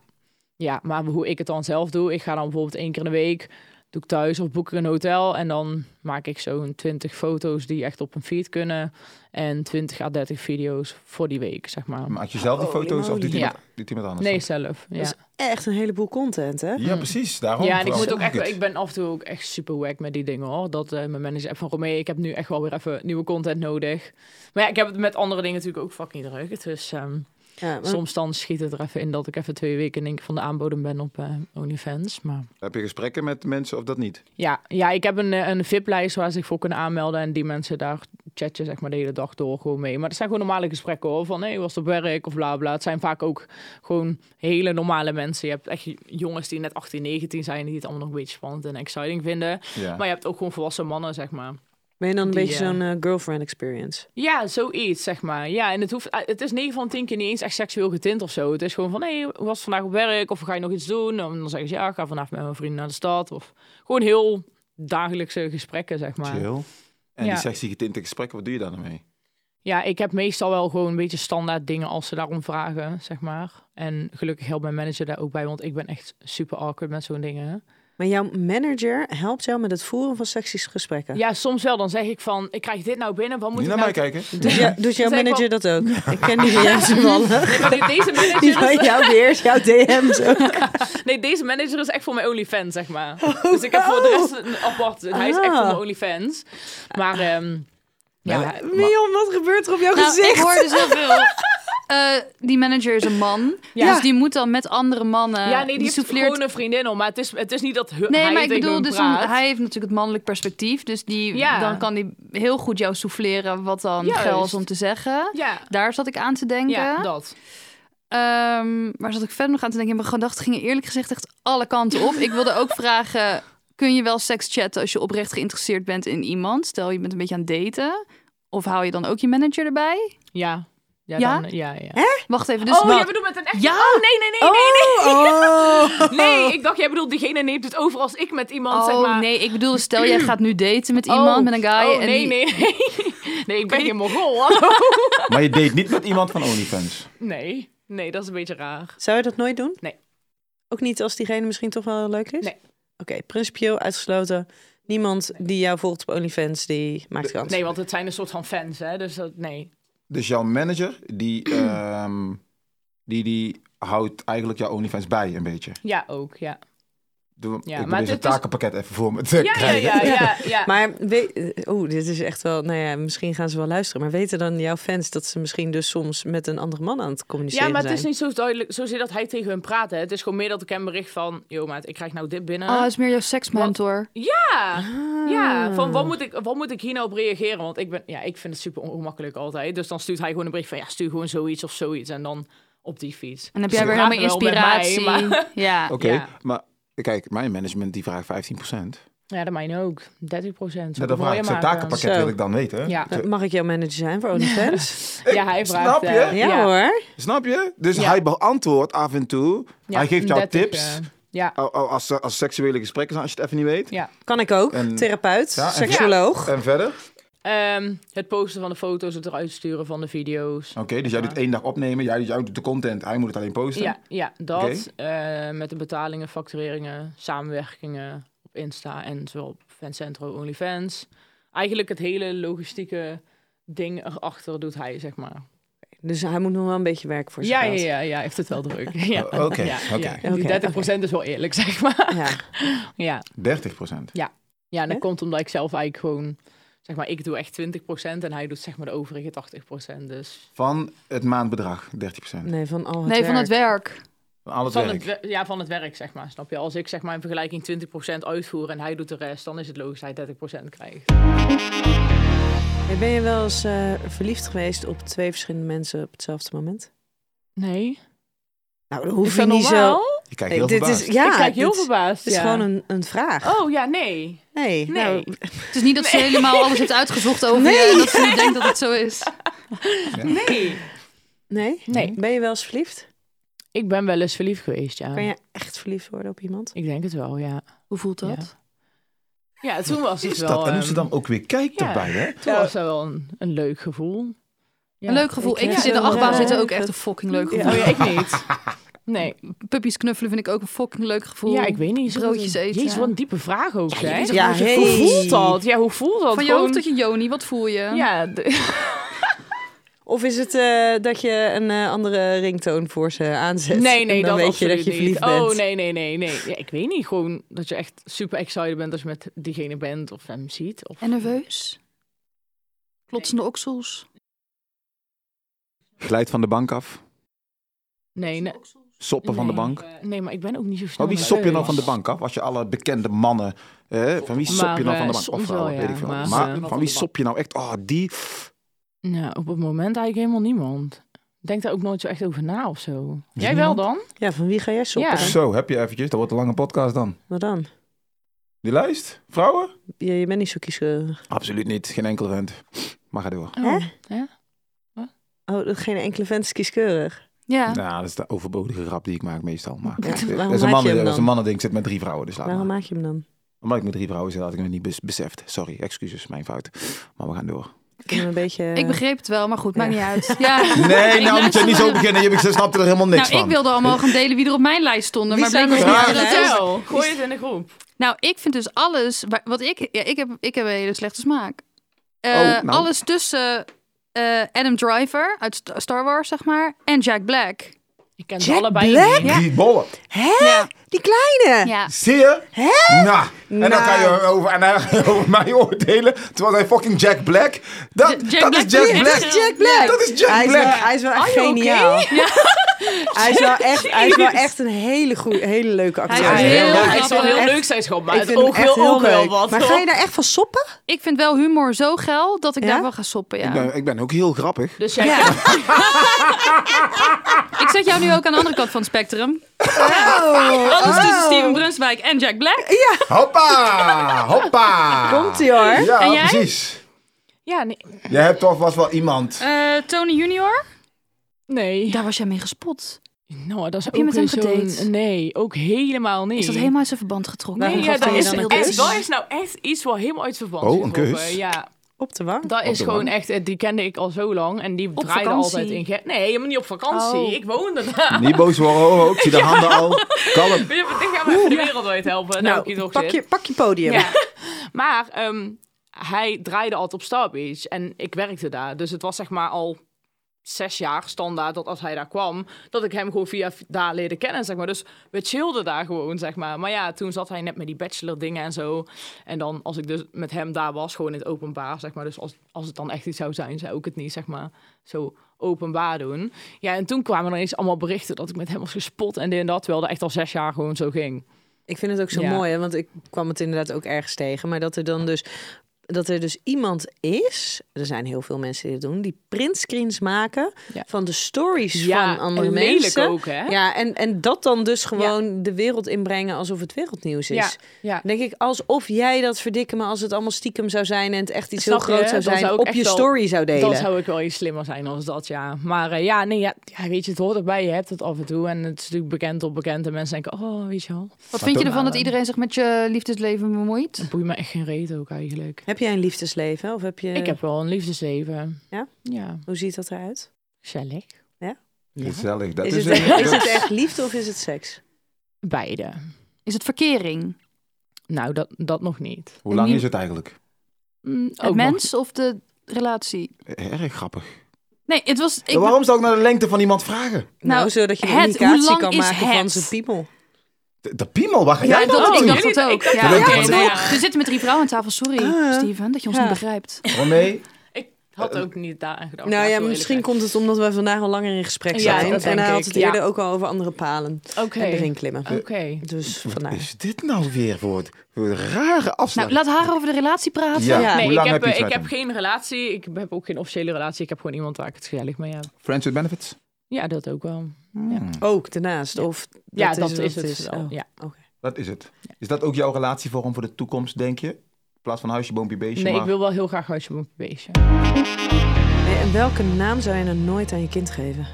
[SPEAKER 2] ja, maar hoe ik het dan zelf doe... Ik ga dan bijvoorbeeld één keer in de week... Doe ik thuis of boek ik een hotel. En dan maak ik zo'n 20 foto's die echt op een feed kunnen. En 20 à 30 video's voor die week, zeg maar.
[SPEAKER 4] Maak je zelf die
[SPEAKER 3] Holy
[SPEAKER 4] foto's of doet
[SPEAKER 2] moly.
[SPEAKER 4] iemand,
[SPEAKER 2] Oh, Ja.
[SPEAKER 4] doet iemand anders?
[SPEAKER 2] Nee, zelf. Ja.
[SPEAKER 3] Dat is echt een heleboel content, hè?
[SPEAKER 4] Ja, precies. Daarom.
[SPEAKER 2] Ja, en ik,
[SPEAKER 4] Vooral
[SPEAKER 2] moet ook echt,
[SPEAKER 4] het.
[SPEAKER 2] ik ben af en toe ook echt super wack met die dingen hoor. Dat eh, mijn manager echt van Romee, ik heb nu echt wel weer even nieuwe content nodig. Maar ja, ik heb het met andere dingen natuurlijk ook fucking druk. Dus ehm,
[SPEAKER 3] Ja, maar-
[SPEAKER 2] soms dan schiet het er even in dat ik even twee weken in één keer van de aanbodem ben op eh, OnlyFans. Maar
[SPEAKER 4] Heb je gesprekken met mensen of dat niet?
[SPEAKER 2] ja, ja ik heb een, eh, een VIP-lijst waar ze zich voor kunnen aanmelden. En die mensen daar chatten zeg maar de hele dag door gewoon mee. Maar dat zijn gewoon normale gesprekken hoor. Van hé, hey, was het op werk of bla bla. Het zijn vaak ook gewoon hele normale mensen. Je hebt echt jongens die net 18, 19 zijn. Die het allemaal nog een beetje spannend en exciting vinden.
[SPEAKER 4] Ja.
[SPEAKER 2] Maar je hebt ook gewoon volwassen mannen, zeg maar.
[SPEAKER 3] Ben je dan een
[SPEAKER 2] Die,
[SPEAKER 3] beetje
[SPEAKER 2] eh,
[SPEAKER 3] zo'n eh, girlfriend experience?
[SPEAKER 2] Ja, zoiets, zeg maar. Ja, en het, hoeft, eh, het is 9 van 10 keer niet eens echt seksueel getint of zo. Het is gewoon van, hé, hey, hoe was het vandaag op werk? Of ga je nog iets doen? En dan zeggen ze, ja, ik ga vanavond met mijn vrienden naar de stad. Of gewoon heel dagelijkse gesprekken, zeg maar.
[SPEAKER 4] Chill. En
[SPEAKER 2] Ja.
[SPEAKER 4] die sexy getinte gesprekken, wat doe je daar dan mee?
[SPEAKER 2] Ja, ik heb meestal wel gewoon een beetje standaard dingen als ze daarom vragen, zeg maar. En gelukkig helpt mijn manager daar ook bij, want ik ben echt super awkward met zo'n dingen.
[SPEAKER 3] Maar jouw manager helpt jou met het voeren van seksische gesprekken.
[SPEAKER 2] Ja, soms wel. Dan zeg ik van, ik krijg dit nou binnen, wat moet
[SPEAKER 4] Niet
[SPEAKER 2] ik
[SPEAKER 4] naar
[SPEAKER 2] nou...
[SPEAKER 4] mij kijken.
[SPEAKER 3] Doet, jou- doet Dus jouw
[SPEAKER 2] Dat is
[SPEAKER 3] manager dat ook? Ik ken die van Jens van Wallen.
[SPEAKER 2] Nee, maar deze manager
[SPEAKER 3] Die
[SPEAKER 2] is-
[SPEAKER 3] van jou weer, jouw DM's ook.
[SPEAKER 2] Nee, deze manager is echt voor mijn OnlyFans, zeg maar. dus ik heb voor de rest een apart. Hij is echt voor mijn
[SPEAKER 3] Ah.
[SPEAKER 2] OnlyFans. Maar ehm, ja,
[SPEAKER 3] Mion, wat gebeurt er op jouw
[SPEAKER 5] Nou, ik
[SPEAKER 3] gezicht?
[SPEAKER 5] hoor dus heel veel. Eh, die manager is een man.
[SPEAKER 2] Ja.
[SPEAKER 5] Dus die moet dan met andere mannen.
[SPEAKER 2] ja, nee, die heeft
[SPEAKER 5] souffleert-
[SPEAKER 2] gewoon een vriendin om. Maar het is, het is niet dat hu-
[SPEAKER 5] Nee,
[SPEAKER 2] hij
[SPEAKER 5] maar ik
[SPEAKER 2] tegen
[SPEAKER 5] bedoel,
[SPEAKER 2] hem
[SPEAKER 5] dus een-
[SPEAKER 2] praat.
[SPEAKER 5] hij heeft natuurlijk het mannelijk perspectief. Dus die,
[SPEAKER 2] Ja.
[SPEAKER 5] dan kan hij heel goed jou souffleren wat dan
[SPEAKER 2] Juist.
[SPEAKER 5] geil is om te zeggen.
[SPEAKER 2] Ja,
[SPEAKER 5] Daar zat ik aan te denken.
[SPEAKER 2] ja, dat.
[SPEAKER 5] Ehm, waar zat ik verder nog aan te denken? Mijn gedachten gingen eerlijk gezegd echt alle kanten op. ik wilde ook vragen, kun je wel seks chatten als je oprecht geïnteresseerd bent in iemand? Stel, je bent een beetje aan het daten. Of hou je dan ook je manager erbij?
[SPEAKER 2] Ja. Ja,
[SPEAKER 5] Ja?
[SPEAKER 2] dan, ja, ja.
[SPEAKER 5] Wacht even, dus
[SPEAKER 2] oh,
[SPEAKER 5] wat?
[SPEAKER 2] jij bedoelt met een echt...
[SPEAKER 5] Ja.
[SPEAKER 2] Oh, nee, nee, nee,
[SPEAKER 3] Oh,
[SPEAKER 2] nee,
[SPEAKER 3] oh.
[SPEAKER 2] nee. Nee, ik dacht, jij bedoelt, diegene neemt het over als ik met iemand,
[SPEAKER 5] Oh
[SPEAKER 2] zeg maar...
[SPEAKER 5] nee, ik bedoel, stel jij gaat nu daten met
[SPEAKER 2] Oh.
[SPEAKER 5] iemand, met een guy.
[SPEAKER 2] Oh,
[SPEAKER 5] en
[SPEAKER 2] nee,
[SPEAKER 5] die-
[SPEAKER 2] nee, nee. Nee, ik ben geen mogol. hallo.
[SPEAKER 4] Maar je deed niet met iemand van OnlyFans.
[SPEAKER 2] Nee, nee, dat is een beetje raar.
[SPEAKER 3] Zou je dat nooit doen?
[SPEAKER 2] Nee.
[SPEAKER 3] Ook niet als diegene misschien toch wel leuk is?
[SPEAKER 2] Nee.
[SPEAKER 3] Oké, principieel uitgesloten. Niemand die jou volgt op OnlyFans, die maakt kans.
[SPEAKER 2] Nee, want het zijn een soort van fans, hè. Dus dat, nee.
[SPEAKER 4] Dus jouw manager, die, ehm, die, die houdt eigenlijk jouw OnlyFans bij een beetje.
[SPEAKER 2] Ja, ook, ja.
[SPEAKER 4] Doe,
[SPEAKER 2] Ja,
[SPEAKER 4] ik
[SPEAKER 2] maar
[SPEAKER 4] maar deze
[SPEAKER 2] dit is-
[SPEAKER 4] takenpakket even voor me te
[SPEAKER 2] Ja, ja,
[SPEAKER 4] krijgen.
[SPEAKER 2] ja, ja, ja.
[SPEAKER 3] Maar, we- oeh, dit is echt wel, nou ja, misschien gaan ze wel luisteren. Maar weten dan jouw fans dat ze misschien dus soms met een andere man aan het communiceren
[SPEAKER 2] Ja,
[SPEAKER 3] zijn?
[SPEAKER 2] maar het is niet zo duidelijk zozeer dat hij tegen hun praat. Hè. Het is gewoon meer dat ik hem bericht van... Yo, maat, ik krijg nou dit binnen.
[SPEAKER 5] Oh, het is meer jouw seksmentor.
[SPEAKER 2] ja, ja. Van,
[SPEAKER 5] Ah.
[SPEAKER 2] wat moet, ik, wat moet ik hier nou op reageren? Want ik, ben, ja, ik vind het super ongemakkelijk altijd. Dus dan stuurt hij gewoon een bericht van... Ja, stuur gewoon zoiets of zoiets. En dan op die fiets.
[SPEAKER 5] En heb
[SPEAKER 2] Dus
[SPEAKER 5] jij
[SPEAKER 2] ze
[SPEAKER 5] weer
[SPEAKER 2] praten
[SPEAKER 5] helemaal
[SPEAKER 2] wel met mij,
[SPEAKER 5] inspiratie.
[SPEAKER 2] maar-
[SPEAKER 5] Ja.
[SPEAKER 4] Oké,
[SPEAKER 2] Ja.
[SPEAKER 4] maar kijk, mijn management die vraagt 15 procent.
[SPEAKER 2] Ja, de mijne ook. 30 procent.
[SPEAKER 4] dat vraag ik. Zijn takenpakket
[SPEAKER 3] Zo.
[SPEAKER 4] wil ik dan weten.
[SPEAKER 2] Ja.
[SPEAKER 3] Eh, Mag ik jouw manager zijn voor OnlyFans?
[SPEAKER 2] ja, hij
[SPEAKER 4] Snap
[SPEAKER 2] vraagt...
[SPEAKER 4] je?
[SPEAKER 2] eh,
[SPEAKER 3] ja, hoor.
[SPEAKER 4] Snap je? Dus
[SPEAKER 2] Ja.
[SPEAKER 4] hij beantwoordt af en toe.
[SPEAKER 2] Ja,
[SPEAKER 4] hij geeft jou
[SPEAKER 2] 30,
[SPEAKER 4] tips.
[SPEAKER 2] eh, ja,
[SPEAKER 4] Al- al- Als, als seksuele gesprekken zijn, als je het even niet weet.
[SPEAKER 2] ja.
[SPEAKER 3] Kan ik ook.
[SPEAKER 4] En-
[SPEAKER 3] Therapeut,
[SPEAKER 4] Ja, en-
[SPEAKER 3] seksoloog.
[SPEAKER 4] En verder? Oké,
[SPEAKER 2] Ehm, het posten van de foto's, het eruit sturen van de video's.
[SPEAKER 4] dus jij doet één dag opnemen. Jij, jij doet de content. Hij moet het alleen posten.
[SPEAKER 2] Ja, ja dat. eh, met de betalingen, factureringen, samenwerkingen op Insta en zowel op Fancentro, OnlyFans. Eigenlijk het hele logistieke ding erachter doet hij, zeg maar.
[SPEAKER 3] Dus hij moet nog wel een beetje werk voor zich
[SPEAKER 2] Ja, ja, ja, ja, heeft het wel druk. Ja.
[SPEAKER 4] Oh, oké,
[SPEAKER 2] ja,
[SPEAKER 4] oké.
[SPEAKER 2] ja.
[SPEAKER 3] Oké,
[SPEAKER 2] Die 30% is wel eerlijk, zeg maar.
[SPEAKER 3] ja.
[SPEAKER 2] Ja,
[SPEAKER 4] 30 procent.
[SPEAKER 2] ja en dat
[SPEAKER 3] Ja?
[SPEAKER 2] komt omdat ik zelf eigenlijk gewoon... Zeg maar, ik doe echt 20% en hij doet zeg maar de overige 80%. Dus
[SPEAKER 4] Van het maandbedrag, 30 procent.
[SPEAKER 3] Nee, van al het
[SPEAKER 5] Nee, van het
[SPEAKER 3] werk.
[SPEAKER 5] werk.
[SPEAKER 4] Van al het
[SPEAKER 2] van
[SPEAKER 4] werk.
[SPEAKER 2] het, wer- ja, van het werk, zeg maar. Snap je? Als ik zeg maar in vergelijking 20% uitvoer en hij doet de rest... dan is het logisch dat hij 30% krijgt.
[SPEAKER 3] Hey, Ben je wel eens eh, verliefd geweest op twee verschillende mensen op hetzelfde moment?
[SPEAKER 2] Nee.
[SPEAKER 3] Nou, dat
[SPEAKER 2] Is
[SPEAKER 3] hoef je
[SPEAKER 2] dat
[SPEAKER 3] niet zo...
[SPEAKER 2] normaal?
[SPEAKER 4] Je kijkt
[SPEAKER 3] Nee,
[SPEAKER 4] heel
[SPEAKER 3] dit is,
[SPEAKER 4] verbaasd.
[SPEAKER 3] ja,
[SPEAKER 2] ik kijk heel
[SPEAKER 3] dit
[SPEAKER 2] verbaasd.
[SPEAKER 3] is
[SPEAKER 2] ja.
[SPEAKER 3] gewoon een, een vraag.
[SPEAKER 2] Oh ja, nee.
[SPEAKER 3] nee,
[SPEAKER 2] Nee.
[SPEAKER 3] nou,
[SPEAKER 5] Het is niet dat ze helemaal alles heeft uitgezocht over
[SPEAKER 3] Nee.
[SPEAKER 5] je. en Dat ze nu denkt dat het zo is.
[SPEAKER 2] Nee.
[SPEAKER 3] nee?
[SPEAKER 2] Nee.
[SPEAKER 3] Ben je wel eens verliefd?
[SPEAKER 2] Ik ben wel eens verliefd geweest, ja.
[SPEAKER 3] Kan je echt verliefd worden op iemand?
[SPEAKER 2] Ik denk het wel, ja.
[SPEAKER 5] Hoe voelt
[SPEAKER 2] dat?
[SPEAKER 5] dat?
[SPEAKER 2] Ja, toen was het
[SPEAKER 4] Is
[SPEAKER 2] wel...
[SPEAKER 4] dat? En
[SPEAKER 2] ehm,
[SPEAKER 4] hoe ze dan ook weer kijkt
[SPEAKER 2] ja.
[SPEAKER 4] erbij, hè?
[SPEAKER 2] Toen was dat wel een, een leuk gevoel. Ja.
[SPEAKER 5] Een leuk gevoel.
[SPEAKER 3] Ik
[SPEAKER 5] Ik,
[SPEAKER 3] heb
[SPEAKER 5] vind in de
[SPEAKER 3] zo'n,
[SPEAKER 5] achtbaan
[SPEAKER 3] eh,
[SPEAKER 5] zitten ook echt een fucking leuk gevoel.
[SPEAKER 2] Oh ja, ik niet. Nee.
[SPEAKER 5] Puppies knuffelen vind ik ook een fucking leuk gevoel.
[SPEAKER 2] Ja, ik weet niet. Zo
[SPEAKER 5] Broodjes eten.
[SPEAKER 2] Jezus, wat een diepe vraag ook, hè?
[SPEAKER 3] weet Ja, gewoon zo-
[SPEAKER 2] Hoe
[SPEAKER 3] hey.
[SPEAKER 2] voelt dat? Ja, hoe voelt dat?
[SPEAKER 5] Van je
[SPEAKER 2] Gewoon-
[SPEAKER 5] hoofd tot je joni, wat voel je?
[SPEAKER 2] Ja, de-
[SPEAKER 3] Of is het eh, dat je een eh, andere ringtoon voor ze aanzet?
[SPEAKER 2] nee, nee,
[SPEAKER 3] en dan
[SPEAKER 2] dat
[SPEAKER 3] weet je dat
[SPEAKER 2] absoluut
[SPEAKER 3] je verliefd
[SPEAKER 2] niet.
[SPEAKER 3] bent.
[SPEAKER 2] Oh, nee, nee, nee, nee. Ja, ik weet niet. Gewoon dat je echt super excited bent als je met diegene bent of hem ziet. Of...
[SPEAKER 5] En nerveus? Klotsende oksels?
[SPEAKER 4] Glijdt van de bank af.
[SPEAKER 2] Nee, nee,
[SPEAKER 4] Soppen van de bank.
[SPEAKER 2] nee, maar ik ben ook niet zo snel
[SPEAKER 4] Oh, wie sop je nou
[SPEAKER 2] nerveus.
[SPEAKER 4] van de bank af? Als je alle bekende mannen... eh, van wie sop je
[SPEAKER 2] Maar, eh,
[SPEAKER 4] nou van de bank?
[SPEAKER 2] soms
[SPEAKER 4] Of vrouwen,
[SPEAKER 2] wel,
[SPEAKER 4] weet
[SPEAKER 2] ja,
[SPEAKER 4] ik veel. Maar,
[SPEAKER 2] maar, eh,
[SPEAKER 4] van wie sop je nou echt? Oh, die...
[SPEAKER 2] Nou, op het moment eigenlijk helemaal niemand. Denk daar ook nooit zo echt over na of zo. Jij
[SPEAKER 4] niemand?
[SPEAKER 2] wel dan?
[SPEAKER 3] Ja, van wie ga jij soppen
[SPEAKER 2] Ja.
[SPEAKER 3] dan?
[SPEAKER 4] Zo, heb je eventjes. Dat wordt een lange podcast dan.
[SPEAKER 3] Wat dan?
[SPEAKER 4] Die lijst? Vrouwen?
[SPEAKER 3] Je, je bent niet zo kieskeurig.
[SPEAKER 4] Absoluut niet. Geen enkele vent. Maar ga door.
[SPEAKER 3] Hè?
[SPEAKER 2] Ja?
[SPEAKER 3] Oh, dat geen enkele vent is kieskeurig.
[SPEAKER 5] Ja.
[SPEAKER 4] Nou, dat is de overbodige grap die ik maak meestal. Maar
[SPEAKER 3] Ja,
[SPEAKER 4] dat,
[SPEAKER 3] waarom
[SPEAKER 4] is
[SPEAKER 3] maak
[SPEAKER 4] een
[SPEAKER 3] je
[SPEAKER 4] mannen,
[SPEAKER 3] hem
[SPEAKER 4] dat is een
[SPEAKER 3] dan?
[SPEAKER 4] mannending. Ik zit met drie vrouwen, dus laat
[SPEAKER 3] Waarom
[SPEAKER 4] maar.
[SPEAKER 3] maak je hem dan?
[SPEAKER 4] Omdat ik met drie vrouwen zit, had ik me niet bes- beseft. Sorry, excuses, mijn fout. Maar we gaan door.
[SPEAKER 3] Kunnen we een beetje... eh,
[SPEAKER 5] Ik begreep het wel, maar goed, maakt
[SPEAKER 3] Ja.
[SPEAKER 5] niet uit. Ja.
[SPEAKER 4] Nee,
[SPEAKER 5] Ik
[SPEAKER 4] nou moet je
[SPEAKER 5] luisterde-
[SPEAKER 4] niet zo beginnen. Je ze snapt er helemaal niks
[SPEAKER 5] Nou, ik
[SPEAKER 4] van.
[SPEAKER 5] wilde allemaal gaan delen wie er op mijn lijst stonden.
[SPEAKER 3] Wie
[SPEAKER 5] maar
[SPEAKER 3] zijn
[SPEAKER 5] blijkbaar
[SPEAKER 3] er op
[SPEAKER 5] niet.
[SPEAKER 3] jouw
[SPEAKER 5] Dat
[SPEAKER 3] lijst?
[SPEAKER 5] is-
[SPEAKER 2] Vertel, gooi het in de groep.
[SPEAKER 5] Nou, ik vind dus alles... wa- Wat ik, ja, ik, heb, ik heb een hele slechte smaak. Eh,
[SPEAKER 4] Oh, nou.
[SPEAKER 5] Alles tussen eh, Adam Driver uit St- Star Wars, zeg maar, en Jack Black.
[SPEAKER 2] Ik ken ze
[SPEAKER 3] Jack
[SPEAKER 2] allebei
[SPEAKER 3] Black?
[SPEAKER 2] niet.
[SPEAKER 4] Die bollen.
[SPEAKER 3] Hè?
[SPEAKER 5] Ja.
[SPEAKER 3] Die kleine?
[SPEAKER 5] Ja.
[SPEAKER 4] Zie je?
[SPEAKER 3] Hè?
[SPEAKER 4] Nou, en dan
[SPEAKER 3] Nou.
[SPEAKER 4] ga je over, en dan ga je over mij oordelen. Terwijl hij fucking Jack Black. Dat,
[SPEAKER 5] Ja, Jack
[SPEAKER 4] dat
[SPEAKER 5] Black
[SPEAKER 4] is Jack
[SPEAKER 5] is-
[SPEAKER 4] Black.
[SPEAKER 3] Dat is Jack Black.
[SPEAKER 4] Dat is Jack
[SPEAKER 3] hij Is wel,
[SPEAKER 4] Black.
[SPEAKER 3] hij is wel
[SPEAKER 2] Are
[SPEAKER 3] echt
[SPEAKER 2] you okay?
[SPEAKER 3] geniaal. Hij, is wel echt, hij is wel echt een hele, goeie, hele leuke acteur.
[SPEAKER 5] Hij is heel
[SPEAKER 2] Ja,
[SPEAKER 5] leuk.
[SPEAKER 2] Hij zal heel
[SPEAKER 3] Echt-
[SPEAKER 2] leuk zijn, schat, maar
[SPEAKER 3] ik
[SPEAKER 2] het
[SPEAKER 3] vind hem
[SPEAKER 2] oog
[SPEAKER 3] echt
[SPEAKER 2] wil
[SPEAKER 3] heel
[SPEAKER 2] ook wel
[SPEAKER 3] leuk.
[SPEAKER 2] wat.
[SPEAKER 3] Maar ga je daar echt van soppen?
[SPEAKER 5] Ik vind wel humor zo geil dat ik
[SPEAKER 3] Ja?
[SPEAKER 5] daar wel ga soppen, ja.
[SPEAKER 4] Ik ben, ik ben ook heel grappig.
[SPEAKER 2] Dus jij
[SPEAKER 5] Ik zet jou nu ook aan de andere kant van het spectrum.
[SPEAKER 3] Oh.
[SPEAKER 5] Alles tussen Steven Brunswijk en Jack Black.
[SPEAKER 4] Hoppa! Hoppa!
[SPEAKER 3] Komt-ie hoor.
[SPEAKER 4] Ja,
[SPEAKER 5] En jij?
[SPEAKER 4] precies.
[SPEAKER 2] Ja, nee.
[SPEAKER 4] Jij hebt toch vast wel iemand.
[SPEAKER 5] Eh, Tony Junior.
[SPEAKER 2] nee.
[SPEAKER 5] Daar was jij mee gespot.
[SPEAKER 2] Nou, dat is
[SPEAKER 5] je
[SPEAKER 2] ook
[SPEAKER 5] met hem
[SPEAKER 2] weer zo'n-
[SPEAKER 5] gedate?
[SPEAKER 2] Nee, ook helemaal niet.
[SPEAKER 5] Is dat helemaal uit zijn verband getrokken?
[SPEAKER 3] Waarom
[SPEAKER 2] Nee, ja,
[SPEAKER 3] gaf
[SPEAKER 2] dat
[SPEAKER 3] hij je
[SPEAKER 2] is,
[SPEAKER 3] dan een
[SPEAKER 2] echt-
[SPEAKER 3] kus?
[SPEAKER 2] dat is nou echt iets wat helemaal uit verband
[SPEAKER 4] Oh,
[SPEAKER 2] is
[SPEAKER 4] een
[SPEAKER 2] getrokken.
[SPEAKER 4] kus?
[SPEAKER 2] Ja,
[SPEAKER 3] Op de wang.
[SPEAKER 2] dat is
[SPEAKER 4] de
[SPEAKER 2] gewoon
[SPEAKER 4] wang?
[SPEAKER 2] echt... eh, Die kende ik al zo lang en die draaide
[SPEAKER 5] vakantie?
[SPEAKER 2] altijd in... Ge- nee, helemaal niet op vakantie.
[SPEAKER 5] Oh.
[SPEAKER 2] Ik woonde daar.
[SPEAKER 4] Niet boos worden, oh, oh, ik zie de handen al. Kalm.
[SPEAKER 2] Dit gaat me even de wereld uit helpen. Nou, ik hier
[SPEAKER 3] Nou,
[SPEAKER 2] nog zit.
[SPEAKER 3] pak je, pak je podium.
[SPEAKER 2] Ja. Maar ehm, hij draaide altijd op Star Beach en ik werkte daar. Dus het was zeg maar al zes jaar standaard dat als hij daar kwam, dat ik hem gewoon via v- daar leerde kennen, zeg maar. Dus we chillden daar gewoon, zeg maar. Maar ja, toen zat hij net met die bachelor dingen en zo. En dan als ik dus met hem daar was, gewoon in het openbaar, zeg maar. Dus als, als het dan echt iets zou zijn, zou ik het niet, zeg maar, zo openbaar doen. Ja, en toen kwamen er ineens allemaal berichten dat ik met hem was gespot en dit en dat, terwijl dat echt al zes jaar gewoon zo ging.
[SPEAKER 3] Ik vind het ook zo
[SPEAKER 2] Ja.
[SPEAKER 3] mooi, hè, want ik kwam het inderdaad ook ergens tegen. Maar dat er dan dus dat er dus iemand is, er zijn heel veel mensen die dit doen, die printscreens maken
[SPEAKER 2] Ja.
[SPEAKER 3] van de stories
[SPEAKER 2] Ja,
[SPEAKER 3] van andere
[SPEAKER 2] en lelijk
[SPEAKER 3] mensen.
[SPEAKER 2] ook, hè?
[SPEAKER 3] Ja, en, en dat dan dus gewoon de wereld inbrengen alsof het wereldnieuws is.
[SPEAKER 2] Ja, ja.
[SPEAKER 3] Dan denk ik, alsof jij dat verdikken, maar als het allemaal stiekem zou zijn en het echt iets
[SPEAKER 2] Snap
[SPEAKER 3] heel groot
[SPEAKER 2] je?
[SPEAKER 3] zou
[SPEAKER 2] Dan
[SPEAKER 3] zijn,
[SPEAKER 2] zou ik
[SPEAKER 3] op
[SPEAKER 2] echt
[SPEAKER 3] je
[SPEAKER 2] wel-
[SPEAKER 3] story zou delen.
[SPEAKER 2] Dan zou ik wel iets slimmer zijn als dat, ja. Maar eh, ja, nee, ja, ja, weet je, het hoort erbij. Je hebt het af en toe. En het is natuurlijk bekend op bekend. En mensen denken, oh, weet je wel.
[SPEAKER 5] Wat vind je ervan dat
[SPEAKER 2] eh,
[SPEAKER 5] iedereen zich met je liefdesleven bemoeit?
[SPEAKER 2] Het boeit me echt geen reet ook eigenlijk.
[SPEAKER 3] Heb jij een liefdesleven of heb je...
[SPEAKER 2] Ik heb wel een liefdesleven.
[SPEAKER 3] Ja?
[SPEAKER 2] Ja,
[SPEAKER 3] Hoe ziet dat eruit?
[SPEAKER 2] gezellig.
[SPEAKER 3] Ja?
[SPEAKER 2] Ja.
[SPEAKER 4] Gezellig. Dat
[SPEAKER 3] Is,
[SPEAKER 4] is,
[SPEAKER 3] het,
[SPEAKER 4] een-
[SPEAKER 3] is
[SPEAKER 4] dat
[SPEAKER 3] het echt liefde of is het seks?
[SPEAKER 2] Beide.
[SPEAKER 5] Is het verkering?
[SPEAKER 2] Nou, dat, dat nog niet.
[SPEAKER 4] Hoe lang
[SPEAKER 5] Niet-
[SPEAKER 4] is het eigenlijk?
[SPEAKER 2] Mm, ook
[SPEAKER 5] Het
[SPEAKER 2] nog
[SPEAKER 5] mens of de relatie?
[SPEAKER 4] Erg grappig.
[SPEAKER 5] Nee, het was... Ik,
[SPEAKER 4] Ja, waarom zou ik naar de lengte van iemand vragen?
[SPEAKER 3] Nou,
[SPEAKER 5] Nou,
[SPEAKER 3] zodat je een
[SPEAKER 5] het- hoe
[SPEAKER 3] indicatie
[SPEAKER 5] lang
[SPEAKER 3] kan
[SPEAKER 5] is
[SPEAKER 3] maken van
[SPEAKER 5] het?
[SPEAKER 3] zijn piemel.
[SPEAKER 4] De, de piemel, waar ga
[SPEAKER 5] ja,
[SPEAKER 4] jij
[SPEAKER 5] dat,
[SPEAKER 4] dan
[SPEAKER 5] ik
[SPEAKER 4] naartoe?
[SPEAKER 5] dacht dat ook. Ja,
[SPEAKER 4] dat
[SPEAKER 5] oké,
[SPEAKER 4] ook.
[SPEAKER 5] nou ja.
[SPEAKER 2] Ja.
[SPEAKER 5] We zitten met drie vrouwen aan tafel. Sorry,
[SPEAKER 3] Ah.
[SPEAKER 5] Steven, dat je ons
[SPEAKER 3] Ja.
[SPEAKER 5] niet begrijpt.
[SPEAKER 4] Romee,
[SPEAKER 2] Had ook niet daar aan gedacht.
[SPEAKER 3] nou
[SPEAKER 2] laat
[SPEAKER 3] ja,
[SPEAKER 2] ik wel
[SPEAKER 3] misschien
[SPEAKER 2] eerlijk
[SPEAKER 3] komt het omdat we vandaag al langer in gesprek
[SPEAKER 2] Ja,
[SPEAKER 3] zijn.
[SPEAKER 2] dat
[SPEAKER 3] en
[SPEAKER 2] denk
[SPEAKER 3] hij had
[SPEAKER 2] ik,
[SPEAKER 3] het
[SPEAKER 2] ja.
[SPEAKER 3] eerder ook al over andere palen
[SPEAKER 2] zeggen. Oké.
[SPEAKER 3] en erin klimmen.
[SPEAKER 2] Oké.
[SPEAKER 3] Dus
[SPEAKER 4] wat
[SPEAKER 3] vandaag.
[SPEAKER 4] is dit nou weer voor, voor een rare afslag?
[SPEAKER 5] Nou, laat haar over de relatie praten.
[SPEAKER 4] ja.
[SPEAKER 3] Ja.
[SPEAKER 4] Hoe
[SPEAKER 2] Nee, ik
[SPEAKER 4] lang
[SPEAKER 2] heb,
[SPEAKER 4] heb je
[SPEAKER 2] eh,
[SPEAKER 4] iets
[SPEAKER 2] ik
[SPEAKER 4] met
[SPEAKER 2] heb
[SPEAKER 4] hem?
[SPEAKER 2] geen relatie. Ik heb ook geen officiële relatie. Ik heb gewoon iemand waar ik het gezellig mee heb.
[SPEAKER 4] Friends with benefits?
[SPEAKER 2] Ja, dat ook wel.
[SPEAKER 3] Ook daarnaast. Of dat
[SPEAKER 2] ja, dat
[SPEAKER 3] wat
[SPEAKER 2] is, het. wel,
[SPEAKER 3] Oh.
[SPEAKER 2] ja.
[SPEAKER 4] Dat is het. Is dat ook jouw relatievorm voor de toekomst, denk je? In plaats van huisje, boompje, beestje.
[SPEAKER 2] Nee,
[SPEAKER 4] maar...
[SPEAKER 2] ik wil wel heel graag huisje op beestje.
[SPEAKER 3] Hey, En welke naam zou je nou nooit aan je kind geven?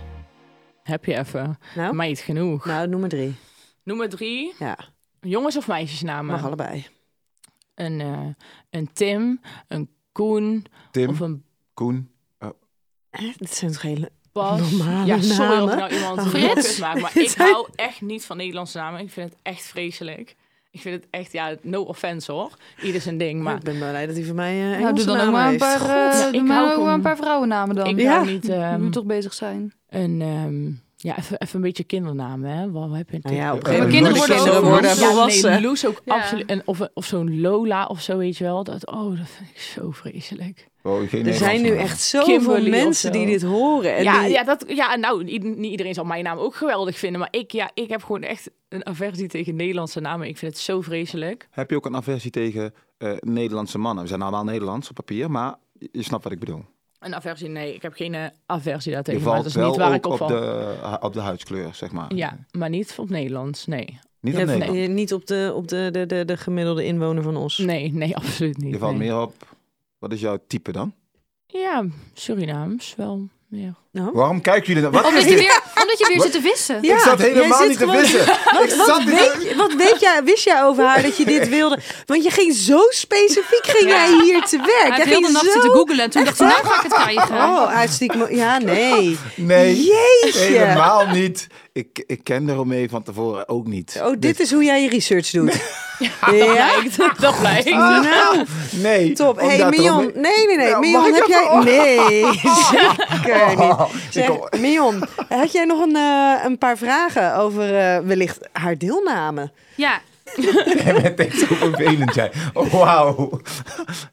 [SPEAKER 2] Heb je even.
[SPEAKER 3] Nou,
[SPEAKER 2] Meid genoeg.
[SPEAKER 3] nou noem maar drie.
[SPEAKER 2] Nummer drie.
[SPEAKER 3] Ja,
[SPEAKER 2] Jongens of meisjesnamen?
[SPEAKER 3] mag allebei.
[SPEAKER 2] Een, eh, een Tim, een Koen
[SPEAKER 4] Tim,
[SPEAKER 2] of een
[SPEAKER 4] Koen.
[SPEAKER 3] Hè, Dit zijn toch hele...
[SPEAKER 2] Bas.
[SPEAKER 3] Normale
[SPEAKER 2] ja, sorry
[SPEAKER 3] namen.
[SPEAKER 2] of nou iemand
[SPEAKER 3] Oh,
[SPEAKER 2] een
[SPEAKER 3] Frits.
[SPEAKER 2] kut maakt, maar ik hou echt niet van Nederlandse namen. Ik vind het echt vreselijk. Ik vind het echt, ja, no offense hoor. Ieder zijn ding, maar
[SPEAKER 3] ik ben blij dat hij voor mij eh
[SPEAKER 5] Nou, doe
[SPEAKER 3] Engelse
[SPEAKER 5] dan ook
[SPEAKER 3] namen
[SPEAKER 5] maar een
[SPEAKER 3] heeft.
[SPEAKER 5] paar,
[SPEAKER 3] God.
[SPEAKER 5] eh,
[SPEAKER 2] Ja,
[SPEAKER 5] doe
[SPEAKER 2] ik
[SPEAKER 5] maar
[SPEAKER 2] hou
[SPEAKER 5] ook
[SPEAKER 2] ook
[SPEAKER 5] maar
[SPEAKER 2] om-
[SPEAKER 5] een paar vrouwennamen dan.
[SPEAKER 2] ik
[SPEAKER 5] Je
[SPEAKER 3] Ja.
[SPEAKER 2] hou niet ehm,
[SPEAKER 5] moet toch bezig zijn.
[SPEAKER 2] een, ehm, ja, even, even een beetje kindernamen, hè. Wat heb je
[SPEAKER 3] Nou ja, op een
[SPEAKER 4] Maar
[SPEAKER 3] gegeven moment
[SPEAKER 5] kinderen
[SPEAKER 3] moeten
[SPEAKER 5] worden
[SPEAKER 3] kinderen
[SPEAKER 5] ook-
[SPEAKER 3] worden
[SPEAKER 5] Ja, nee,
[SPEAKER 3] volwassen.
[SPEAKER 2] nee, Loes ook
[SPEAKER 5] Ja.
[SPEAKER 2] absoluut. En Of, of zo'n Lola of zo, weet je wel. Dat, oh, dat vind ik zo vreselijk.
[SPEAKER 4] Oh, geen
[SPEAKER 3] er
[SPEAKER 4] Nederlands
[SPEAKER 3] zijn nu
[SPEAKER 4] naam.
[SPEAKER 3] echt zoveel
[SPEAKER 2] Kimberly of
[SPEAKER 3] mensen
[SPEAKER 2] zo.
[SPEAKER 3] die dit horen. En
[SPEAKER 2] ja,
[SPEAKER 3] die-
[SPEAKER 2] ja, dat, ja, nou, i- niet iedereen zal mijn naam ook geweldig vinden. Maar ik, ja, ik heb gewoon echt een aversie tegen Nederlandse namen. Ik vind het zo vreselijk.
[SPEAKER 4] Heb je ook een aversie tegen eh, Nederlandse mannen? We zijn allemaal Nederlands op papier, maar je, je snapt wat ik bedoel.
[SPEAKER 2] Een aversie, nee, ik heb geen eh, aversie daartegen.
[SPEAKER 4] Je
[SPEAKER 2] Maar dat
[SPEAKER 4] valt
[SPEAKER 2] is
[SPEAKER 4] wel
[SPEAKER 2] niet waar
[SPEAKER 4] ook
[SPEAKER 2] ik op
[SPEAKER 4] op,
[SPEAKER 2] val.
[SPEAKER 4] de, eh, op de huidskleur, zeg maar.
[SPEAKER 2] Ja, maar niet op Nederlands, nee.
[SPEAKER 4] Niet op
[SPEAKER 3] Ja,
[SPEAKER 4] Nederland.
[SPEAKER 3] eh, niet op, de, op de, de, de, de gemiddelde inwoner van Os.
[SPEAKER 2] Nee, nee, absoluut niet.
[SPEAKER 4] Je valt
[SPEAKER 2] nee.
[SPEAKER 4] meer op... Wat is jouw type dan?
[SPEAKER 2] Ja, Surinaams wel meer.
[SPEAKER 4] Waarom kijken jullie dan? Wat
[SPEAKER 5] Omdat
[SPEAKER 4] is
[SPEAKER 5] je
[SPEAKER 4] dit?
[SPEAKER 5] weer, omdat je weer zit te wissen.
[SPEAKER 3] Ja,
[SPEAKER 4] ik zat
[SPEAKER 3] jij
[SPEAKER 4] helemaal
[SPEAKER 3] zit
[SPEAKER 4] niet te
[SPEAKER 3] gewoon-
[SPEAKER 4] wissen. ik
[SPEAKER 3] Wat,
[SPEAKER 4] zat niet te-
[SPEAKER 3] weet, wat weet jij, wist jij over haar dat je dit wilde? Want je ging zo specifiek ging
[SPEAKER 5] Ja.
[SPEAKER 3] jij hier te werk.
[SPEAKER 5] Hij
[SPEAKER 3] Jij
[SPEAKER 5] heeft heel
[SPEAKER 3] ging
[SPEAKER 5] de nacht
[SPEAKER 3] zo...
[SPEAKER 5] zitten googlen. En toen dacht ik, nou ga ik het krijgen.
[SPEAKER 3] Oh, hartstikke... Ja, nee.
[SPEAKER 4] Nee,
[SPEAKER 3] Jeetje.
[SPEAKER 4] helemaal niet. Ik, ik ken de Romee van tevoren ook niet.
[SPEAKER 3] Oh, dit is hoe jij je research doet. Ja?
[SPEAKER 2] Blijkt, dat blijkt.
[SPEAKER 3] Nou,
[SPEAKER 4] Dus Nee.
[SPEAKER 3] top. Hé, hey,
[SPEAKER 4] Oh, omdat de
[SPEAKER 3] Mion.
[SPEAKER 4] Romee-
[SPEAKER 3] Nee, nee, nee.
[SPEAKER 4] Nou, mag
[SPEAKER 3] Mion,
[SPEAKER 4] ik
[SPEAKER 3] heb
[SPEAKER 4] even-
[SPEAKER 3] jij... Nee,
[SPEAKER 4] Oh.
[SPEAKER 3] zeker niet. Zeg,
[SPEAKER 4] Ik kom-
[SPEAKER 3] Mion, had jij nog een, eh, een paar vragen over eh, wellicht haar deelname?
[SPEAKER 5] Ja,
[SPEAKER 4] Het is zo vervelend jij. Oh, Wauw.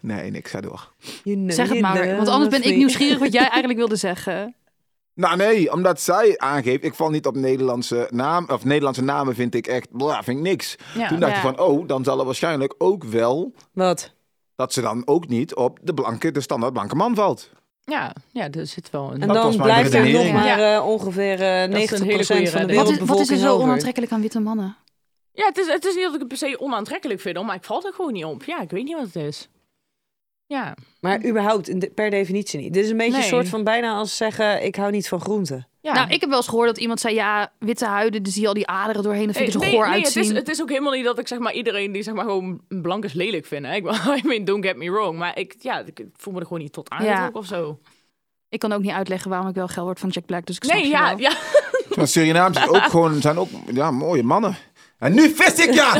[SPEAKER 4] Nee, niks. Ga door.
[SPEAKER 3] You know
[SPEAKER 5] zeg het
[SPEAKER 3] you
[SPEAKER 5] maar.
[SPEAKER 3] love
[SPEAKER 5] Want anders ben ik
[SPEAKER 3] me.
[SPEAKER 5] nieuwsgierig wat jij eigenlijk wilde zeggen.
[SPEAKER 4] Nou nee, omdat zij aangeeft, ik val niet op Nederlandse naam, of Nederlandse namen vind ik echt, bla, vind ik niks.
[SPEAKER 2] Ja.
[SPEAKER 4] Toen dacht
[SPEAKER 5] Ja.
[SPEAKER 4] ik van, oh, dan zal er waarschijnlijk ook wel
[SPEAKER 3] Wat?
[SPEAKER 4] dat ze dan ook niet op de blanke, de standaard blanke man valt.
[SPEAKER 2] Ja, ja, er zit wel een...
[SPEAKER 3] En
[SPEAKER 4] Dat
[SPEAKER 3] dan
[SPEAKER 4] was mijn
[SPEAKER 3] blijft er nog
[SPEAKER 4] redenering.
[SPEAKER 3] maar eh, ongeveer eh, 90%
[SPEAKER 2] Dat is een hele goeie
[SPEAKER 3] van de
[SPEAKER 2] redenering.
[SPEAKER 5] Wat is,
[SPEAKER 3] wereldbevolking
[SPEAKER 5] wat is er zo
[SPEAKER 3] over.
[SPEAKER 5] onaantrekkelijk aan witte mannen?
[SPEAKER 2] Ja, het is, het is niet dat ik het per se onaantrekkelijk vind, hoor, maar ik val er gewoon niet op. Ja, ik weet niet wat het is. Ja,
[SPEAKER 3] Maar überhaupt, in de- per definitie niet. Dit is een beetje een
[SPEAKER 2] Nee.
[SPEAKER 3] soort van bijna als zeggen, ik hou niet van groenten.
[SPEAKER 2] ja.
[SPEAKER 5] Nou, ik heb wel eens gehoord dat iemand zei... ja, witte huiden, dus zie je al die aderen doorheen. Dat vind ik
[SPEAKER 2] Eh,
[SPEAKER 5] er zo
[SPEAKER 2] nee,
[SPEAKER 5] goor
[SPEAKER 2] nee, het, is,
[SPEAKER 5] uitzien.
[SPEAKER 2] het is ook helemaal niet dat ik zeg maar iedereen die zeg maar gewoon blank is lelijk vind. Hè? Ik bedoel, I mean, don't get me wrong. Maar ik, ja, ik voel me er gewoon niet tot aangetrokken of zo.
[SPEAKER 5] Ik kan ook niet uitleggen waarom ik wel geld word van Jack Black. Dus ik snap
[SPEAKER 2] Nee,
[SPEAKER 5] je
[SPEAKER 2] ja,
[SPEAKER 5] wel.
[SPEAKER 2] ja.
[SPEAKER 4] Maar Surinaams is ook gewoon, zijn ook ja, mooie mannen. En nu vis ik ja!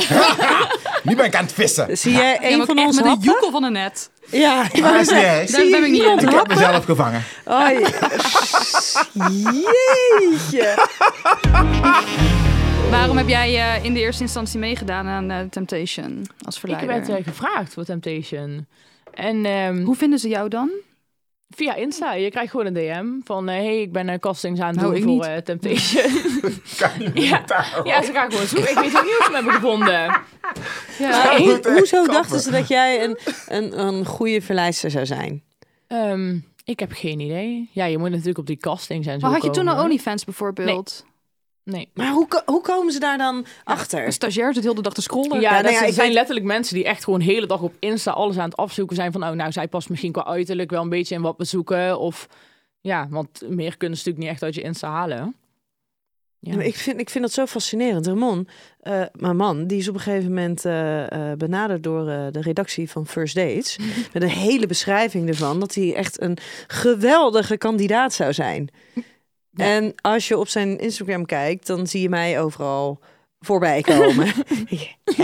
[SPEAKER 4] nu ben ik aan het vissen.
[SPEAKER 3] Zie jij
[SPEAKER 5] Ja,
[SPEAKER 3] een
[SPEAKER 5] maar ook
[SPEAKER 3] van
[SPEAKER 5] echt
[SPEAKER 3] ons
[SPEAKER 5] met een
[SPEAKER 3] happen?
[SPEAKER 5] joekel van een net.
[SPEAKER 3] Ja, ik wou
[SPEAKER 4] Ah, is niet
[SPEAKER 3] zeggen,
[SPEAKER 4] erg.
[SPEAKER 3] zie
[SPEAKER 5] Daar
[SPEAKER 3] je
[SPEAKER 5] ben ik niet
[SPEAKER 3] iemand
[SPEAKER 5] in.
[SPEAKER 4] Ik heb
[SPEAKER 3] happen?
[SPEAKER 4] mezelf gevangen.
[SPEAKER 3] Oh, je- jeetje.
[SPEAKER 5] Waarom heb jij eh, in de eerste instantie meegedaan aan eh, Temptation als
[SPEAKER 2] Ik eh,
[SPEAKER 5] verleider?
[SPEAKER 2] werd eh, gevraagd voor Temptation. En ehm,
[SPEAKER 5] Hoe vinden ze jou dan?
[SPEAKER 2] Via Insta. Je krijgt gewoon een DM van... eh, hey, ik ben eh, castings aan het
[SPEAKER 5] Nou,
[SPEAKER 2] doen
[SPEAKER 5] ik
[SPEAKER 2] voor
[SPEAKER 5] niet.
[SPEAKER 2] eh, Temptation.
[SPEAKER 4] Kan je
[SPEAKER 2] Ja.
[SPEAKER 4] daar-
[SPEAKER 2] ja, ze gaan gewoon zoeken. Ik weet ook niet of ze me hebben gevonden. Ja.
[SPEAKER 4] Ja.
[SPEAKER 3] Hey,
[SPEAKER 4] moet echt
[SPEAKER 3] hoezo
[SPEAKER 4] kappen.
[SPEAKER 3] dachten ze dat jij een, een, een goede verleister zou zijn?
[SPEAKER 2] Ehm, ik heb geen idee. Ja, je moet natuurlijk op die castings en zo
[SPEAKER 5] Maar had je toen
[SPEAKER 2] komen.
[SPEAKER 5] al OnlyFans bijvoorbeeld?
[SPEAKER 2] Nee.
[SPEAKER 3] Maar hoe, ko- hoe komen ze daar dan
[SPEAKER 5] Een
[SPEAKER 3] achter?
[SPEAKER 5] stagiair zit heel de dag te scrollen.
[SPEAKER 2] Ja,
[SPEAKER 3] nou
[SPEAKER 2] dat
[SPEAKER 3] ja,
[SPEAKER 2] zijn
[SPEAKER 3] ik weet-
[SPEAKER 2] letterlijk mensen die echt gewoon de hele dag op Insta alles aan het afzoeken zijn. Van, oh, nou, zij past misschien qua uiterlijk wel een beetje in wat we zoeken. Of, ja, want meer kunnen ze natuurlijk niet echt uit je Insta halen. Ja.
[SPEAKER 3] Ja, maar Ik vind, ik vind dat zo fascinerend. Ramon, eh, mijn man, die is op een gegeven moment eh, eh, benaderd door eh, de redactie van First Dates. met een hele beschrijving ervan dat hij echt een geweldige kandidaat zou zijn. En als je op zijn Instagram kijkt, dan zie je mij overal voorbij komen.
[SPEAKER 2] They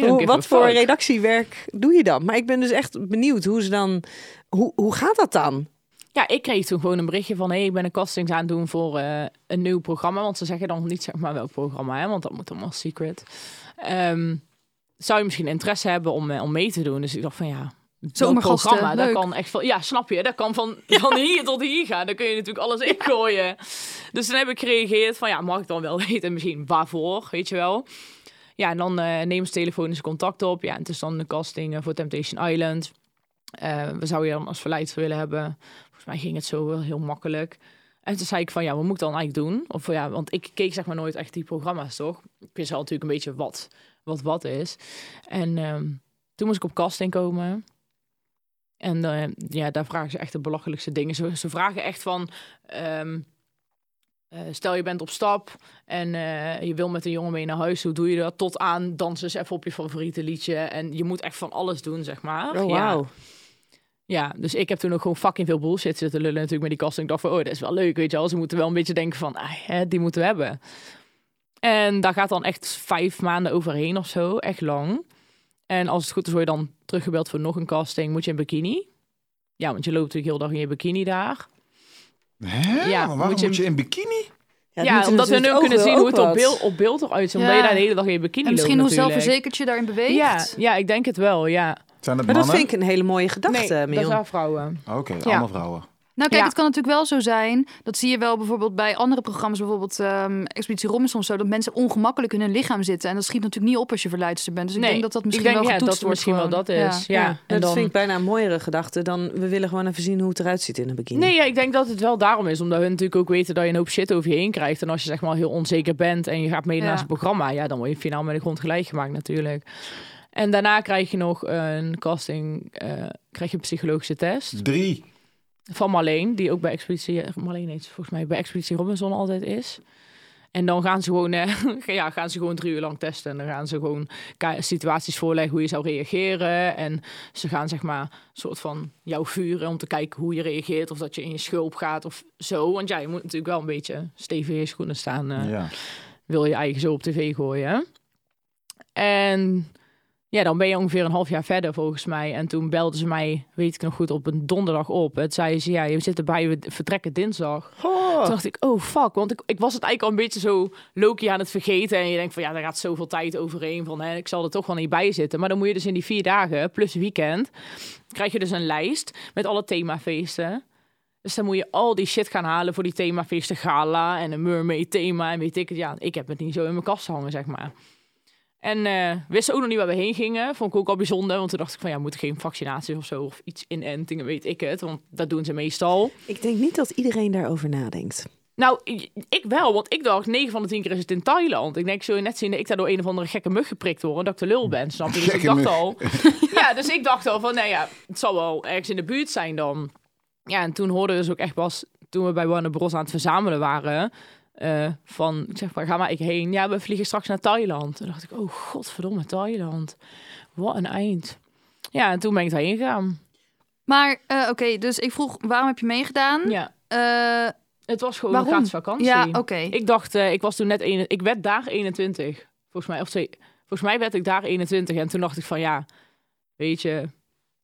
[SPEAKER 2] don't
[SPEAKER 3] Hoe,
[SPEAKER 2] give a
[SPEAKER 3] wat voor
[SPEAKER 2] fuck.
[SPEAKER 3] redactiewerk doe je dan? Maar ik ben dus echt benieuwd hoe ze dan. Hoe, hoe gaat dat dan?
[SPEAKER 2] Ja, ik kreeg toen gewoon een berichtje van... hé, hey, ik ben een casting aan het doen voor eh, een nieuw programma. Want ze zeggen dan niet zeg maar welk programma, hè, want dat moet allemaal secret. Ehm, zou je misschien interesse hebben om, eh, om mee te doen? Dus ik dacht van ja... welk
[SPEAKER 5] Zomergasten,
[SPEAKER 2] programma, dat
[SPEAKER 5] leuk.
[SPEAKER 2] kan echt van, ja, snap je? Dat kan van, van hier tot hier gaan. Dan kun je natuurlijk alles ingooien. Dus toen heb ik gereageerd van, ja, mag ik dan wel weten misschien waarvoor, weet je wel? Ja, en dan eh nemen ze telefonisch contact op. Ja, en het is dan de casting eh, voor Temptation Island. Eh, we zouden je dan als verleidster willen hebben. Volgens mij ging het zo wel heel makkelijk. En toen zei ik van, ja, wat moet ik dan eigenlijk doen? Of ja, want ik keek zeg maar nooit echt die programma's, toch? Ik wist wel natuurlijk een beetje wat wat wat is. En ehm, toen moest ik op casting komen. En eh, ja, daar vragen ze echt de belachelijkste dingen. Ze, ze vragen echt van... ehm, eh, stel je bent op stap en eh, je wil met een jongen mee naar huis. Hoe doe je dat? Tot aan dans eens even op je favoriete liedje. En je moet echt van alles doen, zeg maar.
[SPEAKER 3] Oh,
[SPEAKER 2] Ja.
[SPEAKER 3] wauw.
[SPEAKER 2] Ja, dus ik heb toen ook gewoon fucking veel bullshit zitten lullen natuurlijk met die casting. Ik dacht van, oh, dat is wel leuk, weet je wel. Ze moeten wel een beetje denken van, ah, hè, die moeten we hebben. En daar gaat dan echt vijf maanden overheen of zo, echt lang. En als het goed is, word je dan teruggebeld voor nog een casting. Moet je in bikini? Ja, want je loopt natuurlijk heel dag in je bikini daar.
[SPEAKER 4] Hè?
[SPEAKER 2] Ja,
[SPEAKER 4] Maar waarom
[SPEAKER 2] moet
[SPEAKER 4] moet
[SPEAKER 2] je-
[SPEAKER 4] je, in bikini?
[SPEAKER 3] Ja,
[SPEAKER 2] Ja,
[SPEAKER 3] moeten
[SPEAKER 2] omdat we
[SPEAKER 3] natuurlijk
[SPEAKER 2] nu kunnen
[SPEAKER 3] ook
[SPEAKER 2] zien
[SPEAKER 3] wel-
[SPEAKER 2] hoe het
[SPEAKER 3] ook
[SPEAKER 2] op
[SPEAKER 3] wat.
[SPEAKER 2] beeld, op beeld eruit ziet. Omdat
[SPEAKER 5] Ja.
[SPEAKER 2] je daar de hele dag in je bikini
[SPEAKER 5] En misschien hoe
[SPEAKER 2] loopt natuurlijk.
[SPEAKER 5] zelfverzekerd je daarin beweegt.
[SPEAKER 2] Ja, ja, ik denk het wel, ja.
[SPEAKER 4] Zijn dat
[SPEAKER 3] Maar dat
[SPEAKER 4] mannen?
[SPEAKER 3] vind ik een hele mooie
[SPEAKER 2] Nee,
[SPEAKER 3] gedachte,
[SPEAKER 2] dat
[SPEAKER 3] eh, Mion.
[SPEAKER 2] zijn vrouwen.
[SPEAKER 4] Oké,
[SPEAKER 2] Ja.
[SPEAKER 4] allemaal vrouwen.
[SPEAKER 5] Nou kijk,
[SPEAKER 2] Ja.
[SPEAKER 5] het kan natuurlijk wel zo zijn. Dat zie je wel bijvoorbeeld bij andere programma's. Bijvoorbeeld ehm, Expeditie Robinson of zo. Dat mensen ongemakkelijk in hun lichaam zitten. En dat schiet natuurlijk niet op als je verleidster bent. Dus ik
[SPEAKER 2] Nee,
[SPEAKER 5] denk dat dat
[SPEAKER 2] Ik
[SPEAKER 5] misschien
[SPEAKER 2] denk,
[SPEAKER 5] wel
[SPEAKER 2] ja,
[SPEAKER 5] getoetst
[SPEAKER 2] dat
[SPEAKER 5] wordt
[SPEAKER 2] misschien wel
[SPEAKER 5] gewoon.
[SPEAKER 2] dat is.
[SPEAKER 5] Ja.
[SPEAKER 2] Ja.
[SPEAKER 3] dat
[SPEAKER 2] En dan...
[SPEAKER 3] vind ik bijna een mooiere gedachte dan we willen gewoon even zien hoe het eruit ziet in een bikini.
[SPEAKER 2] Nee, ja, ik denk dat het wel daarom is. Omdat hun natuurlijk ook weten dat je een hoop shit over je heen krijgt. En als je zeg maar heel onzeker bent en je gaat mee
[SPEAKER 5] Ja.
[SPEAKER 2] naar zo'n programma, ja, dan word je finaal met de grond gelijk gemaakt natuurlijk. En daarna krijg je nog een casting, eh, krijg je een psychologische test
[SPEAKER 4] Drie.
[SPEAKER 2] van Marleen, die ook bij Expeditie, Marleen heet ze volgens mij, bij Expeditie Robinson altijd is. En dan gaan ze gewoon, eh, ja, gaan ze gewoon drie uur lang testen. En dan gaan ze gewoon ka- situaties voorleggen hoe je zou reageren. En ze gaan zeg maar soort van jou vuren om te kijken hoe je reageert. Of dat je in je schulp gaat of zo. Want ja, je moet natuurlijk wel een beetje stevig in je schoenen staan. eh,
[SPEAKER 4] Ja.
[SPEAKER 2] Wil je eigen zo op tv gooien. En ja, dan ben je ongeveer een half jaar verder volgens mij. En toen belden ze mij, weet ik nog goed, op een donderdag op. Het zeiden ze, ja, je zit erbij, we vertrekken dinsdag. Toen dacht ik, oh fuck, want ik, ik was het eigenlijk al een beetje zo Loki aan het vergeten. En je denkt van, ja, daar gaat zoveel tijd overheen van, hè, ik zal er toch wel niet bij zitten. Maar dan moet je dus in die vier dagen, plus weekend, krijg je dus een lijst met alle themafeesten. Dus dan moet je al die shit gaan halen voor die themafeesten gala en een mermaid thema en weet ik het. Ja, ik heb het niet zo in mijn kast hangen, zeg maar. En eh wisten ook nog niet waar we heen gingen. Vond ik ook al bijzonder, want toen dacht ik van ja, moet geen vaccinaties of zo of iets inentingen, weet ik het. Want dat doen ze meestal.
[SPEAKER 3] Ik denk niet dat iedereen daarover nadenkt.
[SPEAKER 2] Nou, i- ik wel, want ik dacht 9 van de 10 keer is het in Thailand. Ik denk, zul je net zien dat ik daar door een of andere gekke mug geprikt word en dat ik de lul ben, snap je? Dus ik
[SPEAKER 4] Gekke
[SPEAKER 2] dacht
[SPEAKER 4] mug.
[SPEAKER 2] al. ja, dus ik dacht al van, nou ja, het zal wel ergens in de buurt zijn dan. Ja, en toen hoorden we dus ook echt pas, toen we bij Warner Bros aan het verzamelen waren, eh, van, ik zeg maar, ga maar ik heen. Ja, we vliegen straks naar Thailand. Toen dacht ik, oh godverdomme, Thailand. Wat een eind. Ja, en toen ben ik daarheen gegaan.
[SPEAKER 5] Maar eh, oké, dus ik vroeg waarom heb je meegedaan?
[SPEAKER 2] Ja,
[SPEAKER 5] Eh,
[SPEAKER 2] het was gewoon
[SPEAKER 5] waarom?
[SPEAKER 2] een gratis vakantie.
[SPEAKER 5] Ja, oké.
[SPEAKER 2] Ik dacht, eh, ik was toen net een, ik werd daar 21. Volgens mij, of twee, volgens mij werd ik daar 21. En toen dacht ik van ja, weet je,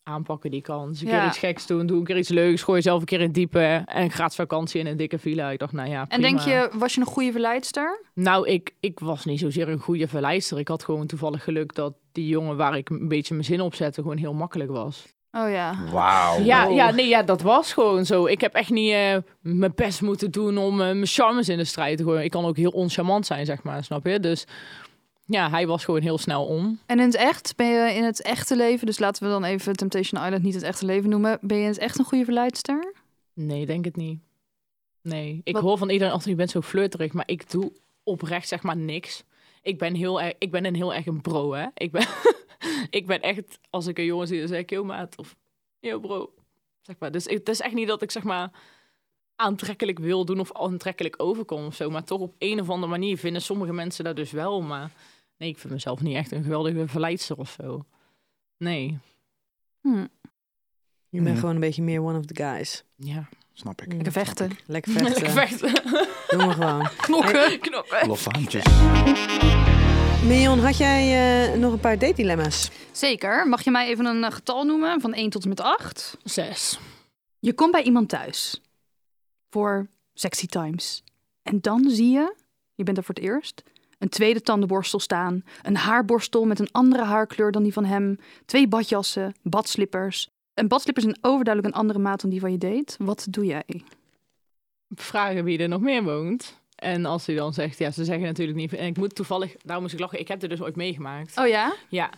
[SPEAKER 2] aanpakken die kans. Een
[SPEAKER 5] Ja.
[SPEAKER 2] keer iets geks doen, doe een keer iets leuks. Gooi jezelf een keer in het diepe. En gratis vakantie in een dikke villa. Ik dacht, nou ja,
[SPEAKER 5] En
[SPEAKER 2] prima.
[SPEAKER 5] denk je, was je een goede verleidster?
[SPEAKER 2] Nou, ik, ik was niet zozeer een goede verleister. Ik had gewoon toevallig geluk dat die jongen waar ik een beetje mijn zin op zette, gewoon heel makkelijk was.
[SPEAKER 5] Oh ja.
[SPEAKER 4] Wauw.
[SPEAKER 2] Ja,
[SPEAKER 3] Oh.
[SPEAKER 2] ja, nee, ja, dat was gewoon zo. Ik heb echt niet eh, mijn best moeten doen om eh, mijn charmes in de strijd te gooien. Ik kan ook heel oncharmant zijn, zeg maar, snap je? Dus ja, hij was gewoon heel snel om.
[SPEAKER 5] En in het echt, ben je in het echte leven, dus laten we dan even Temptation Island niet het echte leven noemen. Ben je in het echt een goede verleidster?
[SPEAKER 2] Nee, denk het niet. Nee, ik
[SPEAKER 5] Wat-
[SPEAKER 2] hoor van iedereen altijd, je bent zo flirterig, maar ik doe oprecht zeg maar niks. Ik ben heel erg, ik ben een heel erg een bro, hè. Ik ben, ik ben echt, als ik een jongen zie, dan zeg ik, yo maat, of yo bro, zeg maar. Dus ik- het is echt niet dat ik zeg maar aantrekkelijk wil doen of aantrekkelijk overkom of zo, maar toch op een of andere manier vinden sommige mensen dat dus wel, maar nee, ik vind mezelf niet echt een geweldige verleidster of zo. Nee,
[SPEAKER 5] Hm.
[SPEAKER 3] Je bent
[SPEAKER 4] Mhm.
[SPEAKER 3] gewoon een beetje meer one of the guys. Mm.
[SPEAKER 2] ja.
[SPEAKER 4] Snap ik.
[SPEAKER 5] Lekker vechten.
[SPEAKER 3] Lekker vechten.
[SPEAKER 2] Lekker vechten.
[SPEAKER 3] Doe maar gewoon.
[SPEAKER 2] Knokken. Knokken.
[SPEAKER 4] Loffe handjes. Dus
[SPEAKER 3] Mion, had jij eh, nog een paar date dilemma's?
[SPEAKER 5] Zeker. Mag je mij even een eh, getal noemen van 1 tot en met 8?
[SPEAKER 2] Zes.
[SPEAKER 5] Je komt bij iemand thuis voor sexy times. En dan zie je, je bent er voor het eerst, een tweede tandenborstel staan, een haarborstel met een andere haarkleur dan die van hem, twee badjassen, badslippers. En badslippers zijn overduidelijk een andere maat dan die van je date. Wat doe jij?
[SPEAKER 2] Vragen wie er nog meer woont. En als hij dan zegt, ja, ze zeggen natuurlijk niet. En ik moet toevallig, daar moest ik lachen. Ik heb dit dus ooit meegemaakt.
[SPEAKER 5] Oh ja?
[SPEAKER 2] Ja.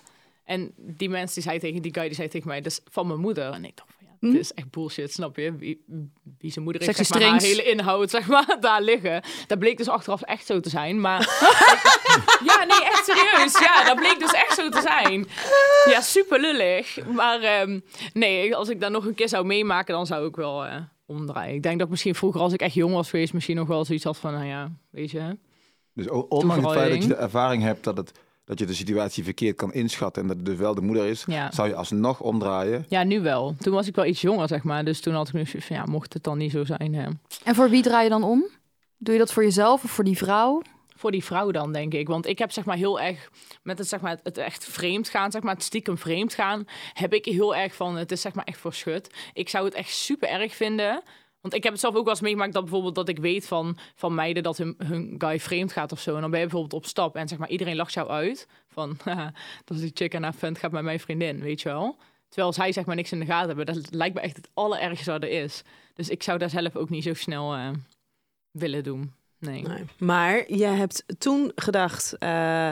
[SPEAKER 2] En die mensen die zei tegen die guy, die zei tegen mij, dat is van mijn moeder. En ik dacht van, ja,
[SPEAKER 5] Hm?
[SPEAKER 2] dit is echt bullshit, snap je? Wie, wie zijn moeder heeft,
[SPEAKER 5] Sexy
[SPEAKER 2] zeg maar, haar
[SPEAKER 5] strings.
[SPEAKER 2] hele inhoud, zeg maar, daar liggen. Dat bleek dus achteraf echt zo te zijn, maar... ja, nee, echt serieus. Ja, dat bleek dus echt zo te zijn. Ja, super lullig. Maar ehm, nee, als ik dat nog een keer zou meemaken, dan zou ik wel eh, omdraaien. Ik denk dat ik misschien vroeger, als ik echt jong was geweest, misschien nog wel zoiets had van, nou ja, weet je...
[SPEAKER 4] Dus o- ondanks het feit dat je
[SPEAKER 2] Toevoeging.
[SPEAKER 4] de ervaring hebt dat, het, dat je de situatie verkeerd kan inschatten en dat het dus wel de moeder is,
[SPEAKER 2] Ja. Oh,
[SPEAKER 4] zou je alsnog omdraaien.
[SPEAKER 2] Ja, nu wel. Toen was ik wel iets jonger, zeg maar. Dus toen had ik nu zoiets van, ja, mocht het dan niet zo zijn, hè.
[SPEAKER 5] En voor wie draai je dan om? Doe je dat voor jezelf of voor die vrouw?
[SPEAKER 2] voor die vrouw dan, denk ik. Want ik heb zeg maar heel erg met het, zeg maar, het echt vreemd gaan, zeg maar, het stiekem vreemd gaan, heb ik heel erg van, het is zeg maar echt voor schut. Ik zou het echt super erg vinden. Want ik heb het zelf ook wel eens meegemaakt dat bijvoorbeeld dat ik weet van, van meiden dat hun, hun guy vreemd gaat of zo. En dan ben je bijvoorbeeld op stap en zeg maar iedereen lacht jou uit. Van, haha, dat is die chick en haar vent gaat met mijn vriendin, weet je wel. Terwijl zij zeg maar niks in de gaten hebben. Dat lijkt me echt het allerergste wat er is. Dus ik zou daar zelf ook niet zo snel eh, willen doen. Nee.
[SPEAKER 3] Nee. Maar jij hebt toen gedacht, eh,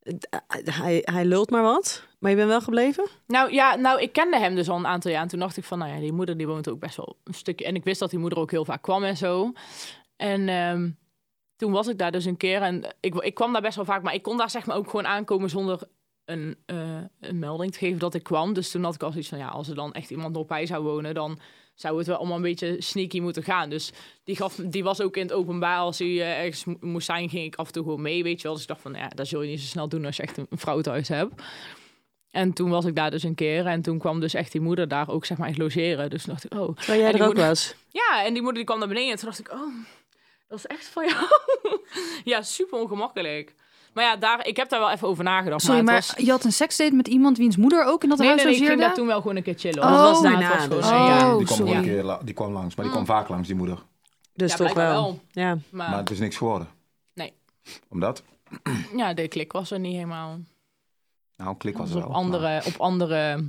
[SPEAKER 3] d- hij, hij lult maar wat. Maar je bent wel gebleven?
[SPEAKER 2] Nou ja, nou ik kende hem dus al een aantal jaar. En toen dacht ik van, nou ja, die moeder die woont ook best wel een stukje. En ik wist dat die moeder ook heel vaak kwam en zo. En ehm, toen was ik daar dus een keer. En ik, ik kwam daar best wel vaak. Maar ik kon daar zeg maar ook gewoon aankomen zonder een, eh, een melding te geven dat ik kwam. Dus toen had ik al zoiets van, ja, als er dan echt iemand op bij zou wonen, dan zou het wel allemaal een beetje sneaky moeten gaan. Dus die, gaf, die was ook in het openbaar. Als hij eh, ergens mo- moest zijn, ging ik af en toe gewoon mee, weet je wel. Dus ik dacht van, ja, dat zul je niet zo snel doen als je echt een vrouw thuis hebt. En toen was ik daar dus een keer en toen kwam dus echt die moeder daar ook zeg maar echt logeren. Dus toen dacht ik, oh.
[SPEAKER 3] Terwijl jij
[SPEAKER 2] En die
[SPEAKER 3] er ook
[SPEAKER 2] moeder-
[SPEAKER 3] was.
[SPEAKER 2] Ja, en die moeder die kwam naar beneden en toen dacht ik, oh, dat is echt van jou. ja, super ongemakkelijk. Maar ja, daar, ik heb daar wel even over nagedacht.
[SPEAKER 5] Sorry,
[SPEAKER 2] maar
[SPEAKER 5] maar
[SPEAKER 2] het was-
[SPEAKER 5] je had een seksdate met iemand wiens moeder ook in dat
[SPEAKER 2] Nee,
[SPEAKER 5] huis
[SPEAKER 2] nee, nee, ik ging
[SPEAKER 5] logeerde?
[SPEAKER 2] daar toen wel gewoon een keer chillen.
[SPEAKER 5] Oh,
[SPEAKER 2] hoor. Dat was daar,
[SPEAKER 3] daarna
[SPEAKER 2] het was gewoon
[SPEAKER 3] dus.
[SPEAKER 2] een- ja.
[SPEAKER 5] Oh,
[SPEAKER 4] die, kwam wel
[SPEAKER 5] sorry.
[SPEAKER 4] een keer la- die kwam langs, maar die kwam vaak langs, die moeder.
[SPEAKER 3] Dus
[SPEAKER 2] Ja,
[SPEAKER 3] toch
[SPEAKER 2] blijkbaar
[SPEAKER 3] wel.
[SPEAKER 2] wel.
[SPEAKER 3] Ja.
[SPEAKER 2] Maar,
[SPEAKER 4] Maar het is niks geworden.
[SPEAKER 2] Ah. Nee.
[SPEAKER 4] Omdat?
[SPEAKER 2] ja, de klik was er niet helemaal.
[SPEAKER 4] Nou, klik was
[SPEAKER 2] Was
[SPEAKER 4] er wel.
[SPEAKER 2] op andere, op andere,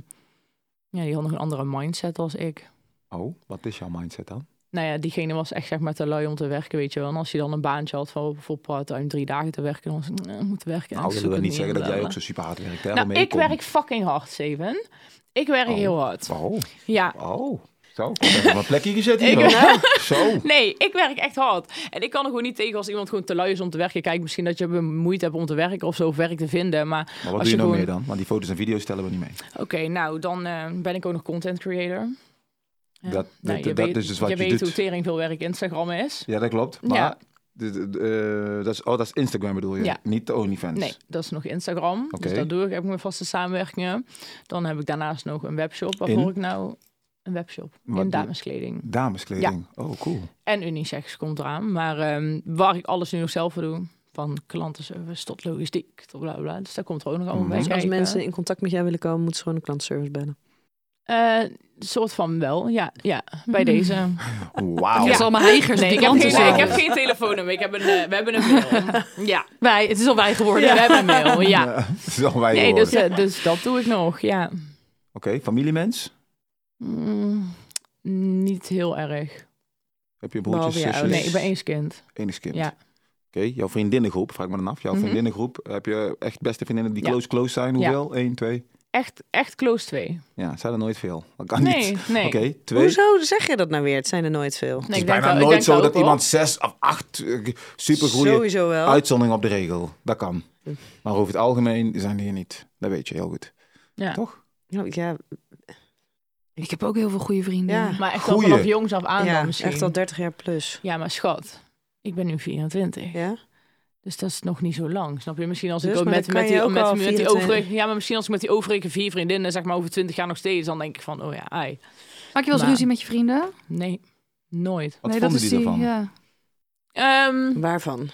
[SPEAKER 2] ja, die had nog een andere mindset als ik.
[SPEAKER 4] maar- Oh, wat is jouw mindset dan?
[SPEAKER 2] Nou ja, diegene was echt zeg maar te lui om te werken, weet je wel. En als je dan een baantje had van bijvoorbeeld part-time drie dagen te werken, dan was ik, nee, moet werken.
[SPEAKER 4] nou,
[SPEAKER 2] Ik
[SPEAKER 4] wil
[SPEAKER 2] zoek
[SPEAKER 4] dat
[SPEAKER 2] het
[SPEAKER 4] niet zeggen dat jij
[SPEAKER 2] blablabla.
[SPEAKER 4] ook zo super hard werkt. Hè?
[SPEAKER 2] Nou,
[SPEAKER 4] Waarmee
[SPEAKER 2] ik
[SPEAKER 4] kom-
[SPEAKER 2] werk fucking hard, Steven. Ik werk
[SPEAKER 4] Oh.
[SPEAKER 2] heel hard.
[SPEAKER 4] Oh,
[SPEAKER 2] Ja.
[SPEAKER 4] oh. Zo, ik heb op mijn plekje gezet
[SPEAKER 2] Ik-
[SPEAKER 4] hier. hoor. Zo.
[SPEAKER 2] Nee, ik werk echt hard. En ik kan er gewoon niet tegen als iemand gewoon te lui is om te werken. Kijk, misschien dat je moeite hebt om te werken of zo, of werk te vinden. Maar
[SPEAKER 4] Maar
[SPEAKER 2] Als
[SPEAKER 4] wat doe je
[SPEAKER 2] je
[SPEAKER 4] nou
[SPEAKER 2] gewoon-
[SPEAKER 4] meer dan? Want die foto's en video's stellen we niet mee.
[SPEAKER 2] oké, nou, dan eh, ben ik ook nog content creator. Ja.
[SPEAKER 4] Dat-
[SPEAKER 2] Nou,
[SPEAKER 4] dat-
[SPEAKER 2] je
[SPEAKER 4] dat
[SPEAKER 2] weet,
[SPEAKER 4] is dus wat je
[SPEAKER 2] weet
[SPEAKER 4] doet.
[SPEAKER 2] hoe tering veel werk Instagram is.
[SPEAKER 4] Ja, dat klopt. Maar
[SPEAKER 2] Ja.
[SPEAKER 4] dit- dit, eh, dat, is, oh, dat is Instagram bedoel je?
[SPEAKER 2] Ja.
[SPEAKER 4] Niet de OnlyFans?
[SPEAKER 2] Nee, dat is nog Instagram.
[SPEAKER 4] Oké.
[SPEAKER 2] Dus dat doe ik. Heb ik mijn vaste samenwerkingen. Dan heb ik daarnaast nog een webshop. Waarvoor
[SPEAKER 4] In?
[SPEAKER 2] ik nou een webshop
[SPEAKER 4] Wat
[SPEAKER 2] in
[SPEAKER 4] doe-
[SPEAKER 2] dameskleding.
[SPEAKER 4] Dameskleding. Oh, cool.
[SPEAKER 2] En unisex komt eraan. Maar ehm, waar ik alles nu nog zelf voor doe. Van klantenservice tot logistiek, tot bla bla, bla. Dus daar komt er ook nog allemaal
[SPEAKER 4] Mm.
[SPEAKER 2] bij
[SPEAKER 3] Dus als
[SPEAKER 2] kijken.
[SPEAKER 3] mensen in contact met jou willen komen, moeten ze gewoon een klantservice bellen.
[SPEAKER 2] Eh, soort van wel, ja. ja bij
[SPEAKER 5] Mm.
[SPEAKER 2] deze.
[SPEAKER 4] Wauw.
[SPEAKER 2] Ja.
[SPEAKER 5] Het is allemaal heigers
[SPEAKER 2] Nee,
[SPEAKER 5] die
[SPEAKER 2] ik heb,
[SPEAKER 5] kant
[SPEAKER 2] geen,
[SPEAKER 5] op.
[SPEAKER 2] ik heb geen telefoonnummer. Ik heb een, eh, we hebben een mail. Ja,
[SPEAKER 5] Wij, het is al wij geworden.
[SPEAKER 2] we hebben een mail, ja.
[SPEAKER 4] Het is al wij
[SPEAKER 2] Nee,
[SPEAKER 4] geworden.
[SPEAKER 2] dus, eh, dus dat doe ik nog, ja.
[SPEAKER 4] Oké, familiemens?
[SPEAKER 2] Mm, niet heel erg.
[SPEAKER 4] Heb je
[SPEAKER 3] Behalve
[SPEAKER 4] broertjes,
[SPEAKER 3] je
[SPEAKER 4] zusjes?
[SPEAKER 3] Dus-
[SPEAKER 2] Nee, ik ben eenskind.
[SPEAKER 4] Enigskind.
[SPEAKER 2] Ja.
[SPEAKER 4] Oké, jouw vriendinnengroep, vraag ik me dan af. Jouw
[SPEAKER 2] Mhm.
[SPEAKER 4] vriendinnengroep, heb je echt beste vriendinnen die
[SPEAKER 2] Ja.
[SPEAKER 4] close-close zijn?
[SPEAKER 2] Ja.
[SPEAKER 4] Hoeveel? Eén, twee?
[SPEAKER 2] Echt, echt close twee.
[SPEAKER 4] Ja, zijn er nooit veel. Dat kan
[SPEAKER 2] nee,
[SPEAKER 4] niet.
[SPEAKER 2] nee.
[SPEAKER 4] Oké, twee.
[SPEAKER 3] Hoezo zeg je dat nou weer? Het zijn er nooit veel.
[SPEAKER 2] Nee,
[SPEAKER 4] het
[SPEAKER 2] ik
[SPEAKER 4] is
[SPEAKER 2] denk
[SPEAKER 4] bijna
[SPEAKER 2] wel- ik
[SPEAKER 4] nooit
[SPEAKER 2] denk
[SPEAKER 4] zo
[SPEAKER 2] wel
[SPEAKER 4] dat
[SPEAKER 2] ook wel.
[SPEAKER 4] iemand zes of acht eh, supergoeie
[SPEAKER 3] Sowieso wel.
[SPEAKER 4] uitzondering op de regel. Dat kan.
[SPEAKER 2] Hm.
[SPEAKER 4] Maar over het algemeen zijn die er niet. Dat weet je heel goed.
[SPEAKER 2] Ja.
[SPEAKER 4] Toch?
[SPEAKER 3] Nou, ja,
[SPEAKER 5] Ik heb ook heel veel goede vrienden.
[SPEAKER 3] Ja.
[SPEAKER 2] Maar echt al
[SPEAKER 4] Goeie.
[SPEAKER 2] vanaf jongs af aan dan
[SPEAKER 3] ja
[SPEAKER 2] misschien.
[SPEAKER 3] echt al 30 jaar plus.
[SPEAKER 2] Ja, maar schat, ik ben nu 24.
[SPEAKER 3] Ja?
[SPEAKER 2] Dus dat is nog niet zo lang, snap je? Misschien als ik
[SPEAKER 3] Dus,
[SPEAKER 2] ook
[SPEAKER 3] maar
[SPEAKER 2] met,
[SPEAKER 3] dan kan
[SPEAKER 2] met,
[SPEAKER 3] je
[SPEAKER 2] die,
[SPEAKER 3] ook
[SPEAKER 2] met,
[SPEAKER 3] al
[SPEAKER 2] met die
[SPEAKER 3] 24.
[SPEAKER 2] overige... Ja, maar misschien als ik met die overige vier vriendinnen, zeg maar over 20 jaar nog steeds... dan denk ik van, oh ja, ai.
[SPEAKER 5] Maak je wel eens
[SPEAKER 2] Maar-
[SPEAKER 5] ruzie met je vrienden?
[SPEAKER 2] Nee, nooit.
[SPEAKER 4] Wat
[SPEAKER 5] nee,
[SPEAKER 4] Nou, vonden
[SPEAKER 5] dat is
[SPEAKER 4] die ervan?
[SPEAKER 2] eh,
[SPEAKER 4] Ja,
[SPEAKER 5] Ja.
[SPEAKER 2] Ehm,
[SPEAKER 3] Waarvan?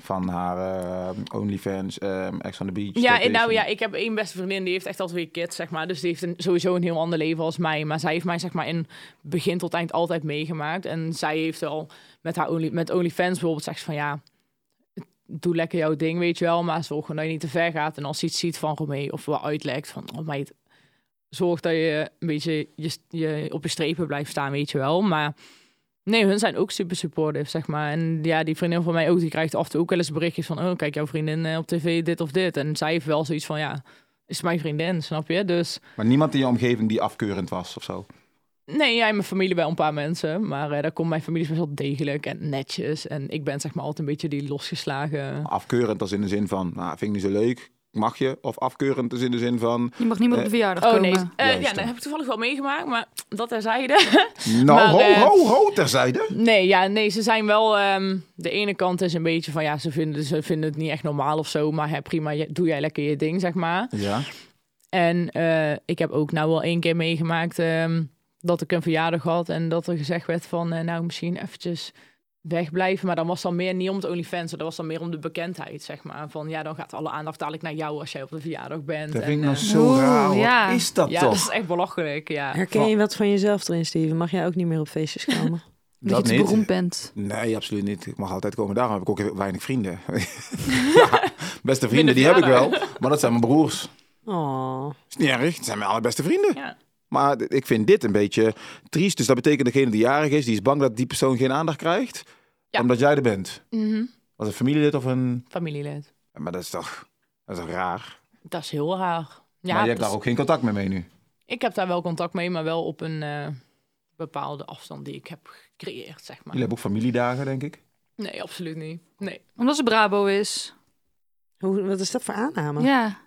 [SPEAKER 4] van haar eh, OnlyFans, ehm Ex on the Beach.
[SPEAKER 2] ja,
[SPEAKER 4] dat
[SPEAKER 2] en nou
[SPEAKER 4] is-
[SPEAKER 2] ja, ik heb één beste vriendin, die heeft echt al twee kids, zeg maar. Dus die heeft een, sowieso een heel ander leven als mij. Maar zij heeft mij, zeg maar, in begin tot eind altijd meegemaakt. En zij heeft al met haar only, met OnlyFans bijvoorbeeld zegt ze van ja... Doe lekker jouw ding, weet je wel. Maar zorg gewoon dat je niet te ver gaat. En als ze iets ziet van Romee of wel uitlekt van... Oh meid, zorg dat je een beetje je, je, op je strepen blijft staan, weet je wel. Maar nee, hun zijn ook super supportive, zeg maar. En ja, die vriendin van mij ook, die krijgt af en toe ook wel eens berichtjes van... Oh, kijk jouw vriendin eh, op tv, dit of dit. En zij heeft wel zoiets van, ja, is mijn vriendin, snap je? Dus
[SPEAKER 4] Maar niemand in je omgeving die afkeurend was of zo.
[SPEAKER 2] nee, jij en mijn familie wel een paar mensen. Maar eh, daar komt mijn familie is best wel degelijk en netjes. En ik ben zeg maar altijd een beetje die losgeslagen...
[SPEAKER 4] Afkeurend als in de zin van, nou, vind ik niet zo leuk, mag je? Of afkeurend is in de zin van,
[SPEAKER 5] Je mag niet meer op de verjaardag
[SPEAKER 2] Oh
[SPEAKER 5] komen.
[SPEAKER 2] nee, Eh, ja,
[SPEAKER 4] Juist,
[SPEAKER 2] dat
[SPEAKER 4] ja.
[SPEAKER 2] heb ik toevallig wel meegemaakt, maar dat terzijde.
[SPEAKER 4] nou,
[SPEAKER 2] Maar,
[SPEAKER 4] ho,
[SPEAKER 2] eh,
[SPEAKER 4] ho, ho, terzijde.
[SPEAKER 2] Nee, ja, nee, ze zijn wel. ehm, de ene kant is een beetje van ja, ze vinden, ze vinden het niet echt normaal of zo, maar hè, prima, je- doe jij lekker je ding, zeg maar.
[SPEAKER 4] Ja.
[SPEAKER 2] En eh, ik heb ook nou wel één keer meegemaakt ehm, dat ik een verjaardag had en dat er gezegd werd van eh, nou misschien eventjes wegblijven, maar dan was dan meer niet om het OnlyFans, dat was dan meer om de bekendheid, zeg maar. Van ja, dan gaat alle aandacht dadelijk naar jou als jij op de verjaardag bent.
[SPEAKER 4] Dat
[SPEAKER 2] En,
[SPEAKER 4] vind ik nou
[SPEAKER 2] eh,
[SPEAKER 4] zo
[SPEAKER 5] Oeh,
[SPEAKER 4] raar. Wat
[SPEAKER 5] ja.
[SPEAKER 4] is dat
[SPEAKER 2] ja,
[SPEAKER 4] toch?
[SPEAKER 2] dat is echt belachelijk, ja.
[SPEAKER 3] Herken je wat van jezelf erin, Steven? Mag jij ook niet meer op feestjes komen?
[SPEAKER 5] Dat, je te beroemd bent.
[SPEAKER 4] Nee, absoluut niet. Ik mag altijd komen. Daarom heb ik ook heel weinig vrienden. ja, beste
[SPEAKER 2] Minder
[SPEAKER 4] vrienden, die heb ik wel.
[SPEAKER 2] vader.
[SPEAKER 4] Maar dat zijn mijn broers.
[SPEAKER 3] Oh,
[SPEAKER 4] Is niet erg. Het zijn mijn allerbeste vrienden.
[SPEAKER 2] Ja.
[SPEAKER 4] Maar d- ik vind dit een beetje triest. Dus dat betekent degene die jarig is, die is bang dat die persoon geen aandacht krijgt.
[SPEAKER 2] Ja.
[SPEAKER 4] Omdat jij er bent.
[SPEAKER 2] Mhm.
[SPEAKER 4] Als een familielid of een...
[SPEAKER 2] Familielid.
[SPEAKER 4] Maar dat is toch, dat is toch raar?
[SPEAKER 2] Dat is heel raar. Ja,
[SPEAKER 4] maar je
[SPEAKER 2] dat
[SPEAKER 4] hebt
[SPEAKER 2] is-
[SPEAKER 4] daar ook geen contact meer mee nu.
[SPEAKER 2] Ik heb daar wel contact mee, maar wel op een eh, bepaalde afstand die ik heb gecreëerd, zeg maar.
[SPEAKER 4] Jullie hebben ook familiedagen, denk ik.
[SPEAKER 2] Nee, absoluut niet. Nee.
[SPEAKER 5] Omdat ze Brabo is.
[SPEAKER 3] hoe, wat is dat voor aanname?
[SPEAKER 5] Ja.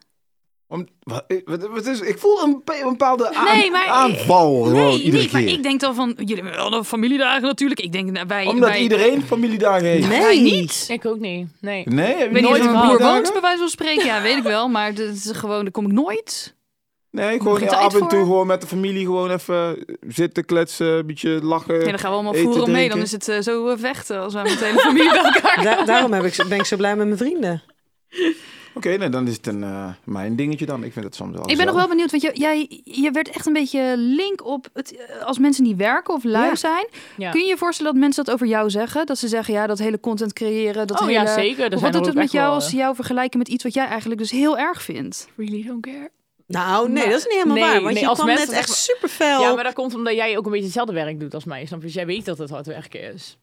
[SPEAKER 4] Om, wat, eh, wat- wat is, ik voel een pe- een bepaalde aan-
[SPEAKER 5] Nee, maar-
[SPEAKER 4] aanval gewoon
[SPEAKER 5] Nee,
[SPEAKER 4] iedere
[SPEAKER 5] nee, maar
[SPEAKER 4] keer.
[SPEAKER 5] ik denk dan van... Jullie hebben wel nog familiedagen natuurlijk. Ik denk, nou, wij...
[SPEAKER 4] Omdat
[SPEAKER 5] wij-
[SPEAKER 4] iedereen familiedagen heeft.
[SPEAKER 3] Nee.
[SPEAKER 5] Wij niet.
[SPEAKER 2] Ik ook niet. Nee.
[SPEAKER 4] Nee, heb
[SPEAKER 5] Ik
[SPEAKER 4] je
[SPEAKER 5] weet niet
[SPEAKER 4] nooit een
[SPEAKER 5] of mijn broer
[SPEAKER 4] familiedagen?
[SPEAKER 5] woont, bij wijze van spreken. Ja, weet ik wel. Maar dat is gewoon, daar kom ik nooit.
[SPEAKER 4] Nee,
[SPEAKER 5] Nog
[SPEAKER 4] gewoon
[SPEAKER 5] geen
[SPEAKER 4] ja,
[SPEAKER 5] tijd
[SPEAKER 4] af en toe
[SPEAKER 5] voor?
[SPEAKER 4] gewoon met de familie gewoon even zitten kletsen, een beetje lachen.
[SPEAKER 5] Ja, dan gaan we allemaal
[SPEAKER 4] eten,
[SPEAKER 5] voeren om mee.
[SPEAKER 4] drinken.
[SPEAKER 5] Dan is het eh, zo eh, vechten als wij met de hele familie bij elkaar
[SPEAKER 3] Da- daarom heb ik, zo- ben ik zo blij met mijn vrienden.
[SPEAKER 4] Oké, nee, dan is het een, eh, mijn dingetje dan. Ik vind het soms wel
[SPEAKER 5] Ik ben nog wel
[SPEAKER 4] gezellig.
[SPEAKER 5] benieuwd, want je, jij, je werd echt een beetje link op het, eh, als mensen die werken of lui
[SPEAKER 3] Ja.
[SPEAKER 5] zijn.
[SPEAKER 2] Ja.
[SPEAKER 5] Kun je je voorstellen dat mensen dat over jou zeggen? Dat ze zeggen, ja, dat hele content creëren, dat
[SPEAKER 2] oh
[SPEAKER 5] hele...
[SPEAKER 2] ja, zeker. Er
[SPEAKER 5] Wat
[SPEAKER 2] zijn er
[SPEAKER 5] doet
[SPEAKER 2] ook
[SPEAKER 5] het met
[SPEAKER 2] echt
[SPEAKER 5] jou
[SPEAKER 2] wel,
[SPEAKER 5] als ze jou vergelijken met iets wat jij eigenlijk dus heel erg vindt?
[SPEAKER 2] eh, Really don't care.
[SPEAKER 3] Nou, nee,
[SPEAKER 2] Maar-
[SPEAKER 3] dat is niet helemaal
[SPEAKER 2] Nee,
[SPEAKER 3] waar. Want
[SPEAKER 2] nee,
[SPEAKER 3] je
[SPEAKER 2] als
[SPEAKER 3] kwam
[SPEAKER 2] mensen
[SPEAKER 3] net echt
[SPEAKER 2] zeggen-
[SPEAKER 3] super fel.
[SPEAKER 2] Ja, maar dat komt omdat jij ook een beetje hetzelfde werk doet als mij. Snap je? Dus jij weet dat het hard werken is.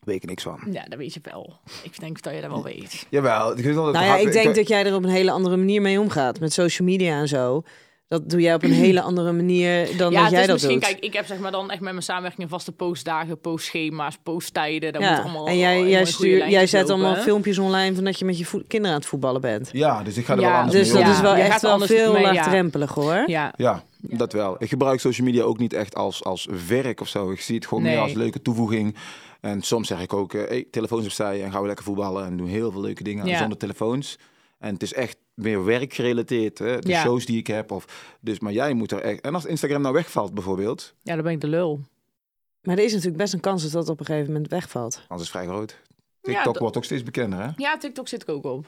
[SPEAKER 4] Weet ik niks van.
[SPEAKER 2] Ja, dat weet je wel. Ik denk dat je dat wel weet.
[SPEAKER 4] Jawel. Ik, vind wel dat
[SPEAKER 3] nou
[SPEAKER 4] het
[SPEAKER 3] ja,
[SPEAKER 4] hard-
[SPEAKER 3] ik denk
[SPEAKER 4] kijk,
[SPEAKER 3] dat jij er op een hele andere manier mee omgaat. Met social media en zo. Dat doe jij op een hele andere manier dan
[SPEAKER 2] ja,
[SPEAKER 3] dat
[SPEAKER 2] het
[SPEAKER 3] jij
[SPEAKER 2] is
[SPEAKER 3] dat
[SPEAKER 2] misschien,
[SPEAKER 3] doet.
[SPEAKER 2] kijk, ik heb zeg maar dan echt met mijn samenwerking vaste postdagen, postschema's, posttijden. Dat moet
[SPEAKER 3] ja.
[SPEAKER 2] allemaal
[SPEAKER 3] En
[SPEAKER 2] in
[SPEAKER 3] jij, jij,
[SPEAKER 2] mooie goede
[SPEAKER 3] stuur,
[SPEAKER 2] lijntjes
[SPEAKER 3] jij zet
[SPEAKER 2] lopen.
[SPEAKER 3] allemaal filmpjes online van dat je met je voet- kinderen aan het voetballen bent.
[SPEAKER 4] Ja, dus ik ga er wel
[SPEAKER 2] Ja,
[SPEAKER 4] anders
[SPEAKER 3] Dus
[SPEAKER 4] mee
[SPEAKER 3] dat
[SPEAKER 2] Ja.
[SPEAKER 4] om.
[SPEAKER 3] is wel
[SPEAKER 2] Je
[SPEAKER 3] echt
[SPEAKER 2] gaat
[SPEAKER 3] wel
[SPEAKER 2] anders
[SPEAKER 3] veel
[SPEAKER 2] mee, ja.
[SPEAKER 3] laagdrempelig hoor.
[SPEAKER 2] Ja.
[SPEAKER 4] Ja, dat wel. Ik gebruik social media ook niet echt als, als werk of zo. Ik zie het gewoon
[SPEAKER 2] Nee.
[SPEAKER 4] meer als leuke toevoeging. En soms zeg ik ook, eh, hey, telefoons opzij en gaan we lekker voetballen. En doen heel veel leuke dingen
[SPEAKER 2] Ja.
[SPEAKER 4] zonder telefoons. En het is echt meer werk gerelateerd. Hè? De
[SPEAKER 2] Ja.
[SPEAKER 4] shows die ik heb. Of, dus, maar jij moet er echt... En als Instagram nou wegvalt bijvoorbeeld,
[SPEAKER 2] ja, dan ben ik de lul.
[SPEAKER 3] Maar er is natuurlijk best een kans dat dat op een gegeven moment wegvalt.
[SPEAKER 4] dan is het vrij groot.
[SPEAKER 2] Ja,
[SPEAKER 4] TikTok
[SPEAKER 2] dat-
[SPEAKER 4] wordt ook steeds bekender, hè?
[SPEAKER 2] Ja, TikTok zit ik ook op.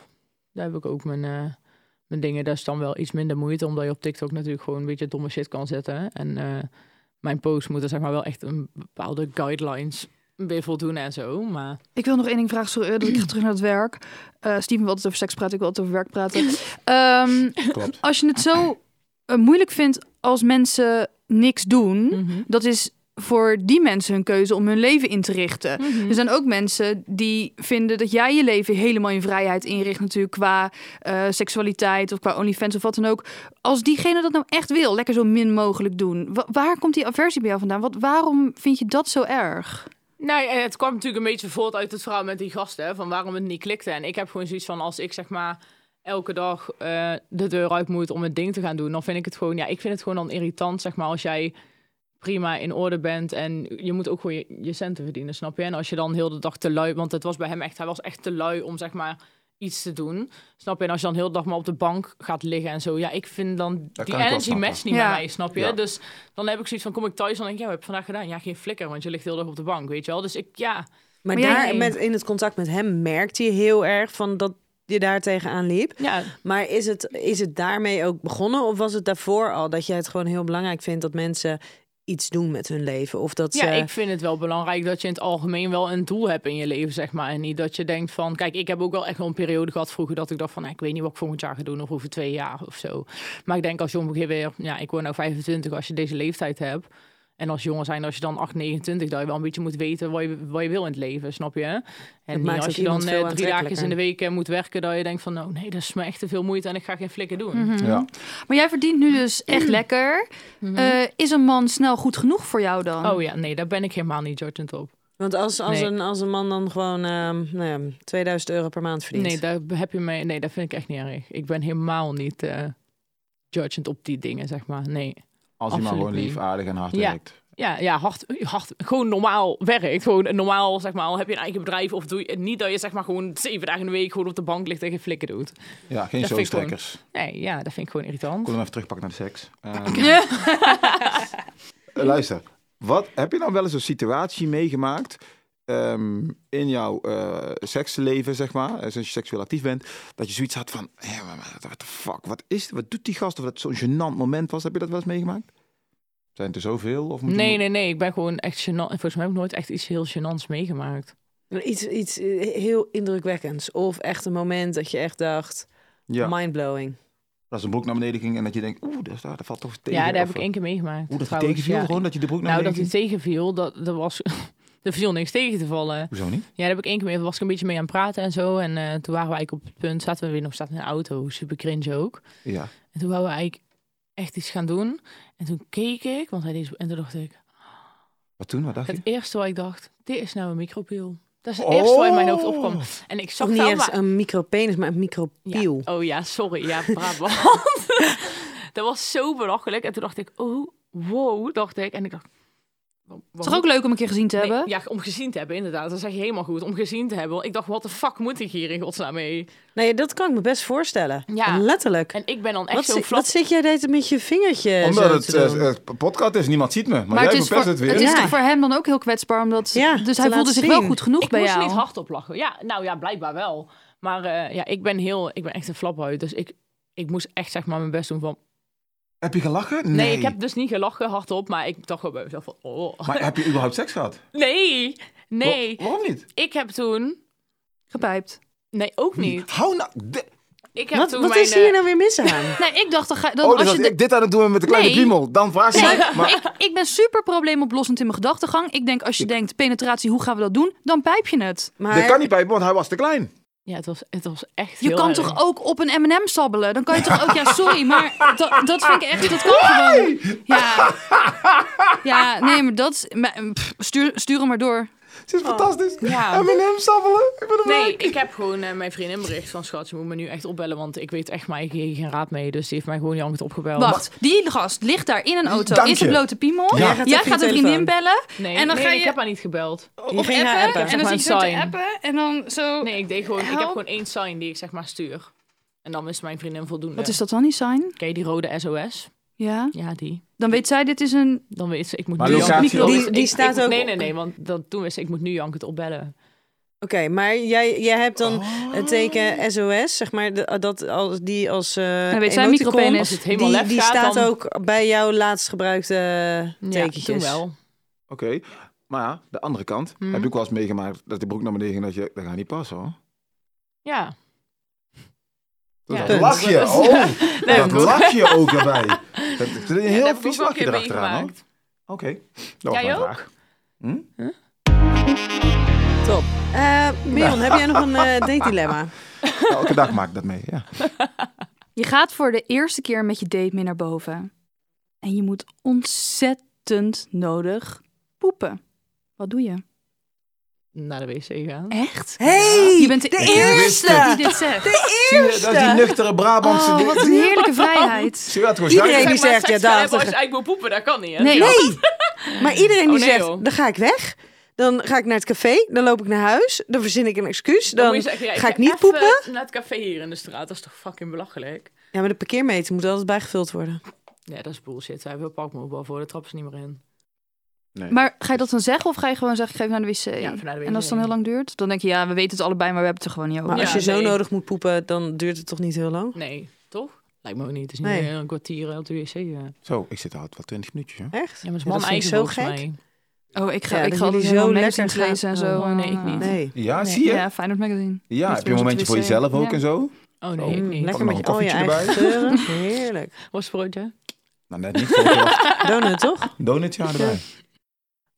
[SPEAKER 2] Daar heb ik ook mijn, eh, mijn dingen. Dat is dan wel iets minder moeite, omdat je op TikTok natuurlijk gewoon een beetje domme shit kan zetten. En eh, mijn posts moeten zeg maar wel echt een bepaalde guidelines weer voldoen en zo. Maar
[SPEAKER 5] Ik wil nog één ding vragen, sorry, eh, dat ik ga terug naar het werk. Eh Steven wil altijd over seks praten, ik wil altijd over werk praten. Ehm,
[SPEAKER 4] Klopt.
[SPEAKER 5] als je het zo eh, moeilijk vind als mensen niks doen,
[SPEAKER 2] Mhm.
[SPEAKER 5] dat is voor die mensen hun keuze om hun leven in te richten.
[SPEAKER 2] Mhm.
[SPEAKER 5] Er zijn ook mensen die vinden dat jij je leven helemaal in vrijheid inricht, natuurlijk qua eh, seksualiteit of qua OnlyFans of wat dan ook. Als diegene dat nou echt wil, lekker zo min mogelijk doen. Wa- waar komt die aversie bij jou vandaan? Wat, waarom vind je dat zo erg?
[SPEAKER 2] Nou, ja, het kwam natuurlijk een beetje voort uit het verhaal met die gasten, hè, van waarom het niet klikte. En ik heb gewoon zoiets van, als ik zeg maar elke dag eh, de deur uit moet om het ding te gaan doen, dan vind ik het gewoon, ja, ik vind het gewoon dan irritant, zeg maar, als jij prima in orde bent en je moet ook gewoon je, je centen verdienen, snap je? En als je dan heel de dag te lui, want het was bij hem echt, hij was echt te lui om zeg maar iets te doen, snap je? En als je dan heel de dag maar op de bank gaat liggen en zo, ja, ik vind dan
[SPEAKER 4] Dat
[SPEAKER 2] die
[SPEAKER 4] kan ik wel
[SPEAKER 2] energy
[SPEAKER 4] snappen.
[SPEAKER 2] match niet
[SPEAKER 5] Ja.
[SPEAKER 2] met mij, snap je?
[SPEAKER 4] Ja.
[SPEAKER 2] Dus dan heb ik zoiets van, kom ik thuis, dan denk ik, ja, wat heb je vandaag gedaan? Ja, geen flikker, want je ligt heel erg op de bank, weet je wel? Dus ik, ja,
[SPEAKER 3] Maar,
[SPEAKER 5] Maar
[SPEAKER 3] daar,
[SPEAKER 2] jij-
[SPEAKER 3] met, in het contact met hem merkte je heel erg van dat je daar tegenaan liep.
[SPEAKER 2] ja.
[SPEAKER 3] Maar is het, is het daarmee ook begonnen? Of was het daarvoor al dat jij het gewoon heel belangrijk vindt dat mensen iets doen met hun leven? Of dat
[SPEAKER 2] ja,
[SPEAKER 3] ze...
[SPEAKER 2] ik vind het wel belangrijk dat je in het algemeen wel een doel hebt in je leven, zeg maar. En niet dat je denkt van, kijk, ik heb ook wel echt wel een periode gehad vroeger dat ik dacht van, nou, ik weet niet wat ik volgend jaar ga doen of over twee jaar of zo. Maar ik denk als je ongeveer weer, ja, ik word nou 25 als je deze leeftijd hebt. En als jongen zijn, als je dan 8, 29, dat je wel een beetje moet weten wat je, wat je wil in het leven, snap je? En niet
[SPEAKER 3] maakt ook
[SPEAKER 2] als je
[SPEAKER 3] iemand
[SPEAKER 2] dan
[SPEAKER 3] veel
[SPEAKER 2] eh, drie dagjes in de
[SPEAKER 3] aantrekkelijker.
[SPEAKER 2] week eh, moet werken, dat je denkt van, nou nee, dat is me echt te veel moeite en ik ga geen flikken doen.
[SPEAKER 3] Mhm.
[SPEAKER 4] Ja.
[SPEAKER 5] Maar jij verdient nu dus echt lekker. Eh, is een man snel goed genoeg voor jou dan?
[SPEAKER 2] Oh ja, nee, daar ben ik helemaal niet judgend op.
[SPEAKER 3] Want als, als,
[SPEAKER 2] Nee.
[SPEAKER 3] een, als een man dan gewoon ehm, nou ja, 2000 euro per maand verdient.
[SPEAKER 2] Nee, daar heb je mee. Nee, dat vind ik echt niet erg. Ik ben helemaal niet eh judgend op die dingen, zeg maar. Nee.
[SPEAKER 4] Als je maar
[SPEAKER 2] Absoluut
[SPEAKER 4] gewoon
[SPEAKER 2] niet.
[SPEAKER 4] lief, aardig en hard
[SPEAKER 2] Ja.
[SPEAKER 4] werkt.
[SPEAKER 2] Ja, ja hard, hard, gewoon normaal werkt. Gewoon een normaal, zeg maar, al heb je een eigen bedrijf of doe je niet dat je zeg maar gewoon zeven dagen in de week gewoon op de bank ligt en geen flikken doet.
[SPEAKER 4] Ja, geen
[SPEAKER 2] Dat vind ik gewoon-
[SPEAKER 4] showstrekkers. Ik
[SPEAKER 2] Nee, ja, dat vind ik gewoon irritant.
[SPEAKER 4] wil hem even terugpakken naar de seks. Ehm,
[SPEAKER 5] Ja.
[SPEAKER 4] Eh, Luister, wat, heb je nou wel eens een situatie meegemaakt ehm, in jouw eh, seksleven, zeg maar, eh, sinds je seksueel actief bent, dat je zoiets had van, hé, maar- maar what the fuck, wat is dit? Wat doet die gast? Of dat het zo'n gênant moment was, heb je dat wel eens meegemaakt? Zijn het er zoveel? Of moet je-
[SPEAKER 2] Nee, nee, nee. Ik ben gewoon echt gênant. En volgens mij heb ik nooit echt iets heel gênants meegemaakt.
[SPEAKER 3] Iets, iets eh, heel indrukwekkends. Of echt een moment dat je echt dacht,
[SPEAKER 4] Ja,
[SPEAKER 3] mindblowing.
[SPEAKER 4] dat is een broek naar beneden ging en dat je denkt, oeh, daar staat- dat valt toch tegen.
[SPEAKER 2] ja, dat heb
[SPEAKER 4] Of, eh,
[SPEAKER 2] ik één keer meegemaakt.
[SPEAKER 4] Oeh, dat die
[SPEAKER 2] trouwens.
[SPEAKER 4] tegenviel
[SPEAKER 2] Ja.
[SPEAKER 4] gewoon, dat je de broek naar
[SPEAKER 2] Nou, dat
[SPEAKER 4] beneden
[SPEAKER 2] hij
[SPEAKER 4] ging?
[SPEAKER 2] tegenviel, dat, dat was... er viel niks tegen te vallen.
[SPEAKER 4] Hoezo niet?
[SPEAKER 2] Ja, daar heb ik één keer mee, was ik een beetje mee aan het praten en zo. En eh, toen waren we eigenlijk op het punt, zaten we weer nog, zaten in een auto, super cringe ook.
[SPEAKER 4] Ja.
[SPEAKER 2] En toen wouden we eigenlijk echt iets gaan doen. En toen keek ik, want hij deed zo- en toen dacht ik,
[SPEAKER 4] Wat toen? Wat dacht
[SPEAKER 2] het
[SPEAKER 4] je?
[SPEAKER 2] eerste wat ik dacht, dit is nou een micropiel. Dat is het eerste wat in mijn hoofd opkwam.
[SPEAKER 4] Oh.
[SPEAKER 2] En ik zag
[SPEAKER 3] Toch niet
[SPEAKER 2] wel,
[SPEAKER 3] eens
[SPEAKER 2] maar-
[SPEAKER 3] een micropenis, maar een
[SPEAKER 2] Ja.
[SPEAKER 3] micropiel.
[SPEAKER 2] Oh ja, sorry. Ja, Brabant. dat was zo belachelijk. En toen dacht ik, oh, wow, dacht ik. En ik dacht... wa-
[SPEAKER 5] Het
[SPEAKER 2] waarom-
[SPEAKER 5] is toch ook leuk om een keer gezien te
[SPEAKER 2] Nee,
[SPEAKER 5] hebben?
[SPEAKER 2] ja, om gezien te hebben, inderdaad. Dat zeg je helemaal goed. Om gezien te hebben. Want Ik dacht, wat de fuck moet ik hier in godsnaam mee?
[SPEAKER 3] Nou ja, dat kan ik me best voorstellen.
[SPEAKER 2] Ja.
[SPEAKER 3] Letterlijk.
[SPEAKER 2] En ik ben dan echt
[SPEAKER 3] Wat,
[SPEAKER 2] zo
[SPEAKER 3] zi-
[SPEAKER 2] flap.
[SPEAKER 3] wat zit jij deed met je vingertje?
[SPEAKER 4] Omdat
[SPEAKER 3] zo
[SPEAKER 4] het
[SPEAKER 3] te doen?
[SPEAKER 4] eh, eh, podcast is, niemand ziet me. Maar,
[SPEAKER 5] Maar
[SPEAKER 4] jij
[SPEAKER 5] het is,
[SPEAKER 4] bepest
[SPEAKER 5] voor,
[SPEAKER 4] het weer.
[SPEAKER 5] het is
[SPEAKER 3] Ja.
[SPEAKER 5] toch voor hem dan ook heel kwetsbaar, omdat...
[SPEAKER 3] Ja,
[SPEAKER 5] dus
[SPEAKER 3] te
[SPEAKER 5] hij voelde
[SPEAKER 3] laten
[SPEAKER 5] zich wel
[SPEAKER 3] zien.
[SPEAKER 5] goed genoeg
[SPEAKER 2] ik
[SPEAKER 5] bij
[SPEAKER 2] moest
[SPEAKER 5] jou.
[SPEAKER 2] niet hardop lachen. Ja, nou ja, blijkbaar wel. Maar eh, ja, ik ben heel, ik ben echt een flaphuid. Dus ik, ik moest echt zeg maar mijn best doen van...
[SPEAKER 4] Heb je gelachen?
[SPEAKER 2] Nee, ik heb dus niet gelachen hardop. Maar ik dacht wel bij mezelf van... Oh.
[SPEAKER 4] Maar heb je überhaupt seks gehad?
[SPEAKER 2] Nee, nee.
[SPEAKER 4] Wa- waarom niet?
[SPEAKER 2] Ik heb toen...
[SPEAKER 5] Gepijpt.
[SPEAKER 2] Nee, ook niet.
[SPEAKER 4] Hou nou... de-
[SPEAKER 2] Ik heb
[SPEAKER 3] wat
[SPEAKER 2] toen
[SPEAKER 3] wat
[SPEAKER 2] mijn,
[SPEAKER 3] is hier
[SPEAKER 2] eh,
[SPEAKER 3] nou weer mis aan?
[SPEAKER 5] Nee, ik dacht, dan ga, dan,
[SPEAKER 4] Oh, dus
[SPEAKER 5] als
[SPEAKER 4] als
[SPEAKER 5] je de-
[SPEAKER 4] ik dit aan het doen ben met een kleine
[SPEAKER 5] Nee.
[SPEAKER 4] piemel, dan vraag je
[SPEAKER 5] Nee,
[SPEAKER 4] mij. Maar
[SPEAKER 5] ik, ik ben super probleemoplossend in mijn gedachtegang. Ik denk, als je denkt, penetratie, hoe gaan we dat doen? Dan pijp je het.
[SPEAKER 3] Maar
[SPEAKER 4] dat kan niet bij, want hij was te klein.
[SPEAKER 2] Ja, het was, het was echt
[SPEAKER 5] Je
[SPEAKER 2] heel
[SPEAKER 5] kan
[SPEAKER 2] erg.
[SPEAKER 5] toch ook op een M&M sabbelen? Dan kan je toch ook... Ja, sorry, maar dat, dat vind ik echt... Dat kan gewoon. Ja. Ja, nee, maar dat... is- maar, pff, stuur, stuur hem maar door.
[SPEAKER 4] Het is fantastisch.
[SPEAKER 2] Oh, Ja.
[SPEAKER 4] M&M sabbelen. Ik ben er
[SPEAKER 2] Nee, ik heb gewoon eh, mijn vriendin bericht van... Schat, je moet me nu echt opbellen, want ik weet echt maar ik geef geen raad mee. Dus die heeft mij gewoon jankend opgebeld.
[SPEAKER 5] Wacht, die gast ligt daar in een auto.
[SPEAKER 4] Dank
[SPEAKER 5] is een
[SPEAKER 4] je.
[SPEAKER 5] blote piemel.
[SPEAKER 4] Ja. Jij
[SPEAKER 3] gaat
[SPEAKER 5] Jij
[SPEAKER 3] even
[SPEAKER 5] gaat
[SPEAKER 3] je
[SPEAKER 5] een vriendin
[SPEAKER 3] telefoon.
[SPEAKER 5] bellen.
[SPEAKER 2] Nee,
[SPEAKER 5] en dan
[SPEAKER 2] nee,
[SPEAKER 5] ga je...
[SPEAKER 2] ik heb haar niet gebeld.
[SPEAKER 3] Je ging naar appen.
[SPEAKER 5] En
[SPEAKER 2] zeg
[SPEAKER 5] dan
[SPEAKER 2] maar
[SPEAKER 5] zie je zo
[SPEAKER 2] een
[SPEAKER 5] te
[SPEAKER 2] sign.
[SPEAKER 5] appen en dan zo...
[SPEAKER 2] Nee, ik deed gewoon. Ik heb
[SPEAKER 5] Help.
[SPEAKER 2] gewoon één sign die ik zeg maar stuur. En dan is mijn vriendin voldoende.
[SPEAKER 5] Wat is dat dan, die sign?
[SPEAKER 2] Ken je die rode SOS?
[SPEAKER 5] Ja.
[SPEAKER 2] Ja, die.
[SPEAKER 5] Dan weet zij, dit is een...
[SPEAKER 2] Dan weet ze, ik moet
[SPEAKER 4] Maar
[SPEAKER 2] nu
[SPEAKER 4] locatie
[SPEAKER 2] janken.
[SPEAKER 4] ook?
[SPEAKER 3] Die- die
[SPEAKER 2] Ik-
[SPEAKER 3] staat
[SPEAKER 2] ik-
[SPEAKER 3] ook
[SPEAKER 2] Nee,
[SPEAKER 3] op-
[SPEAKER 2] nee, nee, want dan, toen wist ik, ik moet nu jankend opbellen.
[SPEAKER 3] Oké, maar jij, jij hebt dan
[SPEAKER 2] Oh.
[SPEAKER 3] het teken SOS, zeg maar, de- dat als, die als eh
[SPEAKER 5] Dan weet zij
[SPEAKER 3] emoticon,
[SPEAKER 5] micropenis.
[SPEAKER 2] Als het helemaal
[SPEAKER 3] Die,
[SPEAKER 2] lef
[SPEAKER 3] die
[SPEAKER 2] gaat,
[SPEAKER 3] staat
[SPEAKER 2] dan...
[SPEAKER 3] ook bij jouw laatst gebruikte eh,
[SPEAKER 2] Ja,
[SPEAKER 3] tekentjes.
[SPEAKER 2] toen wel.
[SPEAKER 4] Oké, maar ja, de andere kant.
[SPEAKER 2] Hmm.
[SPEAKER 4] Heb ik wel eens meegemaakt dat de broek naar beneden ging. Dat je, dat gaat niet passen hoor.
[SPEAKER 2] Ja.
[SPEAKER 4] Dus
[SPEAKER 2] Ja.
[SPEAKER 4] dat
[SPEAKER 3] Punt.
[SPEAKER 4] lach je.
[SPEAKER 2] Dat is-
[SPEAKER 4] Oh,
[SPEAKER 2] Nee,
[SPEAKER 4] dat
[SPEAKER 2] dat-
[SPEAKER 4] lach je ook erbij. Dat is een
[SPEAKER 2] Ja,
[SPEAKER 4] heel
[SPEAKER 2] dat heb ik
[SPEAKER 4] vies
[SPEAKER 2] ook wel een
[SPEAKER 4] lachje
[SPEAKER 2] keer
[SPEAKER 4] erachteraan. hoor.
[SPEAKER 2] meegemaakt.
[SPEAKER 4] Oké, dat was
[SPEAKER 2] Jij
[SPEAKER 4] mijn
[SPEAKER 2] ook?
[SPEAKER 4] vraag. Hm?
[SPEAKER 3] Top. Eh Mion, heb jij nog een eh date-dilemma?
[SPEAKER 4] Elke dag maak ik dat mee, ja.
[SPEAKER 5] Je gaat voor de eerste keer met je date mee naar boven. En je moet ontzettend nodig poepen. Wat doe je?
[SPEAKER 2] Naar de wc gaan.
[SPEAKER 5] Echt?
[SPEAKER 3] Hey,
[SPEAKER 5] Je bent de, eerste die dit zegt.
[SPEAKER 4] Zie je, dat is die nuchtere Brabantse...
[SPEAKER 5] Oh,
[SPEAKER 4] ding.
[SPEAKER 5] wat een heerlijke vrijheid.
[SPEAKER 4] Zie je wat gewoon
[SPEAKER 3] Iedereen
[SPEAKER 4] zuinig
[SPEAKER 2] maar,
[SPEAKER 3] die
[SPEAKER 4] is?
[SPEAKER 3] zegt, ja,
[SPEAKER 2] seks gaan
[SPEAKER 3] daar-
[SPEAKER 2] hebben Als je eigenlijk wil poepen, dat kan niet. Hè?
[SPEAKER 5] Nee.
[SPEAKER 3] Nee, maar iedereen die
[SPEAKER 2] Oh, nee,
[SPEAKER 3] zegt,
[SPEAKER 2] joh.
[SPEAKER 3] dan ga ik weg. Dan ga ik naar het café, dan loop ik naar huis, dan verzin ik een excuus,
[SPEAKER 2] Dan moet je
[SPEAKER 3] dan
[SPEAKER 2] zeggen, ja,
[SPEAKER 3] ga ik
[SPEAKER 2] ga
[SPEAKER 3] niet
[SPEAKER 2] even
[SPEAKER 3] poepen.
[SPEAKER 2] Naar het café hier in de straat, dat is toch fucking belachelijk?
[SPEAKER 3] Ja, maar de parkeermeter moet altijd bijgevuld worden.
[SPEAKER 2] Ja, dat is bullshit. Hij wil pakmobiel voor, de trap is niet meer in.
[SPEAKER 5] Maar ga je dat dan zeggen of ga je gewoon zeggen, ik ga even naar de wc?
[SPEAKER 2] Ja, even naar de wc.
[SPEAKER 5] En als het dan heel lang duurt, dan denk je, ja, we weten het allebei, maar we hebben het er gewoon niet over.
[SPEAKER 3] Maar als
[SPEAKER 2] Ja,
[SPEAKER 3] je zo
[SPEAKER 2] nee.
[SPEAKER 3] nodig moet poepen, dan duurt het toch niet heel lang?
[SPEAKER 2] Nee, toch? Lijkt me ook niet. Het is niet
[SPEAKER 3] Nee.
[SPEAKER 2] meer een kwartier op de wc. eh.
[SPEAKER 4] Zo, ik zit al wat 20 minuutjes, hè.
[SPEAKER 3] Echt?
[SPEAKER 2] Ja, maar
[SPEAKER 3] dat
[SPEAKER 2] man
[SPEAKER 3] vind ik
[SPEAKER 2] eigen
[SPEAKER 3] zo
[SPEAKER 2] volgens
[SPEAKER 3] gek.
[SPEAKER 2] mij.
[SPEAKER 5] Oh, ik ga,
[SPEAKER 3] Ja,
[SPEAKER 5] ik
[SPEAKER 3] dat
[SPEAKER 5] ga altijd
[SPEAKER 3] jullie
[SPEAKER 5] helemaal
[SPEAKER 3] zo
[SPEAKER 5] magazines
[SPEAKER 3] lekker
[SPEAKER 5] lezen en
[SPEAKER 2] gaan-
[SPEAKER 5] zo.
[SPEAKER 2] Oh, nee, ik niet.
[SPEAKER 3] Nee.
[SPEAKER 4] Ja,
[SPEAKER 5] Nee.
[SPEAKER 4] zie je?
[SPEAKER 5] Ja, Feyenoord magazine.
[SPEAKER 4] Ja, heb je een
[SPEAKER 5] Niet meer op de
[SPEAKER 4] momentje voor
[SPEAKER 5] wc.
[SPEAKER 4] jezelf ook
[SPEAKER 5] Ja.
[SPEAKER 4] en zo?
[SPEAKER 2] Oh nee, ik
[SPEAKER 3] Mm,
[SPEAKER 2] niet.
[SPEAKER 3] lekker
[SPEAKER 4] Pak
[SPEAKER 3] met
[SPEAKER 4] nog
[SPEAKER 3] je,
[SPEAKER 4] een
[SPEAKER 3] al je
[SPEAKER 4] koffietje
[SPEAKER 3] eigen geuren. Heerlijk.
[SPEAKER 2] Was broodje?
[SPEAKER 4] Nou, net niet. volgens mij.
[SPEAKER 3] Donut, toch? Oké,
[SPEAKER 4] Donutje aan erbij.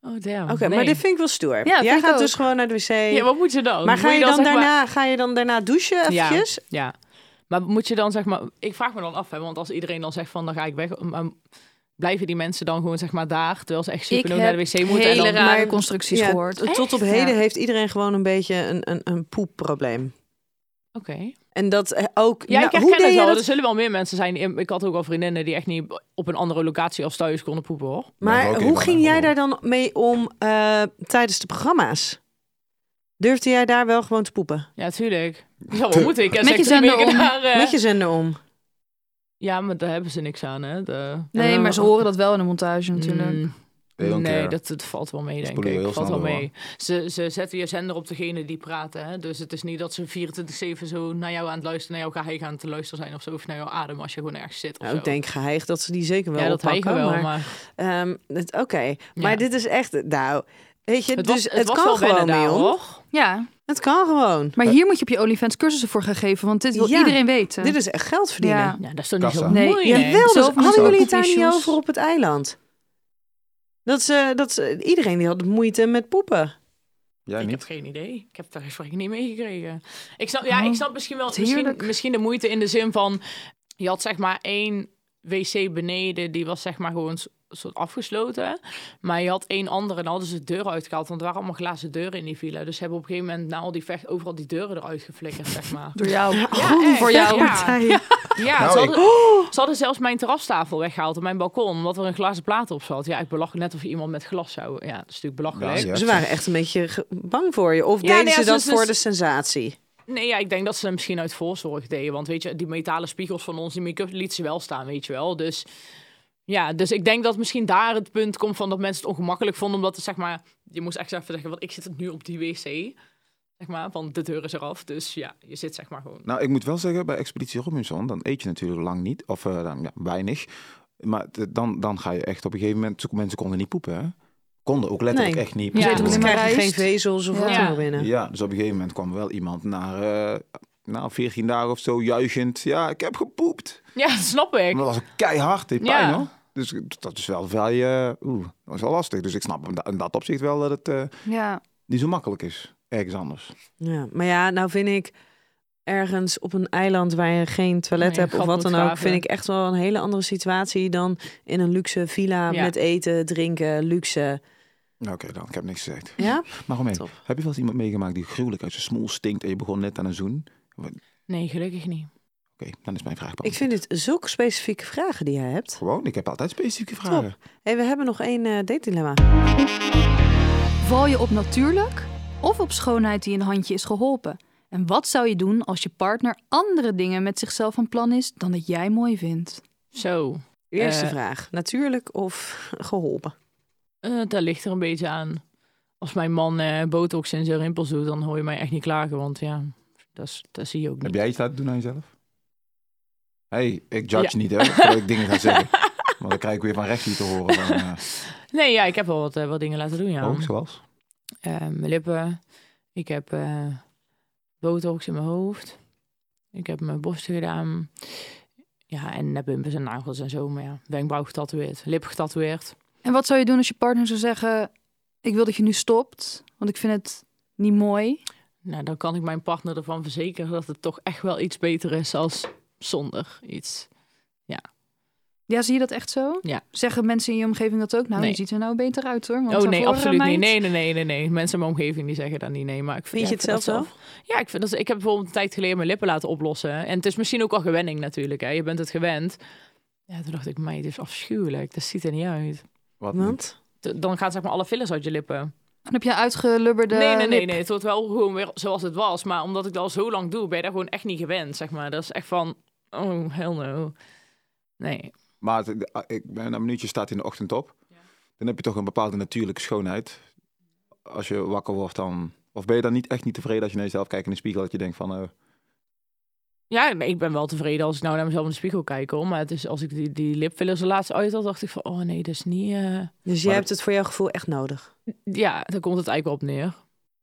[SPEAKER 2] Oh damn. Oké,
[SPEAKER 3] maar dit vind ik wel stoer.
[SPEAKER 5] vind
[SPEAKER 3] Jij
[SPEAKER 5] ik
[SPEAKER 3] gaat
[SPEAKER 5] ook.
[SPEAKER 3] dus gewoon naar de wc.
[SPEAKER 2] Ja, wat moet je dan?
[SPEAKER 3] maar ga
[SPEAKER 2] Moet
[SPEAKER 3] je, dan
[SPEAKER 2] zeg maar-
[SPEAKER 3] daarna, ga je dan daarna douchen
[SPEAKER 2] Ja.
[SPEAKER 3] eventjes?
[SPEAKER 2] Ja. Maar moet je dan zeg maar... Ik vraag me dan af, hè, want als iedereen dan zegt van dan ga ik weg... Maar blijven die mensen dan gewoon zeg maar daar... terwijl ze echt
[SPEAKER 5] Ik
[SPEAKER 2] super
[SPEAKER 5] heb
[SPEAKER 2] naar de wc moeten... en
[SPEAKER 5] hele
[SPEAKER 2] dan,
[SPEAKER 5] rare
[SPEAKER 3] Maar-
[SPEAKER 5] constructies
[SPEAKER 3] Ja,
[SPEAKER 5] gehoord.
[SPEAKER 3] Tot op
[SPEAKER 5] Echt?
[SPEAKER 3] heden
[SPEAKER 5] Ja.
[SPEAKER 3] heeft iedereen gewoon een beetje een, een, een poepprobleem.
[SPEAKER 2] Oké.
[SPEAKER 3] En dat eh, ook...
[SPEAKER 2] Ja, ik
[SPEAKER 3] nou,
[SPEAKER 2] herken
[SPEAKER 3] hoe deed
[SPEAKER 2] het
[SPEAKER 3] je
[SPEAKER 2] wel. dus
[SPEAKER 3] dat?
[SPEAKER 2] Er zullen wel meer mensen zijn. die- Ik had ook al vriendinnen die echt niet op een andere locatie als thuis konden poepen, hoor.
[SPEAKER 4] Nee,
[SPEAKER 3] Maar
[SPEAKER 4] oké,
[SPEAKER 3] hoe
[SPEAKER 4] maar-
[SPEAKER 3] ging jij daar dan mee om eh, tijdens de programma's? Durfde jij daar wel gewoon te poepen?
[SPEAKER 2] Ja, tuurlijk. Dat zou wel moeten. Ik heb
[SPEAKER 5] Met je
[SPEAKER 2] echt drie
[SPEAKER 5] zender
[SPEAKER 2] weken
[SPEAKER 5] om.
[SPEAKER 2] daar, eh,
[SPEAKER 3] Met je zender om.
[SPEAKER 2] Ja, maar daar hebben ze niks aan, hè. De...
[SPEAKER 5] Nee, maar ze horen dat wel in de montage natuurlijk.
[SPEAKER 2] Mm,
[SPEAKER 4] They don't
[SPEAKER 2] nee,
[SPEAKER 4] care.
[SPEAKER 2] dat, dat valt wel mee, denk
[SPEAKER 4] spoelen je
[SPEAKER 2] ik.
[SPEAKER 4] heel
[SPEAKER 2] Valt wel
[SPEAKER 4] snel door,
[SPEAKER 2] mee. Ze, ze zetten je zender op degene die praten. Hè? Dus het is niet dat ze 24-7 zo naar jou aan het luisteren, naar jouw geheim aan het luisteren zijn of zo. Of naar jouw adem als je gewoon ergens zit. Of
[SPEAKER 3] Nou,
[SPEAKER 2] zo.
[SPEAKER 3] ik denk geheig dat ze die zeker wel
[SPEAKER 2] ja, dat
[SPEAKER 3] oppakken.
[SPEAKER 2] hegen wel. Maar,
[SPEAKER 3] ehm, het- Oké, maar dit is echt... Nou, weet je,
[SPEAKER 2] het,
[SPEAKER 3] dus
[SPEAKER 2] was,
[SPEAKER 3] het,
[SPEAKER 2] het, was
[SPEAKER 3] kan
[SPEAKER 2] wel
[SPEAKER 3] gewoon,
[SPEAKER 2] wennen daar,
[SPEAKER 3] Mion.
[SPEAKER 2] hoor.
[SPEAKER 5] Ja,
[SPEAKER 3] Het kan gewoon.
[SPEAKER 5] maar hier moet je op je OnlyFans cursussen voor gaan geven, want dit wil
[SPEAKER 3] Ja,
[SPEAKER 5] iedereen weten.
[SPEAKER 3] Dit is echt geld verdienen.
[SPEAKER 5] Ja.
[SPEAKER 2] Ja, dat is toch niet zo
[SPEAKER 4] Kassa.
[SPEAKER 5] Nee.
[SPEAKER 2] moeilijk.
[SPEAKER 3] Jawel, dus
[SPEAKER 5] Zelf
[SPEAKER 3] hadden
[SPEAKER 5] moeten
[SPEAKER 3] jullie het
[SPEAKER 5] ook
[SPEAKER 3] daar niet
[SPEAKER 5] issues.
[SPEAKER 3] over op het eiland? Dat ze, dat ze, iedereen die had moeite met poepen.
[SPEAKER 4] Jij
[SPEAKER 2] ik heb
[SPEAKER 4] niet?
[SPEAKER 2] geen idee. Ik heb daar gesprek niet mee gekregen. Ik snap, ja,
[SPEAKER 5] Oh,
[SPEAKER 2] ik snap misschien wel
[SPEAKER 5] wat
[SPEAKER 2] misschien,
[SPEAKER 5] heerlijk.
[SPEAKER 2] misschien de moeite in de zin van... Je had zeg maar één wc beneden, die was zeg maar gewoon een so- soort afgesloten. Maar je had één andere en dan hadden ze de deur uitgehaald. Want er waren allemaal glazen deuren in die villa. Dus ze hebben op een gegeven moment na al die vecht overal die deuren eruit geflikkerd, zeg maar.
[SPEAKER 5] Door jou.
[SPEAKER 2] Ja, echt,
[SPEAKER 5] voor jou.
[SPEAKER 2] Ja,
[SPEAKER 3] Ja.
[SPEAKER 2] ja
[SPEAKER 4] Nou,
[SPEAKER 2] ze,
[SPEAKER 4] ik-
[SPEAKER 2] hadden, ze hadden zelfs mijn terrastafel weggehaald op mijn balkon. Omdat er een glazen plaat op zat. Ja, ik belach net of je iemand met glas zou... Ja, dat is natuurlijk belachelijk.
[SPEAKER 4] Ja,
[SPEAKER 3] Ze waren echt een beetje ge- bang voor je. Of
[SPEAKER 2] Ja,
[SPEAKER 3] deden
[SPEAKER 2] nee,
[SPEAKER 3] ze
[SPEAKER 2] als
[SPEAKER 3] dat
[SPEAKER 2] het dus-
[SPEAKER 3] voor de sensatie?
[SPEAKER 2] Nee, ja, ik denk dat ze hem misschien uit voorzorg deden. Want weet je, die metalen spiegels van ons, die make-up, liet ze wel staan, weet je wel. Dus ja, dus ik denk dat misschien daar het punt komt van dat mensen het ongemakkelijk vonden. Omdat het, zeg maar, je moest echt even zeggen, want ik zit het nu op die wc. Zeg maar, want de deur is eraf. Dus ja, je zit zeg maar gewoon.
[SPEAKER 4] Nou, ik moet wel zeggen, bij Expeditie Robinson, dan eet je natuurlijk lang niet. Of eh, dan, ja, weinig. Maar t- dan, dan ga je echt op een gegeven moment... Zoeken mensen konden niet poepen, hè? Konden ook letterlijk
[SPEAKER 3] Nee.
[SPEAKER 4] echt niet
[SPEAKER 2] Ja.
[SPEAKER 3] Ja,
[SPEAKER 4] poepen.
[SPEAKER 5] Ze
[SPEAKER 3] dan
[SPEAKER 5] alleen maar
[SPEAKER 3] krijg je geen
[SPEAKER 5] rijst.
[SPEAKER 3] vezels of
[SPEAKER 5] Ja.
[SPEAKER 3] wat dan ook binnen.
[SPEAKER 4] Ja, dus op een gegeven moment kwam wel iemand na, eh na 14 dagen of zo juichend. Ja, ik heb gepoept.
[SPEAKER 2] Ja, dat snap ik.
[SPEAKER 4] Maar dat was ook keihard,
[SPEAKER 2] Ja.
[SPEAKER 4] die pijn hoor. Dus dat is wel vrij, eh, oeh, dat is wel lastig. Dus ik snap hem da- in dat opzicht wel dat het eh,
[SPEAKER 5] Ja.
[SPEAKER 4] niet zo makkelijk is. Ergens anders.
[SPEAKER 3] Ja. Maar ja, nou vind ik ergens op een eiland waar je geen toilet
[SPEAKER 2] Nee,
[SPEAKER 3] hebt of
[SPEAKER 2] gat
[SPEAKER 3] wat
[SPEAKER 2] moet
[SPEAKER 3] dan ook,
[SPEAKER 2] graven.
[SPEAKER 3] vind ik echt wel een hele andere situatie dan in een luxe villa
[SPEAKER 2] Ja.
[SPEAKER 3] met eten, drinken, luxe.
[SPEAKER 4] Nou, Oké, dan, ik heb niks gezegd.
[SPEAKER 3] Ja?
[SPEAKER 4] Maar Romein,
[SPEAKER 3] Top.
[SPEAKER 4] heb je wel eens iemand meegemaakt die gruwelijk uit zijn smoel stinkt en je begon net aan een zoen? Oké,
[SPEAKER 2] Nee, gelukkig niet.
[SPEAKER 4] dan is mijn vraag
[SPEAKER 3] Ik
[SPEAKER 4] beantwoord.
[SPEAKER 3] vind het zulke specifieke vragen die jij hebt.
[SPEAKER 4] Gewoon, ik heb altijd specifieke vragen.
[SPEAKER 3] Hey, we hebben nog één eh date dilemma.
[SPEAKER 5] Val je op natuurlijk of op schoonheid die een handje is geholpen? En wat zou je doen als je partner andere dingen met zichzelf van plan is dan dat jij mooi vindt?
[SPEAKER 2] Zo,
[SPEAKER 3] Eerste
[SPEAKER 2] Eh,
[SPEAKER 3] vraag. Natuurlijk of geholpen?
[SPEAKER 2] eh, dat ligt er een beetje aan. Als mijn man eh, botox en zijn rimpels doet, dan hoor je mij echt niet klagen. Want ja, dat, is- dat zie je ook
[SPEAKER 4] Heb
[SPEAKER 2] niet.
[SPEAKER 4] jij iets laten doen aan jezelf? hey, ik judge niet hè, voordat ik dingen ga zeggen. Want dan krijg ik weer van rechts hier te horen. Van, eh,
[SPEAKER 2] Nee, ja, ik heb wel wat, eh, wat dingen laten doen, ja.
[SPEAKER 4] ook zoals?
[SPEAKER 2] Eh, mijn lippen. Ik heb eh botox in mijn hoofd. Ik heb mijn borsten gedaan. Ja, en nepbumpers en nagels en zo. Maar ja, wenkbrauw getatoeëerd, lip getatoeëerd.
[SPEAKER 5] En wat zou je doen als je partner zou zeggen: Ik wil dat je nu stopt, want ik vind het niet mooi.
[SPEAKER 2] Nou, dan kan ik mijn partner ervan verzekeren dat het toch echt wel iets beter is als zonder iets.
[SPEAKER 5] Ja, zie je dat echt zo?
[SPEAKER 2] Ja.
[SPEAKER 5] Zeggen mensen in je omgeving dat ook? Nou,
[SPEAKER 2] Nee.
[SPEAKER 5] je ziet er nou beter uit hoor. Want
[SPEAKER 2] oh
[SPEAKER 5] daarvoor,
[SPEAKER 2] nee,
[SPEAKER 5] eh,
[SPEAKER 2] absoluut niet.
[SPEAKER 5] meid-
[SPEAKER 2] Nee, nee, nee, nee, nee. Mensen in mijn omgeving die zeggen dat niet. Nee, maar ik vind,
[SPEAKER 3] Vind
[SPEAKER 2] ja,
[SPEAKER 3] je
[SPEAKER 2] ik
[SPEAKER 3] het
[SPEAKER 2] vind
[SPEAKER 3] zelf
[SPEAKER 2] dat Ja, ik, vind dat, ik heb bijvoorbeeld een tijd geleden mijn lippen laten oplossen. En het is misschien ook al gewenning natuurlijk. Hè. Je bent het gewend. Ja, toen dacht ik, meid, dit is afschuwelijk. Dat ziet er niet uit.
[SPEAKER 4] Wat niet?
[SPEAKER 3] Want?
[SPEAKER 2] D- Dan gaan zeg maar alle fillers uit je lippen.
[SPEAKER 5] Dan heb je uitgelubberde.
[SPEAKER 2] nee, nee, nee,
[SPEAKER 5] lip.
[SPEAKER 2] nee. Het wordt wel gewoon weer zoals het was. Maar omdat ik dat al zo lang doe, ben je daar gewoon echt niet gewend, zeg maar. Dat is echt van, oh, hell no. Nee.
[SPEAKER 4] Maar het- eh, ik ben een minuutje staat in de ochtend op. Dan heb je toch een bepaalde natuurlijke schoonheid. Als je wakker wordt dan... Of ben je dan niet echt niet tevreden als je naar jezelf kijkt in de spiegel... dat je denkt van, eh,
[SPEAKER 2] Ja, nee, ik ben wel tevreden als ik nou naar mezelf in de spiegel kijk, hoor. Maar het is, als ik die, die lipfillers er laatst uit had, dacht ik van... Oh nee, dat is niet... eh,
[SPEAKER 3] Dus jij
[SPEAKER 4] Maar
[SPEAKER 3] hebt het voor jouw gevoel echt nodig.
[SPEAKER 2] Ja, daar komt het eigenlijk op neer.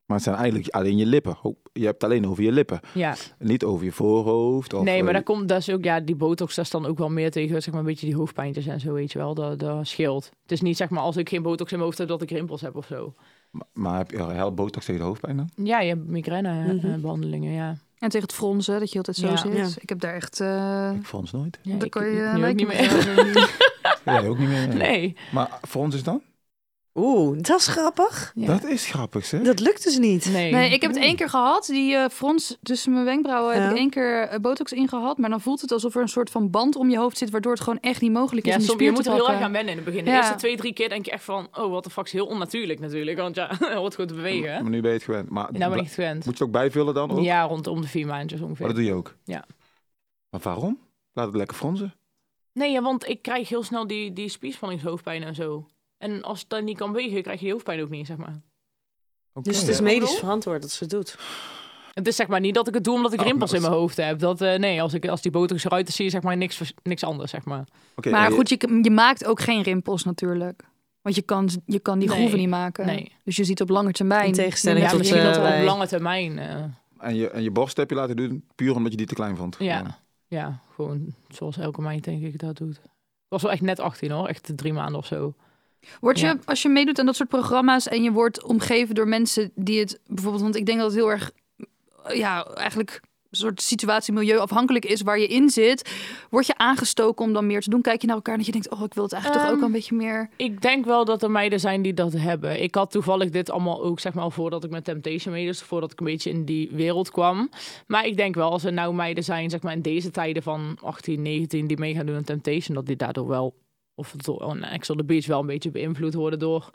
[SPEAKER 4] maar het zijn eigenlijk alleen je lippen. Oh, je hebt het alleen over je lippen.
[SPEAKER 2] Ja,
[SPEAKER 4] Niet over je voorhoofd. Of,
[SPEAKER 2] nee, maar
[SPEAKER 4] eh,
[SPEAKER 2] daar komt dat is ook... Ja, die botox, dat is dan ook wel meer tegen, zeg maar, een beetje die hoofdpijntjes en zo, weet je wel. Dat, dat scheelt. Het is niet, zeg maar, als ik geen botox in mijn hoofd heb, dat ik rimpels heb of zo.
[SPEAKER 4] maar, maar heb je heel botox tegen de hoofdpijn dan?
[SPEAKER 2] Ja, je hebt migraine-behandelingen,
[SPEAKER 3] Mhm.
[SPEAKER 2] ja.
[SPEAKER 5] En tegen het fronsen, dat je altijd zo
[SPEAKER 2] Ja.
[SPEAKER 5] zit.
[SPEAKER 3] Ja.
[SPEAKER 5] Ik heb daar echt. eh
[SPEAKER 4] Ik vond het nooit.
[SPEAKER 2] ja
[SPEAKER 5] daar
[SPEAKER 2] ik-
[SPEAKER 5] kan
[SPEAKER 2] ik
[SPEAKER 5] je
[SPEAKER 2] nu ook
[SPEAKER 5] lijken
[SPEAKER 2] niet
[SPEAKER 5] met
[SPEAKER 2] meer.
[SPEAKER 5] elkaar doen.
[SPEAKER 4] Jij ook niet meer.
[SPEAKER 2] Nee.
[SPEAKER 4] Maar voor ons is dan?
[SPEAKER 3] Oeh, dat is grappig.
[SPEAKER 2] Ja.
[SPEAKER 4] Dat is grappig, zeg.
[SPEAKER 3] Dat lukt dus niet.
[SPEAKER 2] Nee.
[SPEAKER 5] Nee, ik heb het één keer gehad. Die eh, frons tussen mijn wenkbrauwen heb
[SPEAKER 3] Ja.
[SPEAKER 5] ik één keer eh, botox ingehad. Maar dan voelt het alsof er een soort van band om je hoofd zit... waardoor het gewoon echt niet mogelijk is
[SPEAKER 2] Ja,
[SPEAKER 5] om die
[SPEAKER 2] soms, je
[SPEAKER 5] spier
[SPEAKER 2] moet
[SPEAKER 5] te
[SPEAKER 2] er heel
[SPEAKER 5] pakken.
[SPEAKER 2] erg aan wennen in het begin. De
[SPEAKER 5] Ja.
[SPEAKER 2] eerste twee, drie keer denk je echt van... Oh, wat de fuck, is heel onnatuurlijk natuurlijk. Want ja, het hoort gewoon te bewegen.
[SPEAKER 4] Maar nu ben je het gewend. Maar
[SPEAKER 2] Nou ben ik het gewend.
[SPEAKER 4] moet je het ook bijvullen dan? Ook?
[SPEAKER 2] Ja, rondom de vier maandjes ongeveer.
[SPEAKER 4] Maar dat doe je ook?
[SPEAKER 2] Ja.
[SPEAKER 4] Maar waarom? Laat het lekker fronsen.
[SPEAKER 2] Nee, ja, want ik krijg heel snel die, die spierspanningshoofdpijn en zo. En als het dan niet kan bewegen, krijg je die hoofdpijn ook niet, zeg maar.
[SPEAKER 4] Oké.
[SPEAKER 3] Dus het is
[SPEAKER 2] Ja.
[SPEAKER 3] medisch verantwoord dat ze het doet.
[SPEAKER 2] Het is zeg maar niet dat ik het doe omdat ik
[SPEAKER 4] Oh,
[SPEAKER 2] rimpels
[SPEAKER 4] maar-
[SPEAKER 2] in mijn hoofd heb. Dat, eh, nee, als, ik, als die botox eruit is, zie je zeg maar niks, vers- niks anders, zeg maar.
[SPEAKER 4] Oké,
[SPEAKER 5] Maar
[SPEAKER 4] eh,
[SPEAKER 5] goed, je, je maakt ook geen rimpels natuurlijk. Want je kan, je kan die
[SPEAKER 2] Nee.
[SPEAKER 5] groeven niet maken.
[SPEAKER 2] Nee.
[SPEAKER 5] Dus je ziet op lange termijn...
[SPEAKER 3] In tegenstelling
[SPEAKER 5] Ja,
[SPEAKER 2] ja,
[SPEAKER 3] tot,
[SPEAKER 2] misschien dat
[SPEAKER 3] eh,
[SPEAKER 2] op
[SPEAKER 3] wij-
[SPEAKER 2] lange termijn. eh,
[SPEAKER 4] En je, en je borst heb je laten doen puur omdat je die te klein vond.
[SPEAKER 2] ja. ja. gewoon zoals elke meid denk ik dat doet. Ik was wel echt net 18 hoor, echt drie maanden of zo.
[SPEAKER 5] Word je,
[SPEAKER 2] Ja.
[SPEAKER 5] als je meedoet aan dat soort programma's en je wordt omgeven door mensen die het bijvoorbeeld, want ik denk dat het heel erg, ja, eigenlijk een soort situatie milieu afhankelijk is waar je in zit, word je aangestoken om dan meer te doen? Kijk je naar elkaar en dat je denkt, oh, ik wil het eigenlijk toch
[SPEAKER 2] Ehm,
[SPEAKER 5] ook wel een beetje meer.
[SPEAKER 2] Ik denk wel dat er meiden zijn die dat hebben. Ik had toevallig dit allemaal ook, zeg maar, voordat ik met Temptation mee, dus voordat ik een beetje in die wereld kwam. Maar ik denk wel, als er nou meiden zijn, zeg maar, in deze tijden van 18, 19, die mee gaan doen aan Temptation, dat die daardoor wel, of door oh, een Ex on the Beach, wel een beetje beïnvloed worden door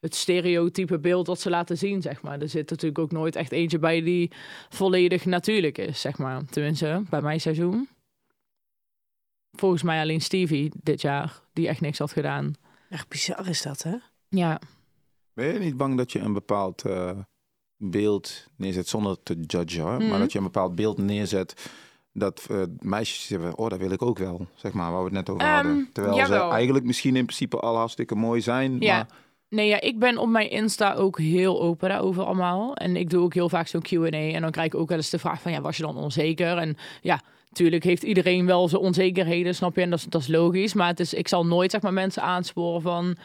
[SPEAKER 2] het stereotype beeld dat ze laten zien, zeg maar. Er zit natuurlijk ook nooit echt eentje bij die volledig natuurlijk is, zeg maar. Tenminste, bij mijn seizoen. Volgens mij alleen Stevie dit jaar, die echt niks had gedaan.
[SPEAKER 3] Echt bizar is dat, hè?
[SPEAKER 2] Ja,
[SPEAKER 4] Ben je niet bang dat je een bepaald eh, beeld neerzet, zonder te judgen, hoor,
[SPEAKER 2] Mhm.
[SPEAKER 4] maar dat je een bepaald beeld neerzet dat eh, meisjes zeggen, oh, dat wil ik ook wel, zeg maar, waar we het net over
[SPEAKER 2] Ehm,
[SPEAKER 4] hadden. Terwijl
[SPEAKER 2] jawel.
[SPEAKER 4] ze eigenlijk misschien in principe al hartstikke mooi zijn,
[SPEAKER 2] Ja.
[SPEAKER 4] maar
[SPEAKER 2] Nee, ja, ik ben op mijn Insta ook heel open daarover allemaal. En ik doe ook heel vaak zo'n Q&A. En dan krijg ik ook wel eens de vraag van, ja, was je dan onzeker? En ja, tuurlijk heeft iedereen wel zijn onzekerheden, snap je? En dat, is- dat is logisch. Maar het is, ik zal nooit, zeg maar, mensen aansporen van...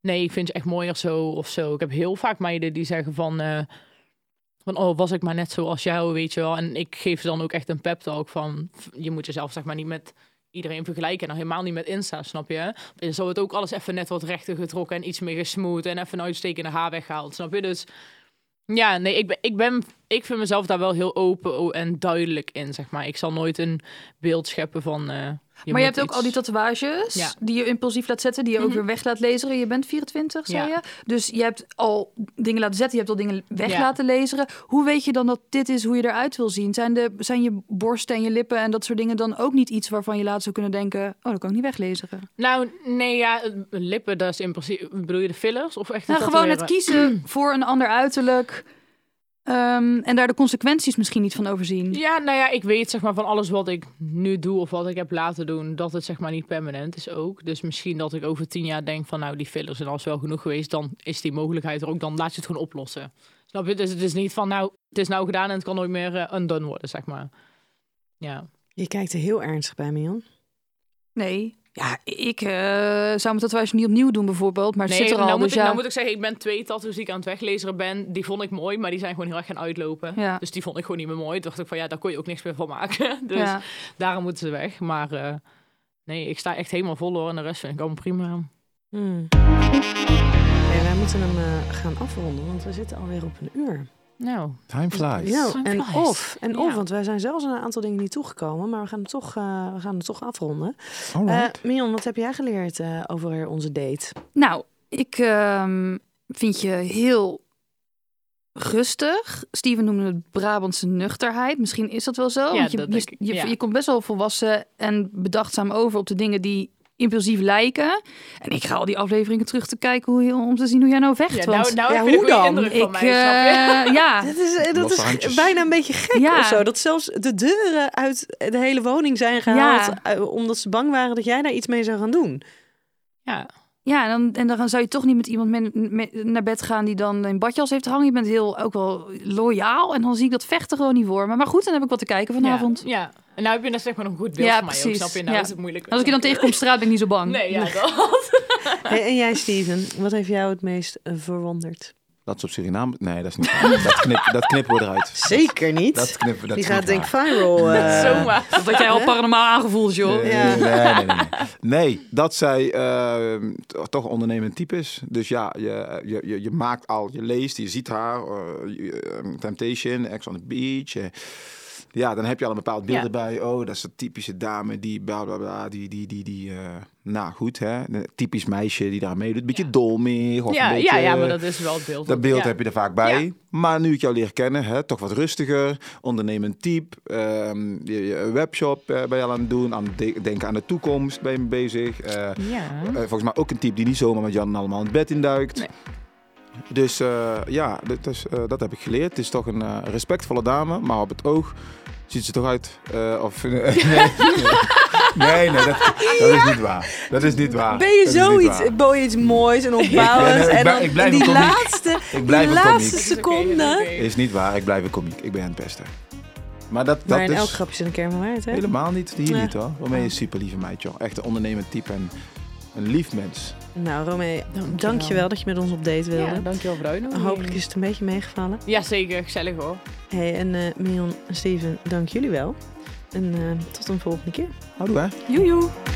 [SPEAKER 2] Nee, ik vind je echt mooier zo of zo. Ik heb heel vaak meiden die zeggen van... eh, van, oh, was ik maar net zoals jou, weet je wel. En ik geef ze dan ook echt een pep talk van... f- Je moet jezelf, zeg maar, niet met iedereen vergelijken. En dan helemaal niet met Insta, snap je? En zo wordt ook alles even net wat rechter getrokken en iets meer gesmoed en even een uitstekende haar weggehaald, snap je? Dus ja, nee, ik ben, ik ben, ik vind mezelf daar wel heel open o- en duidelijk in, zeg maar. Ik zal nooit een beeld scheppen van. eh,
[SPEAKER 5] maar je
[SPEAKER 2] moet
[SPEAKER 5] hebt ook
[SPEAKER 2] iets-
[SPEAKER 5] al die tatoeages
[SPEAKER 2] Ja. Mhm.
[SPEAKER 5] die je impulsief laat zetten, die je ook weer weg laat lezen. Je bent 24, zei
[SPEAKER 2] Ja.
[SPEAKER 5] je. Dus je hebt al dingen laten zetten, je hebt al dingen weg
[SPEAKER 2] Ja.
[SPEAKER 5] laten lezen. Hoe weet je dan dat dit is hoe je eruit wil zien? Zijn, de, zijn je borsten en je lippen en dat soort dingen dan ook niet iets waarvan je later zou kunnen denken, oh, dat kan ik niet weglezen?
[SPEAKER 2] Nou, nee, ja, eh, lippen, dat is in principe. Bedoel je de fillers of echt? de
[SPEAKER 5] Nou, gewoon het
[SPEAKER 2] tatoeëren?
[SPEAKER 5] kiezen voor een ander uiterlijk ehm, en daar de consequenties misschien niet van overzien.
[SPEAKER 2] Ja, nou ja, ik weet zeg maar van alles wat ik nu doe of wat ik heb laten doen, dat het zeg maar niet permanent is ook. Dus misschien dat ik over tien jaar denk van nou, die fillers zijn als wel genoeg geweest, dan is die mogelijkheid er ook, dan laat je het gewoon oplossen. Snap je? Dus het is niet van nou, het is nou gedaan en het kan nooit meer eh, undone worden, zeg maar. Ja.
[SPEAKER 3] Je kijkt er heel ernstig bij, Mian.
[SPEAKER 5] Nee. Ja, ik eh, zou mijn tatoeage niet opnieuw doen bijvoorbeeld, maar het zit er al.
[SPEAKER 2] nou, moet
[SPEAKER 5] dus
[SPEAKER 2] ik,
[SPEAKER 5] ja.
[SPEAKER 2] nou moet ik zeggen, ik ben twee tattoos die ik aan het weglezen ben. Die vond ik mooi, maar die zijn gewoon heel erg gaan uitlopen.
[SPEAKER 5] Ja.
[SPEAKER 2] Dus die vond ik gewoon niet meer mooi. Toen dacht ik van, ja, daar kon je ook niks meer van maken. Dus
[SPEAKER 5] Ja.
[SPEAKER 2] daarom moeten ze weg. Maar eh, nee, ik sta echt helemaal vol hoor. En de rest vind ik allemaal prima.
[SPEAKER 3] Hmm. Nee, wij moeten hem eh, gaan afronden, want we zitten alweer op een uur.
[SPEAKER 2] Nou,
[SPEAKER 4] Time flies.
[SPEAKER 3] Ja,
[SPEAKER 2] Time
[SPEAKER 3] en
[SPEAKER 2] flies.
[SPEAKER 3] of, en of,
[SPEAKER 2] Ja.
[SPEAKER 3] want wij zijn zelfs aan een aantal dingen niet toegekomen, maar we gaan hem toch, eh, we gaan hem toch afronden. Eh,
[SPEAKER 4] Alright.
[SPEAKER 3] Mion, wat heb jij geleerd eh, over onze date?
[SPEAKER 5] Nou, ik ehm, vind je heel rustig. Steven noemde het Brabantse nuchterheid. Misschien is dat wel zo.
[SPEAKER 2] Ja,
[SPEAKER 5] want je,
[SPEAKER 2] dat
[SPEAKER 5] je,
[SPEAKER 2] denk ik,
[SPEAKER 5] je,
[SPEAKER 2] ja.
[SPEAKER 5] je komt best wel volwassen en bedachtzaam over op de dingen die impulsief lijken. En ik ga al die afleveringen terug te kijken hoe je, om te zien hoe jij nou vecht.
[SPEAKER 2] ja, nou,
[SPEAKER 5] want
[SPEAKER 2] nou
[SPEAKER 3] ja,
[SPEAKER 2] heb je een
[SPEAKER 3] hoe
[SPEAKER 2] goede
[SPEAKER 3] dan?
[SPEAKER 2] indruk van
[SPEAKER 5] ik,
[SPEAKER 2] mij, snap je?
[SPEAKER 5] eh, ja,
[SPEAKER 3] Dat is, eh, dat
[SPEAKER 4] Losse
[SPEAKER 3] is
[SPEAKER 4] handjes.
[SPEAKER 3] bijna een beetje gek
[SPEAKER 5] Ja.
[SPEAKER 3] of zo. Dat zelfs de deuren uit de hele woning zijn gehaald... eh, omdat ze bang waren dat jij daar iets mee zou gaan doen.
[SPEAKER 2] Ja,
[SPEAKER 5] Ja, en dan, en dan zou je toch niet met iemand men- me- naar bed gaan die dan een badjas heeft hangen. Je bent heel ook wel loyaal. En dan zie ik dat vechten gewoon niet voor me. Maar goed, dan heb ik wat te kijken vanavond.
[SPEAKER 2] Ja, ja. En nou heb je net zeg maar een goed beeld
[SPEAKER 5] Ja,
[SPEAKER 2] van mij ook,
[SPEAKER 5] precies.
[SPEAKER 2] snap je? Nou
[SPEAKER 5] Ja.
[SPEAKER 2] is het moeilijk.
[SPEAKER 5] Als ik je dan tegenkom op straat, ben ik niet zo bang.
[SPEAKER 2] Nee, ja, dat.
[SPEAKER 3] Hey, en jij, Steven, wat heeft jou het meest eh, verwonderd?
[SPEAKER 4] Dat is op Suriname. Nee, dat is niet waar. dat, knip, dat knippen we eruit.
[SPEAKER 3] Zeker niet.
[SPEAKER 4] Dat knippen we dat
[SPEAKER 3] Die
[SPEAKER 4] is
[SPEAKER 3] gaat
[SPEAKER 4] niet
[SPEAKER 3] denk ik
[SPEAKER 4] waar.
[SPEAKER 3] viral. eh.
[SPEAKER 2] Zomaar.
[SPEAKER 5] Dat jij al paranormaal aangevoeld, joh.
[SPEAKER 4] Nee,
[SPEAKER 3] Ja.
[SPEAKER 4] nee, nee, nee, nee. Nee, dat zij eh, t- toch ondernemend type is. Dus ja, je, je, je, je maakt al, je leest, je ziet haar. eh, je- eh, Temptation, Ex on the Beach. eh. ja, dan heb je al een bepaald beeld
[SPEAKER 2] Ja.
[SPEAKER 4] erbij. Oh, dat is de typische dame die bla bla bla. Die, die, die, die. eh, nou goed, hè. Een typisch meisje die daar meedoet. Beetje dolmig. Of
[SPEAKER 2] Ja,
[SPEAKER 4] een beetje, eh,
[SPEAKER 2] ja, ja, maar dat is wel het beeld.
[SPEAKER 4] Dat beeld
[SPEAKER 2] ja.
[SPEAKER 4] heb je er vaak bij.
[SPEAKER 2] Ja.
[SPEAKER 4] Maar nu ik jou leer kennen, hè, toch wat rustiger, ondernemend type. ehm, je, je een webshop eh, ben je al aan het doen, aan het de- denken aan de toekomst ben je mee bezig. Eh,
[SPEAKER 2] Ja.
[SPEAKER 4] eh, volgens mij ook een type die niet zomaar met Jan en allemaal het bed induikt.
[SPEAKER 2] Nee.
[SPEAKER 4] Dus eh, ja, dat, is, eh, dat heb ik geleerd. Het is toch een eh, respectvolle dame, maar op het oog ziet ze toch uit. eh, of, nee, nee, nee, nee, dat, dat is niet waar. Dat is niet waar.
[SPEAKER 3] Ben je
[SPEAKER 4] Dat is niet waar.
[SPEAKER 3] zoiets, bouw je iets moois en
[SPEAKER 4] Ja,
[SPEAKER 3] opbouwends
[SPEAKER 4] nee, ik
[SPEAKER 3] en
[SPEAKER 4] blij-
[SPEAKER 3] dan
[SPEAKER 4] ik blijf
[SPEAKER 3] in die
[SPEAKER 4] een komiek.
[SPEAKER 3] laatste,
[SPEAKER 4] Ik blijf
[SPEAKER 3] die
[SPEAKER 4] een komiek.
[SPEAKER 3] laatste
[SPEAKER 4] Is
[SPEAKER 2] Is oké, is
[SPEAKER 3] seconde.
[SPEAKER 2] oké.
[SPEAKER 4] Is niet waar, ik blijf een komiek. Ik ben het beste. Maar dat, dat
[SPEAKER 3] Maar in
[SPEAKER 4] is
[SPEAKER 3] elk Oh. grapje zit een kern van waarheid, hè?
[SPEAKER 4] helemaal niet. Hier
[SPEAKER 3] Nee.
[SPEAKER 4] niet hoor. Waarmee is een super lieve meid, joh. Echt een ondernemend type en een lief mens.
[SPEAKER 3] Nou, Romee,
[SPEAKER 2] Dankjewel.
[SPEAKER 3] dankjewel dat je met ons op date wilde.
[SPEAKER 2] Ja, dankjewel voor de uitnodiging.
[SPEAKER 3] Hopelijk is het een beetje meegevallen.
[SPEAKER 2] Ja, zeker. Gezellig hoor.
[SPEAKER 3] Hey, en eh Mion en Steven, dank jullie wel. En eh, tot een volgende keer.
[SPEAKER 4] Houdoe hè.
[SPEAKER 5] Joejoe.